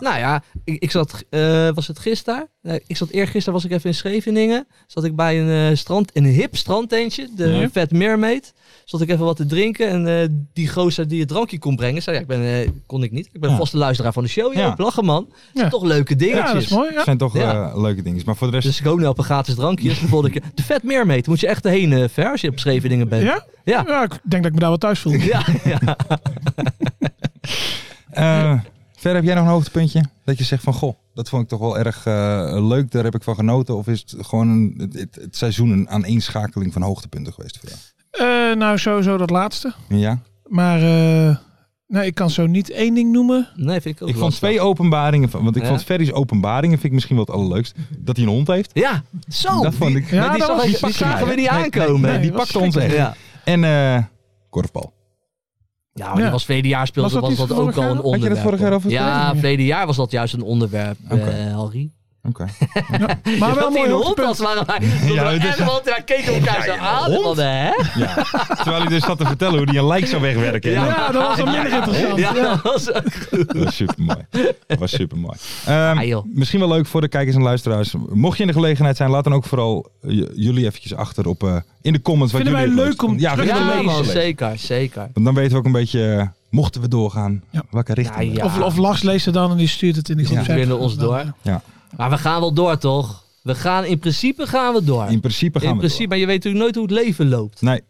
Speaker 4: Nou ja, ik, ik zat, eh, was het gisteren? Nee, ik zat eergisteren, was ik even in Scheveningen. Zat ik bij een eh, strand, een hip strandtentje, de
Speaker 5: Ja.
Speaker 4: Fat Mermaid. Stond ik even wat te drinken. En eh, die gozer die het drankje kon brengen, zei ja, ik ben, eh, kon ik niet. Ik ben
Speaker 3: Ja.
Speaker 4: vaste luisteraar van de show. Ja,
Speaker 3: Ja.
Speaker 4: ik lachen man. Dat zijn
Speaker 5: Ja.
Speaker 4: Toch leuke dingetjes.
Speaker 5: Ja, dat is mooi. Ja.
Speaker 3: zijn toch
Speaker 4: Ja.
Speaker 3: eh, leuke dingen. Maar voor de rest...
Speaker 4: Dus ik woon op een gratis drankje. Dus bijvoorbeeld, ik- de vet meer mee. Dan moet je echt heen eh ver als je op Scheveningen bent.
Speaker 5: Ja?
Speaker 4: Ja.
Speaker 5: ja, ik denk dat ik me daar wel thuis voel.
Speaker 4: Ja, ja.
Speaker 3: eh, verder heb jij nog een hoogtepuntje? Dat je zegt van, goh, dat vond ik toch wel erg eh, leuk. Daar heb ik van genoten. Of is het gewoon een, het, het, het seizoen een aaneenschakeling van hoogtepunten geweest voor jou?
Speaker 5: Eh, nou, sowieso dat laatste.
Speaker 3: Ja?
Speaker 5: Maar eh, nee, ik kan zo niet één ding noemen.
Speaker 4: Nee, vind ik ook
Speaker 3: Ik vond
Speaker 4: lastig.
Speaker 3: twee openbaringen, van- want ik
Speaker 4: Ja.
Speaker 3: vond Ferry's openbaringen vind ik misschien wel het allerleukst. Dat hij een hond heeft.
Speaker 4: Ja, zo.
Speaker 3: dat vond ik.
Speaker 5: Ja,
Speaker 4: Maar Oh, die,
Speaker 5: dat
Speaker 4: zag
Speaker 5: was-
Speaker 4: ik-
Speaker 5: die
Speaker 4: die
Speaker 5: pakte
Speaker 4: zagen
Speaker 5: mij,
Speaker 4: we
Speaker 5: hè?
Speaker 4: niet
Speaker 3: Nee,
Speaker 4: aankomen.
Speaker 3: Nee, die
Speaker 5: dat was
Speaker 3: pakte ons echt.
Speaker 4: Ja,
Speaker 3: En eh korfbal.
Speaker 4: ja maar die
Speaker 5: Ja.
Speaker 4: was verleden jaar speelde,
Speaker 5: Was dat
Speaker 4: was
Speaker 5: niet
Speaker 4: dat,
Speaker 5: vorig
Speaker 4: ook al
Speaker 5: jaar?
Speaker 4: een
Speaker 5: Had je
Speaker 3: dat
Speaker 4: onderwerp.
Speaker 3: vorig jaar over
Speaker 4: Ja,
Speaker 5: verleden?
Speaker 4: verleden jaar was dat juist een onderwerp, eh
Speaker 3: Oké.
Speaker 4: Henri.
Speaker 3: Oké.
Speaker 5: Maar wel een mooi
Speaker 4: hond
Speaker 5: hoogtepunt.
Speaker 4: was, waren wij. Ja,
Speaker 3: dat
Speaker 4: en
Speaker 3: is-
Speaker 4: want daar keken we elkaar zo aan.
Speaker 3: hond?
Speaker 4: Van, hè?
Speaker 3: Ja. Terwijl hij dus zat te vertellen hoe hij een lijk zou wegwerken.
Speaker 4: Ja.
Speaker 3: Ja.
Speaker 5: Ja, dat was wel minder interessant.
Speaker 4: Ja,
Speaker 5: Ja.
Speaker 4: dat was ook-
Speaker 3: Dat was super mooi. Dat was super mooi.
Speaker 4: Ah, joh.
Speaker 3: misschien wel leuk voor de kijkers en luisteraars. Mocht je in de gelegenheid zijn, laat dan ook vooral eh, j- jullie eventjes achter op, eh, in de comments. wat
Speaker 5: Vinden
Speaker 3: jullie
Speaker 5: wij
Speaker 3: het
Speaker 5: leuk
Speaker 3: leukst
Speaker 5: om
Speaker 3: Ja,
Speaker 5: terug
Speaker 3: vinden we
Speaker 5: te
Speaker 3: leuk om
Speaker 4: Ja,
Speaker 5: lezen?
Speaker 3: te lezen.
Speaker 4: zeker, zeker.
Speaker 3: Want dan weten we ook een beetje, eh, mochten we doorgaan,
Speaker 5: Ja.
Speaker 3: welke richting.
Speaker 4: Ja,
Speaker 3: we-
Speaker 4: ja.
Speaker 5: Of, of Lars leest het dan en die stuurt het in de
Speaker 3: Ja.
Speaker 5: groep.
Speaker 4: Ze winnen ons door.
Speaker 3: Ja.
Speaker 4: Maar we gaan wel door, toch? We gaan, in principe gaan we door.
Speaker 3: In principe gaan
Speaker 4: In
Speaker 3: we door.
Speaker 4: principe, maar je weet natuurlijk nooit hoe het leven loopt.
Speaker 3: Nee,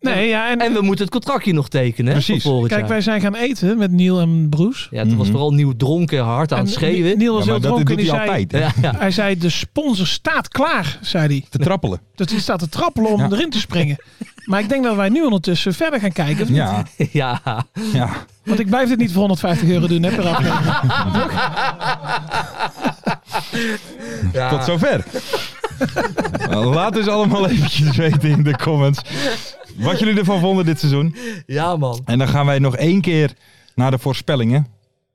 Speaker 5: Nee, ja, en,
Speaker 4: En we moeten het contractje nog tekenen. hè, voor
Speaker 3: Precies.
Speaker 4: volgend
Speaker 5: kijk,
Speaker 4: jaar.
Speaker 5: wij zijn gaan eten met Neil en Bruce.
Speaker 4: Ja, toen was
Speaker 3: Mhm.
Speaker 4: vooral nieuw dronken, hard aan
Speaker 5: En
Speaker 4: het schreeuwen.
Speaker 5: Neil
Speaker 3: ja,
Speaker 5: was
Speaker 3: maar
Speaker 5: heel
Speaker 3: dat
Speaker 5: dronken
Speaker 3: doet
Speaker 5: en die
Speaker 3: hij
Speaker 5: zei,
Speaker 3: altijd. hè.
Speaker 4: Ja, ja.
Speaker 5: hij zei, de sponsor staat klaar, zei hij.
Speaker 3: Te trappelen.
Speaker 5: Dat hij staat te trappelen om
Speaker 3: Ja.
Speaker 5: erin te springen. Maar ik denk dat wij nu ondertussen verder gaan kijken. of niet?
Speaker 3: Ja,
Speaker 4: ja.
Speaker 3: ja.
Speaker 5: Want ik blijf dit niet voor 150 euro doen, hè, per aflevering.
Speaker 4: Ah.
Speaker 3: Tot zover. Laat dus allemaal eventjes weten in de comments wat jullie ervan vonden dit seizoen.
Speaker 4: Ja, man.
Speaker 3: En dan gaan wij nog één keer naar de voorspellingen.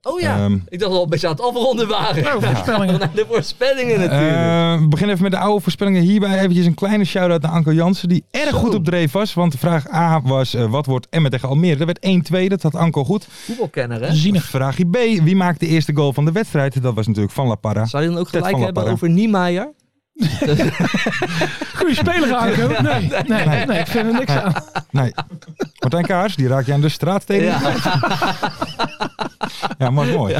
Speaker 4: Oh ja,
Speaker 3: Ehm.
Speaker 4: ik dacht dat we al een beetje aan het afronden waren.
Speaker 5: Nou, voorspellingen.
Speaker 4: Naar de voorspellingen natuurlijk.
Speaker 3: Eh, we beginnen even met de oude voorspellingen. Hierbij eventjes een kleine shout-out naar Anko Jansen, die erg goed op dreef was. Want de vraag A was, eh, wat wordt Emmen tegen Almere? Dat werd 1-2, dat had Anko goed.
Speaker 4: Voetbalkenner, hè?
Speaker 5: Zienig.
Speaker 3: Vraag B, wie maakt de eerste goal van de wedstrijd? Dat was natuurlijk Van La Parra.
Speaker 4: Zou je dan ook
Speaker 3: Ted
Speaker 4: gelijk
Speaker 3: van
Speaker 4: hebben
Speaker 3: Lapperen.
Speaker 4: over Niemeyer?
Speaker 5: Goeie speler, Anko. Nee, nee, nee, ik vind er niks aan.
Speaker 3: Eh, Nee. Martijn Kaars, die raak je aan de straat tegen.
Speaker 4: Ja.
Speaker 3: Ja, was mooi.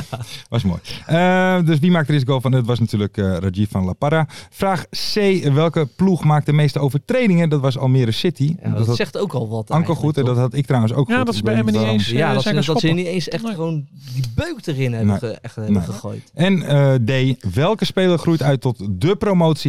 Speaker 3: Was mooi. Eh, dus wie maakt de eerste goal van? Het was natuurlijk eh, Rajiv van La Parra. Vraag C. Welke ploeg maakt de meeste overtredingen? Dat was Almere City.
Speaker 4: Ja, dat,
Speaker 3: dat had
Speaker 4: zegt ook al wat.
Speaker 3: Anko
Speaker 4: eigenlijk,
Speaker 3: goed en
Speaker 4: toch?
Speaker 3: dat had ik trouwens ook
Speaker 5: Ja,
Speaker 3: goed.
Speaker 5: dat is
Speaker 3: Ik
Speaker 5: bij
Speaker 3: weet
Speaker 5: Emmen niet
Speaker 3: waarom.
Speaker 5: eens.
Speaker 4: Ja,
Speaker 5: eh,
Speaker 4: dat
Speaker 5: zijn
Speaker 4: ze,
Speaker 5: gaan
Speaker 4: dat ze
Speaker 5: schoppen.
Speaker 4: niet eens echt
Speaker 5: Nee.
Speaker 4: gewoon die beuk erin hebben,
Speaker 3: Nee.
Speaker 4: ge- echt hebben
Speaker 3: Nee.
Speaker 4: gegooid.
Speaker 3: En eh, D. Welke speler groeit uit tot de promotieheld?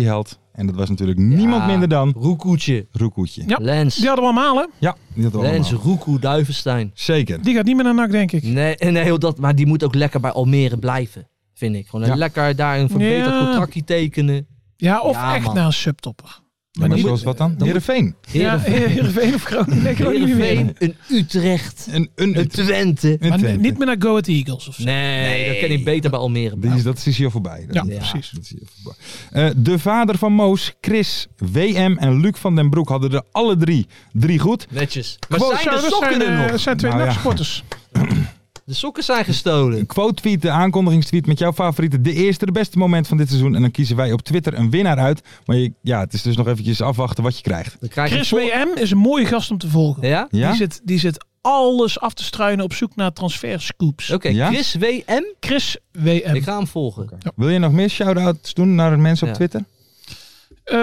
Speaker 3: En dat was natuurlijk niemand
Speaker 4: Ja,
Speaker 3: minder dan
Speaker 4: Roekoetje.
Speaker 3: Roekoetje.
Speaker 5: Ja.
Speaker 4: Lens.
Speaker 5: Die hadden we allemaal, hè?
Speaker 3: Ja, die had we
Speaker 4: Lens,
Speaker 3: allemaal.
Speaker 4: Roekoe, Duivenstein.
Speaker 3: Zeker.
Speaker 5: Die gaat niet meer naar NAC, denk ik.
Speaker 4: Nee, nee heel dat, maar die moet ook lekker bij Almere blijven, vind ik. Gewoon een
Speaker 3: Ja.
Speaker 4: lekker daar een verbeterd
Speaker 5: Ja.
Speaker 4: contractje tekenen.
Speaker 5: Ja, of
Speaker 4: Ja,
Speaker 5: echt
Speaker 4: man.
Speaker 5: naar een subtopper.
Speaker 3: Maar,
Speaker 5: die-
Speaker 3: zoals wat dan?
Speaker 4: moet-
Speaker 3: Heerenveen.
Speaker 5: Ja,
Speaker 4: Heerenveen,
Speaker 5: Heerenveen of Groningen. Nee, ik ook niet meer.
Speaker 4: Heerenveen, een Utrecht,
Speaker 3: Een, een,
Speaker 4: een Twente.
Speaker 3: een
Speaker 5: Maar ni-
Speaker 3: Twente.
Speaker 5: niet meer naar Go Ahead Eagles of zo.
Speaker 4: Nee, dat ken ik beter bij Almere.
Speaker 3: Die
Speaker 4: blijven.
Speaker 3: is, dat is hier voorbij. Dat
Speaker 5: Ja,
Speaker 3: is-
Speaker 5: precies.
Speaker 3: dat is hier voorbij. Eh, de vader van Moos, Chris, WM en Luc van den Broek hadden er alle drie drie goed.
Speaker 4: Netjes. Maar
Speaker 3: Gewoon
Speaker 4: zijn
Speaker 5: Zo,
Speaker 4: de
Speaker 5: dat
Speaker 4: sokken
Speaker 5: zijn,
Speaker 4: er
Speaker 5: eh,
Speaker 4: nog?
Speaker 5: dat zijn twee
Speaker 3: Nou ja.
Speaker 5: NAC-sporters.
Speaker 4: De sokken zijn gestolen.
Speaker 3: Een quote tweet, de aankondigingstweet met jouw favoriete, de eerste, de beste moment van dit seizoen. En dan kiezen wij op Twitter een winnaar uit. Maar je, ja, het is dus nog eventjes afwachten wat je krijgt.
Speaker 4: Dan krijg je
Speaker 5: Chris
Speaker 4: vol-
Speaker 5: WM is een mooie gast om te volgen.
Speaker 4: Ja?
Speaker 3: Ja?
Speaker 5: Die, zit, die zit alles af te struinen op zoek naar transferscoops.
Speaker 4: Oké,
Speaker 3: Ja?
Speaker 4: Chris WM.
Speaker 5: Chris
Speaker 4: Ik
Speaker 5: WM.
Speaker 4: ga hem volgen.
Speaker 3: Wil je nog meer shout-outs doen naar mensen
Speaker 4: Ja.
Speaker 3: op Twitter?
Speaker 5: Eh,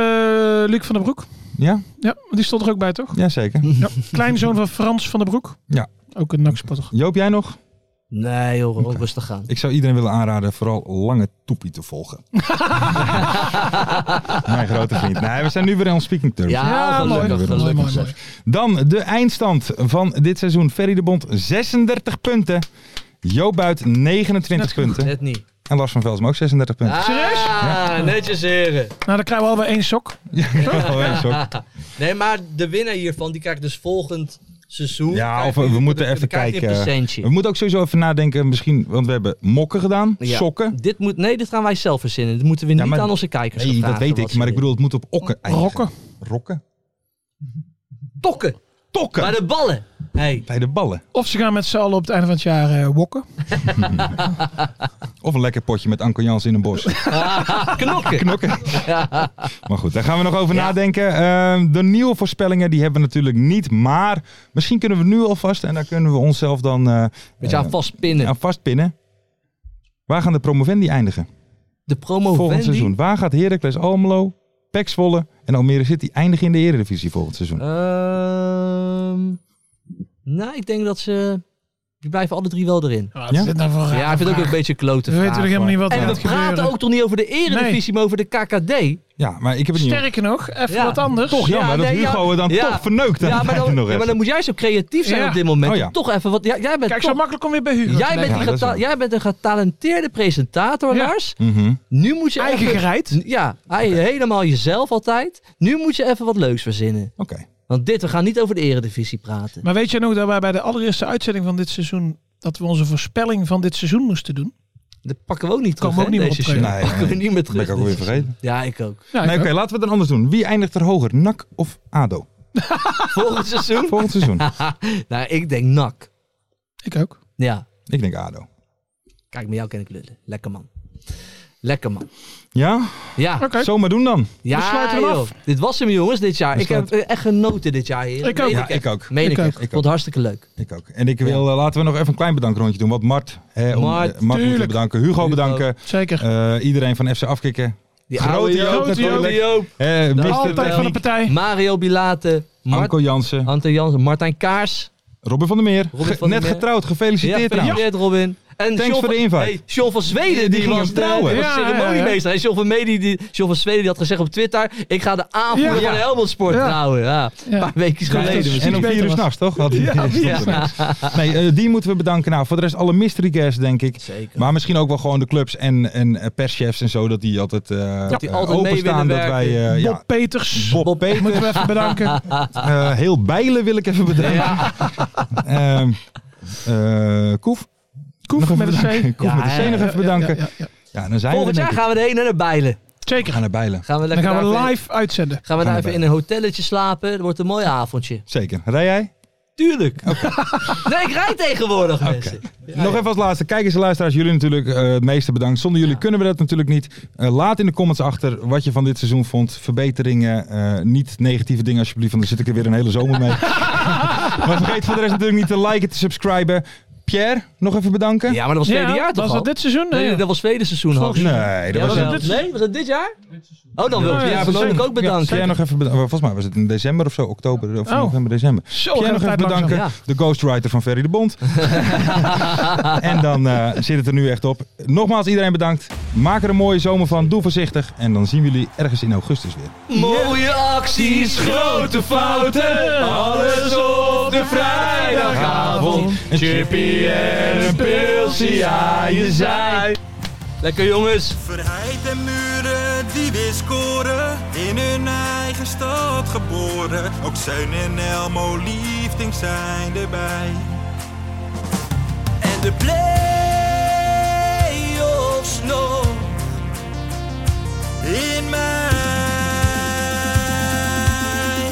Speaker 5: Luc van der Broek.
Speaker 3: Ja?
Speaker 5: Ja, die stond er ook bij, toch?
Speaker 3: Jazeker.
Speaker 5: Ja. Kleinzoon van Frans van der Broek.
Speaker 3: Ja.
Speaker 5: Ook een NAC-sporter.
Speaker 3: Joop, jij nog?
Speaker 4: Nee joh, gewoon rustig aan.
Speaker 3: Ik zou iedereen willen aanraden vooral Lange Toepie te volgen. Mijn grote vriend. Nee, we zijn nu weer on speaking terms.
Speaker 4: Ja,
Speaker 5: mooi.
Speaker 4: gelukkig.
Speaker 3: Mooi,
Speaker 5: mooi,
Speaker 4: gelukkig.
Speaker 5: mooi,
Speaker 3: zeg.
Speaker 5: mooi.
Speaker 3: Dan de eindstand van dit seizoen. Ferry de Bond 36 punten. Joop Buit 29 punten.
Speaker 4: Net niet.
Speaker 3: En Lars van Velsen ook 36 punten.
Speaker 5: Serieus?
Speaker 4: Ah, netjes heren.
Speaker 5: Nou, dan krijgen we alweer één sok.
Speaker 3: Ja, ik heb wel eens, hoor.
Speaker 4: Nee, maar de winnaar hiervan, die krijgt dus volgend seizoen.
Speaker 3: ja, of
Speaker 4: Krijgt
Speaker 3: we,
Speaker 4: die-
Speaker 3: moeten
Speaker 4: dan
Speaker 3: even
Speaker 4: krijgt die
Speaker 3: kijken. eh,
Speaker 4: Een
Speaker 3: We
Speaker 4: percentje.
Speaker 3: moeten ook sowieso even nadenken. Misschien, want we hebben mokken gedaan.
Speaker 4: Ja.
Speaker 3: Sokken.
Speaker 4: Dit moet, nee, dit gaan wij zelf verzinnen. Dit moeten we
Speaker 3: Ja,
Speaker 4: niet
Speaker 3: maar-
Speaker 4: aan onze kijkers
Speaker 3: Nee,
Speaker 4: gaan
Speaker 3: dat
Speaker 4: vragen
Speaker 3: weet
Speaker 4: wat
Speaker 3: ik.
Speaker 4: ze
Speaker 3: Maar ik
Speaker 4: willen.
Speaker 3: bedoel, het moet op okken eindigen.
Speaker 5: Rokken.
Speaker 3: Rokken?
Speaker 4: Tokken.
Speaker 3: Tokken.
Speaker 4: Bij de ballen. Hey.
Speaker 3: Bij de ballen.
Speaker 5: Of ze gaan met z'n allen op het einde van het jaar eh, wokken.
Speaker 3: Of een lekker potje met Anko Jans in een bos.
Speaker 4: Knokken.
Speaker 3: Knokken. Maar goed, daar gaan we nog over nadenken. Ehm, de nieuwe voorspellingen die hebben we natuurlijk niet. Maar misschien kunnen we nu alvast. En daar kunnen we onszelf dan eh,
Speaker 4: Beetje aan vastpinnen.
Speaker 3: aan vastpinnen. Waar gaan de promovendi eindigen?
Speaker 4: De promo
Speaker 3: Volgend seizoen. Waar gaat Heracles Almelo, Pek Zwolle en Almere City eindigen in de Eredivisie volgend seizoen?
Speaker 4: Eh, Ehm, nou, ik denk dat ze... Die blijven alle drie wel erin.
Speaker 5: Wat is dit nou voor
Speaker 4: Ja,
Speaker 5: een
Speaker 4: ik vind het ook een beetje klote
Speaker 5: We weten
Speaker 4: vraag,
Speaker 5: nog helemaal
Speaker 4: hoor.
Speaker 5: niet wat er
Speaker 4: En we
Speaker 5: gaat gebeuren.
Speaker 4: praten ook toch niet over de eredivisie,
Speaker 5: Nee.
Speaker 4: maar over de KKD.
Speaker 3: Ja, maar ik heb het niet.
Speaker 5: Sterker nog, even
Speaker 4: Ja.
Speaker 5: wat anders.
Speaker 3: Toch jammer
Speaker 4: Ja,
Speaker 3: dat
Speaker 4: nee, ja.
Speaker 3: Hugo het dan
Speaker 4: Ja.
Speaker 3: toch verneukt. aan
Speaker 4: Ja,
Speaker 3: het
Speaker 4: maar
Speaker 3: einde
Speaker 4: dan, ja,
Speaker 3: nog
Speaker 4: maar
Speaker 3: even.
Speaker 4: dan moet jij zo creatief zijn
Speaker 5: Ja.
Speaker 4: op dit moment.
Speaker 3: Oh ja.
Speaker 4: Toch even wat. Ja, jij bent
Speaker 5: Kijk,
Speaker 4: toch-
Speaker 5: zo makkelijk om weer bij Hugo
Speaker 4: jij,
Speaker 5: te
Speaker 4: bent
Speaker 3: Ja,
Speaker 4: die
Speaker 3: dat is
Speaker 4: geta-
Speaker 3: wel.
Speaker 4: jij bent een getalenteerde presentator,
Speaker 5: Ja.
Speaker 4: Lars.
Speaker 3: Mhm.
Speaker 4: Nu moet je
Speaker 5: Eigen
Speaker 4: even-
Speaker 5: gereid.
Speaker 4: Ja, hij- helemaal jezelf altijd. Nu moet je even wat leuks verzinnen.
Speaker 3: Oké.
Speaker 4: Want dit, we gaan niet over de eredivisie praten.
Speaker 5: Maar weet jij nog dat wij bij de allereerste uitzending van dit seizoen... dat we onze voorspelling van dit seizoen moesten doen?
Speaker 4: Dat pakken we ook niet terug,
Speaker 5: Komen we
Speaker 4: hè,
Speaker 5: ook niet
Speaker 4: deze
Speaker 5: meer op
Speaker 4: show.
Speaker 3: terug. Nee,
Speaker 4: pakken we
Speaker 3: nee.
Speaker 4: niet meer
Speaker 3: Dat ben
Speaker 4: terug.
Speaker 3: ik ook weer
Speaker 4: dit seizoen.
Speaker 3: vergeten.
Speaker 4: Ja, ik ook.
Speaker 5: Ja, ik
Speaker 3: Nee, Oké, laten we het dan anders doen. Wie eindigt er hoger, NAC of ADO?
Speaker 4: Volgend seizoen?
Speaker 3: Volgend seizoen.
Speaker 4: nou, ik denk nak.
Speaker 5: ook. Ik ook.
Speaker 4: Ja.
Speaker 3: Ik denk ADO.
Speaker 4: Kijk, met jou ken ik lullen. Lekker man. Lekker man.
Speaker 3: Ja?
Speaker 4: Ja.
Speaker 5: Oké.
Speaker 3: Zomaar doen dan.
Speaker 4: Ja,
Speaker 5: We sluiten hem
Speaker 4: joh.
Speaker 5: af.
Speaker 4: Dit was hem, jongens, dit jaar.
Speaker 3: We
Speaker 4: Ik heb eh, echt genoten dit jaar, heren.
Speaker 5: Ik ook.
Speaker 4: Meen
Speaker 3: Ja, ik ook.
Speaker 4: Meen
Speaker 5: Ik
Speaker 4: ik,
Speaker 5: ook.
Speaker 4: echt.
Speaker 3: Ik ook.
Speaker 4: Vond het hartstikke leuk.
Speaker 3: Ik ook. En ik wil, eh, laten we nog even een klein bedankrondje doen. Want Mart, hè, om, eh,
Speaker 4: Mart,
Speaker 3: Mart, moeten we
Speaker 5: tuurlijk.
Speaker 3: bedanken. Hugo
Speaker 4: Hugo.
Speaker 3: bedanken.
Speaker 5: Zeker.
Speaker 3: Eh, iedereen van FC Afkikken.
Speaker 4: Die
Speaker 3: Grote
Speaker 4: oude
Speaker 3: Joop
Speaker 4: Joop,
Speaker 3: natuurlijk.
Speaker 4: grote Joop.
Speaker 3: Eh,
Speaker 4: Nou,
Speaker 3: Mr.
Speaker 4: altijd
Speaker 5: Tijd van de
Speaker 3: Techniek,
Speaker 5: partij.
Speaker 4: Mario Bilate. Mart,
Speaker 3: Anko Jansen.
Speaker 4: Anton Jansen. Martijn Kaars.
Speaker 3: Robin van der Meer.
Speaker 4: Robin
Speaker 3: Ge-
Speaker 4: van der
Speaker 3: Net
Speaker 4: Meer.
Speaker 3: getrouwd. Gefeliciteerd
Speaker 4: Ja,
Speaker 3: trouwens.
Speaker 4: gefeliciteerd, Robin. En
Speaker 3: Thanks
Speaker 4: John
Speaker 3: voor
Speaker 4: van-
Speaker 3: de invite.
Speaker 4: Hey, John van Zweden,
Speaker 3: Die
Speaker 4: die,
Speaker 3: ging
Speaker 4: was
Speaker 3: hem trouwen.
Speaker 4: de,
Speaker 5: Ja,
Speaker 4: was
Speaker 5: ja, ja.
Speaker 4: ceremoniemeester. Hey, John van Medi, die, John van Zweden die had gezegd op Twitter... ik ga de aanvoerder
Speaker 5: Ja.
Speaker 4: van Helmond Sport
Speaker 5: Ja.
Speaker 4: trouwen. Ja,
Speaker 5: Ja.
Speaker 4: een paar weken
Speaker 3: Ja,
Speaker 4: geleden.
Speaker 3: dus- en om
Speaker 5: beter
Speaker 3: vier uur
Speaker 5: was.
Speaker 3: s'nachts, toch? Had ja, Nee, eh, die moeten we bedanken. Nou, voor de rest alle mystery guests, denk ik.
Speaker 4: Zeker.
Speaker 3: Maar misschien ook wel gewoon de clubs en, en eh, perschefs en zo. Dat die altijd, eh
Speaker 4: die
Speaker 3: eh,
Speaker 4: altijd mee
Speaker 3: openstaan.
Speaker 4: willen
Speaker 3: Dat wij, eh,
Speaker 5: Bob
Speaker 3: ja,
Speaker 5: Peters.
Speaker 3: Bob, Peter,
Speaker 5: Moeten we even bedanken.
Speaker 3: eh, heel Bijlen wil ik even bedanken. Ehm, eh, Koef. Nog
Speaker 5: Koef
Speaker 3: even
Speaker 5: met een
Speaker 3: bedanken.
Speaker 5: C.
Speaker 3: Koef
Speaker 4: Ja,
Speaker 3: met de C
Speaker 4: ja,
Speaker 3: nog
Speaker 4: ja,
Speaker 3: even bedanken. Ja,
Speaker 5: Ja, ja, ja.
Speaker 3: dan zijn
Speaker 4: Volgend
Speaker 3: we
Speaker 4: jaar
Speaker 3: er, denk ik.
Speaker 4: gaan we er heen en naar Bijlen.
Speaker 3: We
Speaker 5: Zeker.
Speaker 3: gaan naar Bijlen.
Speaker 4: Gaan we
Speaker 5: Dan
Speaker 4: lekker
Speaker 5: gaan we
Speaker 4: daar even-
Speaker 5: live uitzenden.
Speaker 4: Gaan we
Speaker 3: Gaan
Speaker 4: daar
Speaker 3: we
Speaker 4: even in
Speaker 3: bij.
Speaker 4: een hotelletje slapen. Het wordt een mooi avondje.
Speaker 3: Zeker. Rij jij?
Speaker 4: Tuurlijk. nee, ik rijd tegenwoordig, mensen.
Speaker 3: Nog even als laatste. Kijkers en luisteraars, jullie natuurlijk eh, het meeste bedankt. Zonder jullie kunnen we dat natuurlijk niet. Eh, laat in de comments achter wat je van dit seizoen vond. Verbeteringen, eh, niet negatieve dingen alsjeblieft, want dan zit ik er weer een hele zomer mee. maar vergeet voor de rest natuurlijk niet te liken, te subscriben. Pierre, nog even bedanken.
Speaker 4: Ja, maar dat was
Speaker 5: Ja,
Speaker 4: tweede jaar toch
Speaker 5: was
Speaker 4: al?
Speaker 5: dat dit seizoen?
Speaker 4: Nee,
Speaker 5: Nee,
Speaker 4: dat was tweede seizoen al.
Speaker 3: Nee, dat was
Speaker 5: was
Speaker 3: het.
Speaker 5: het dit-
Speaker 4: Nee, was het dit jaar? Oh, dan wil ik
Speaker 5: Ja,
Speaker 4: Pierre
Speaker 5: ja,
Speaker 4: persoonlijk
Speaker 3: Pierre,
Speaker 4: ook bedanken.
Speaker 3: Pierre nog even bedanken. Volgens mij was het in december of zo, oktober of
Speaker 5: Oh.
Speaker 3: november, december.
Speaker 5: Zo,
Speaker 3: Pierre
Speaker 5: gaat
Speaker 3: nog
Speaker 5: de
Speaker 3: even
Speaker 5: tijd
Speaker 3: bedanken.
Speaker 5: langzaam.
Speaker 4: langzaam.
Speaker 3: De ghostwriter van Ferry de Bond. en dan eh, zit het er nu echt op. Nogmaals iedereen bedankt. Maak er een mooie zomer van. Doe voorzichtig. En dan zien we jullie ergens in augustus weer.
Speaker 4: Mooie acties, grote fouten, alles op de vrijdagavond.
Speaker 3: Een chippy en een pilsie aan je zij.
Speaker 4: Lekker jongens.
Speaker 2: Verheid en muren die weer scoren, in hun eigen stad geboren. Ook Zijn en Elmo liefding zijn erbij.
Speaker 1: En de play-offs nog in mij.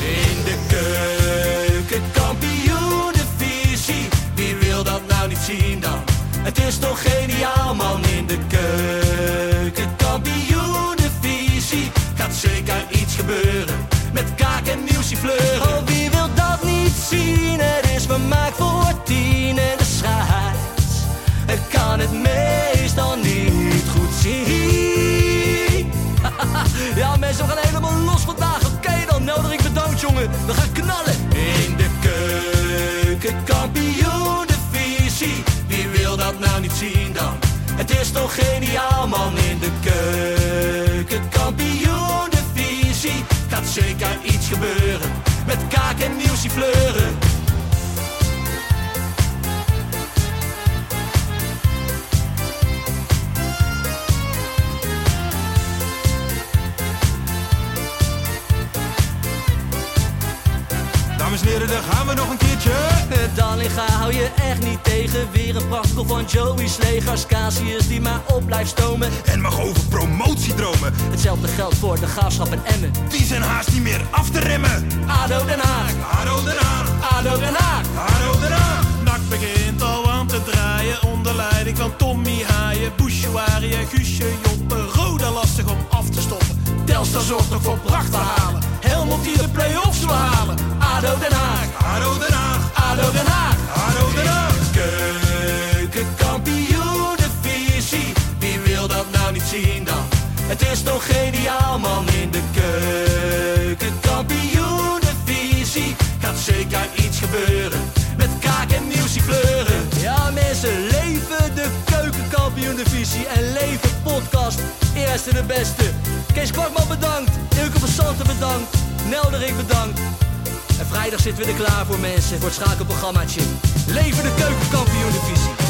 Speaker 1: In de keuken, kampioenenvisie. Wie wil dat nou niet zien dan? Het is toch geniaal man in de keuken, kampioenenvisie. Gaat zeker iets gebeuren met kaak en nieuwsie fleuren. Oh, wie wil dat niet zien? Het is vermaakt voor tien en de scheids. Het kan het meestal niet goed zien. Ja, mensen, we gaan helemaal los vandaag. Oké, dan nodig ik bedankt, jongen. We gaan knallen. In de keuken, kampioen, de visie. Wie wil dat nou niet zien dan? Het is toch geniaal, man. In de keuken, kampioen, de visie. Gaat zeker iets gebeuren. Met kaak en nieuwsie fleuren.
Speaker 2: Dan
Speaker 3: Dames en heren, daar gaan we nog een keertje.
Speaker 4: Dallinga hou je echt niet tegen. Weer een prachtkel van Joey's legers. Casius die maar op blijft stomen.
Speaker 3: En mag over promotiedromen.
Speaker 4: Hetzelfde geldt voor de gaafschap en Emmen.
Speaker 3: Die zijn haast niet meer af te remmen.
Speaker 4: ADO Den Haag,
Speaker 3: Haro Den Haag,
Speaker 4: ADO Den Haag.
Speaker 3: Haro Den Haag.
Speaker 6: Nak begint al aan te draaien onder leiding van Tommy Haaien, Bouchouari en Guusje Joppen. Roda lastig om af te stoppen.
Speaker 4: Telstar zorgt nog voor pracht te halen. Helmond die de play-offs wil halen. ADO Den Haag,
Speaker 3: Haro Den Haag,
Speaker 4: ADO Den Haag.
Speaker 3: Haro Den Haag.
Speaker 4: Keukenkampioenenvisie, wie wil dat nou niet zien dan? Het is toch geniaal man in de keukenkampioenenvisie. Gaat zeker iets gebeuren, met kaak en nieuwsie kleuren. Ja mensen, leven de keukenkampioenenvisie en leven podcast. Eerste de beste. Kees Kwakman bedankt, Ilke van Santen bedankt, Nelderik bedankt. En vrijdag zitten we er klaar voor mensen, voor het schakelprogrammaatje. Leven de keukenkampioen divisie.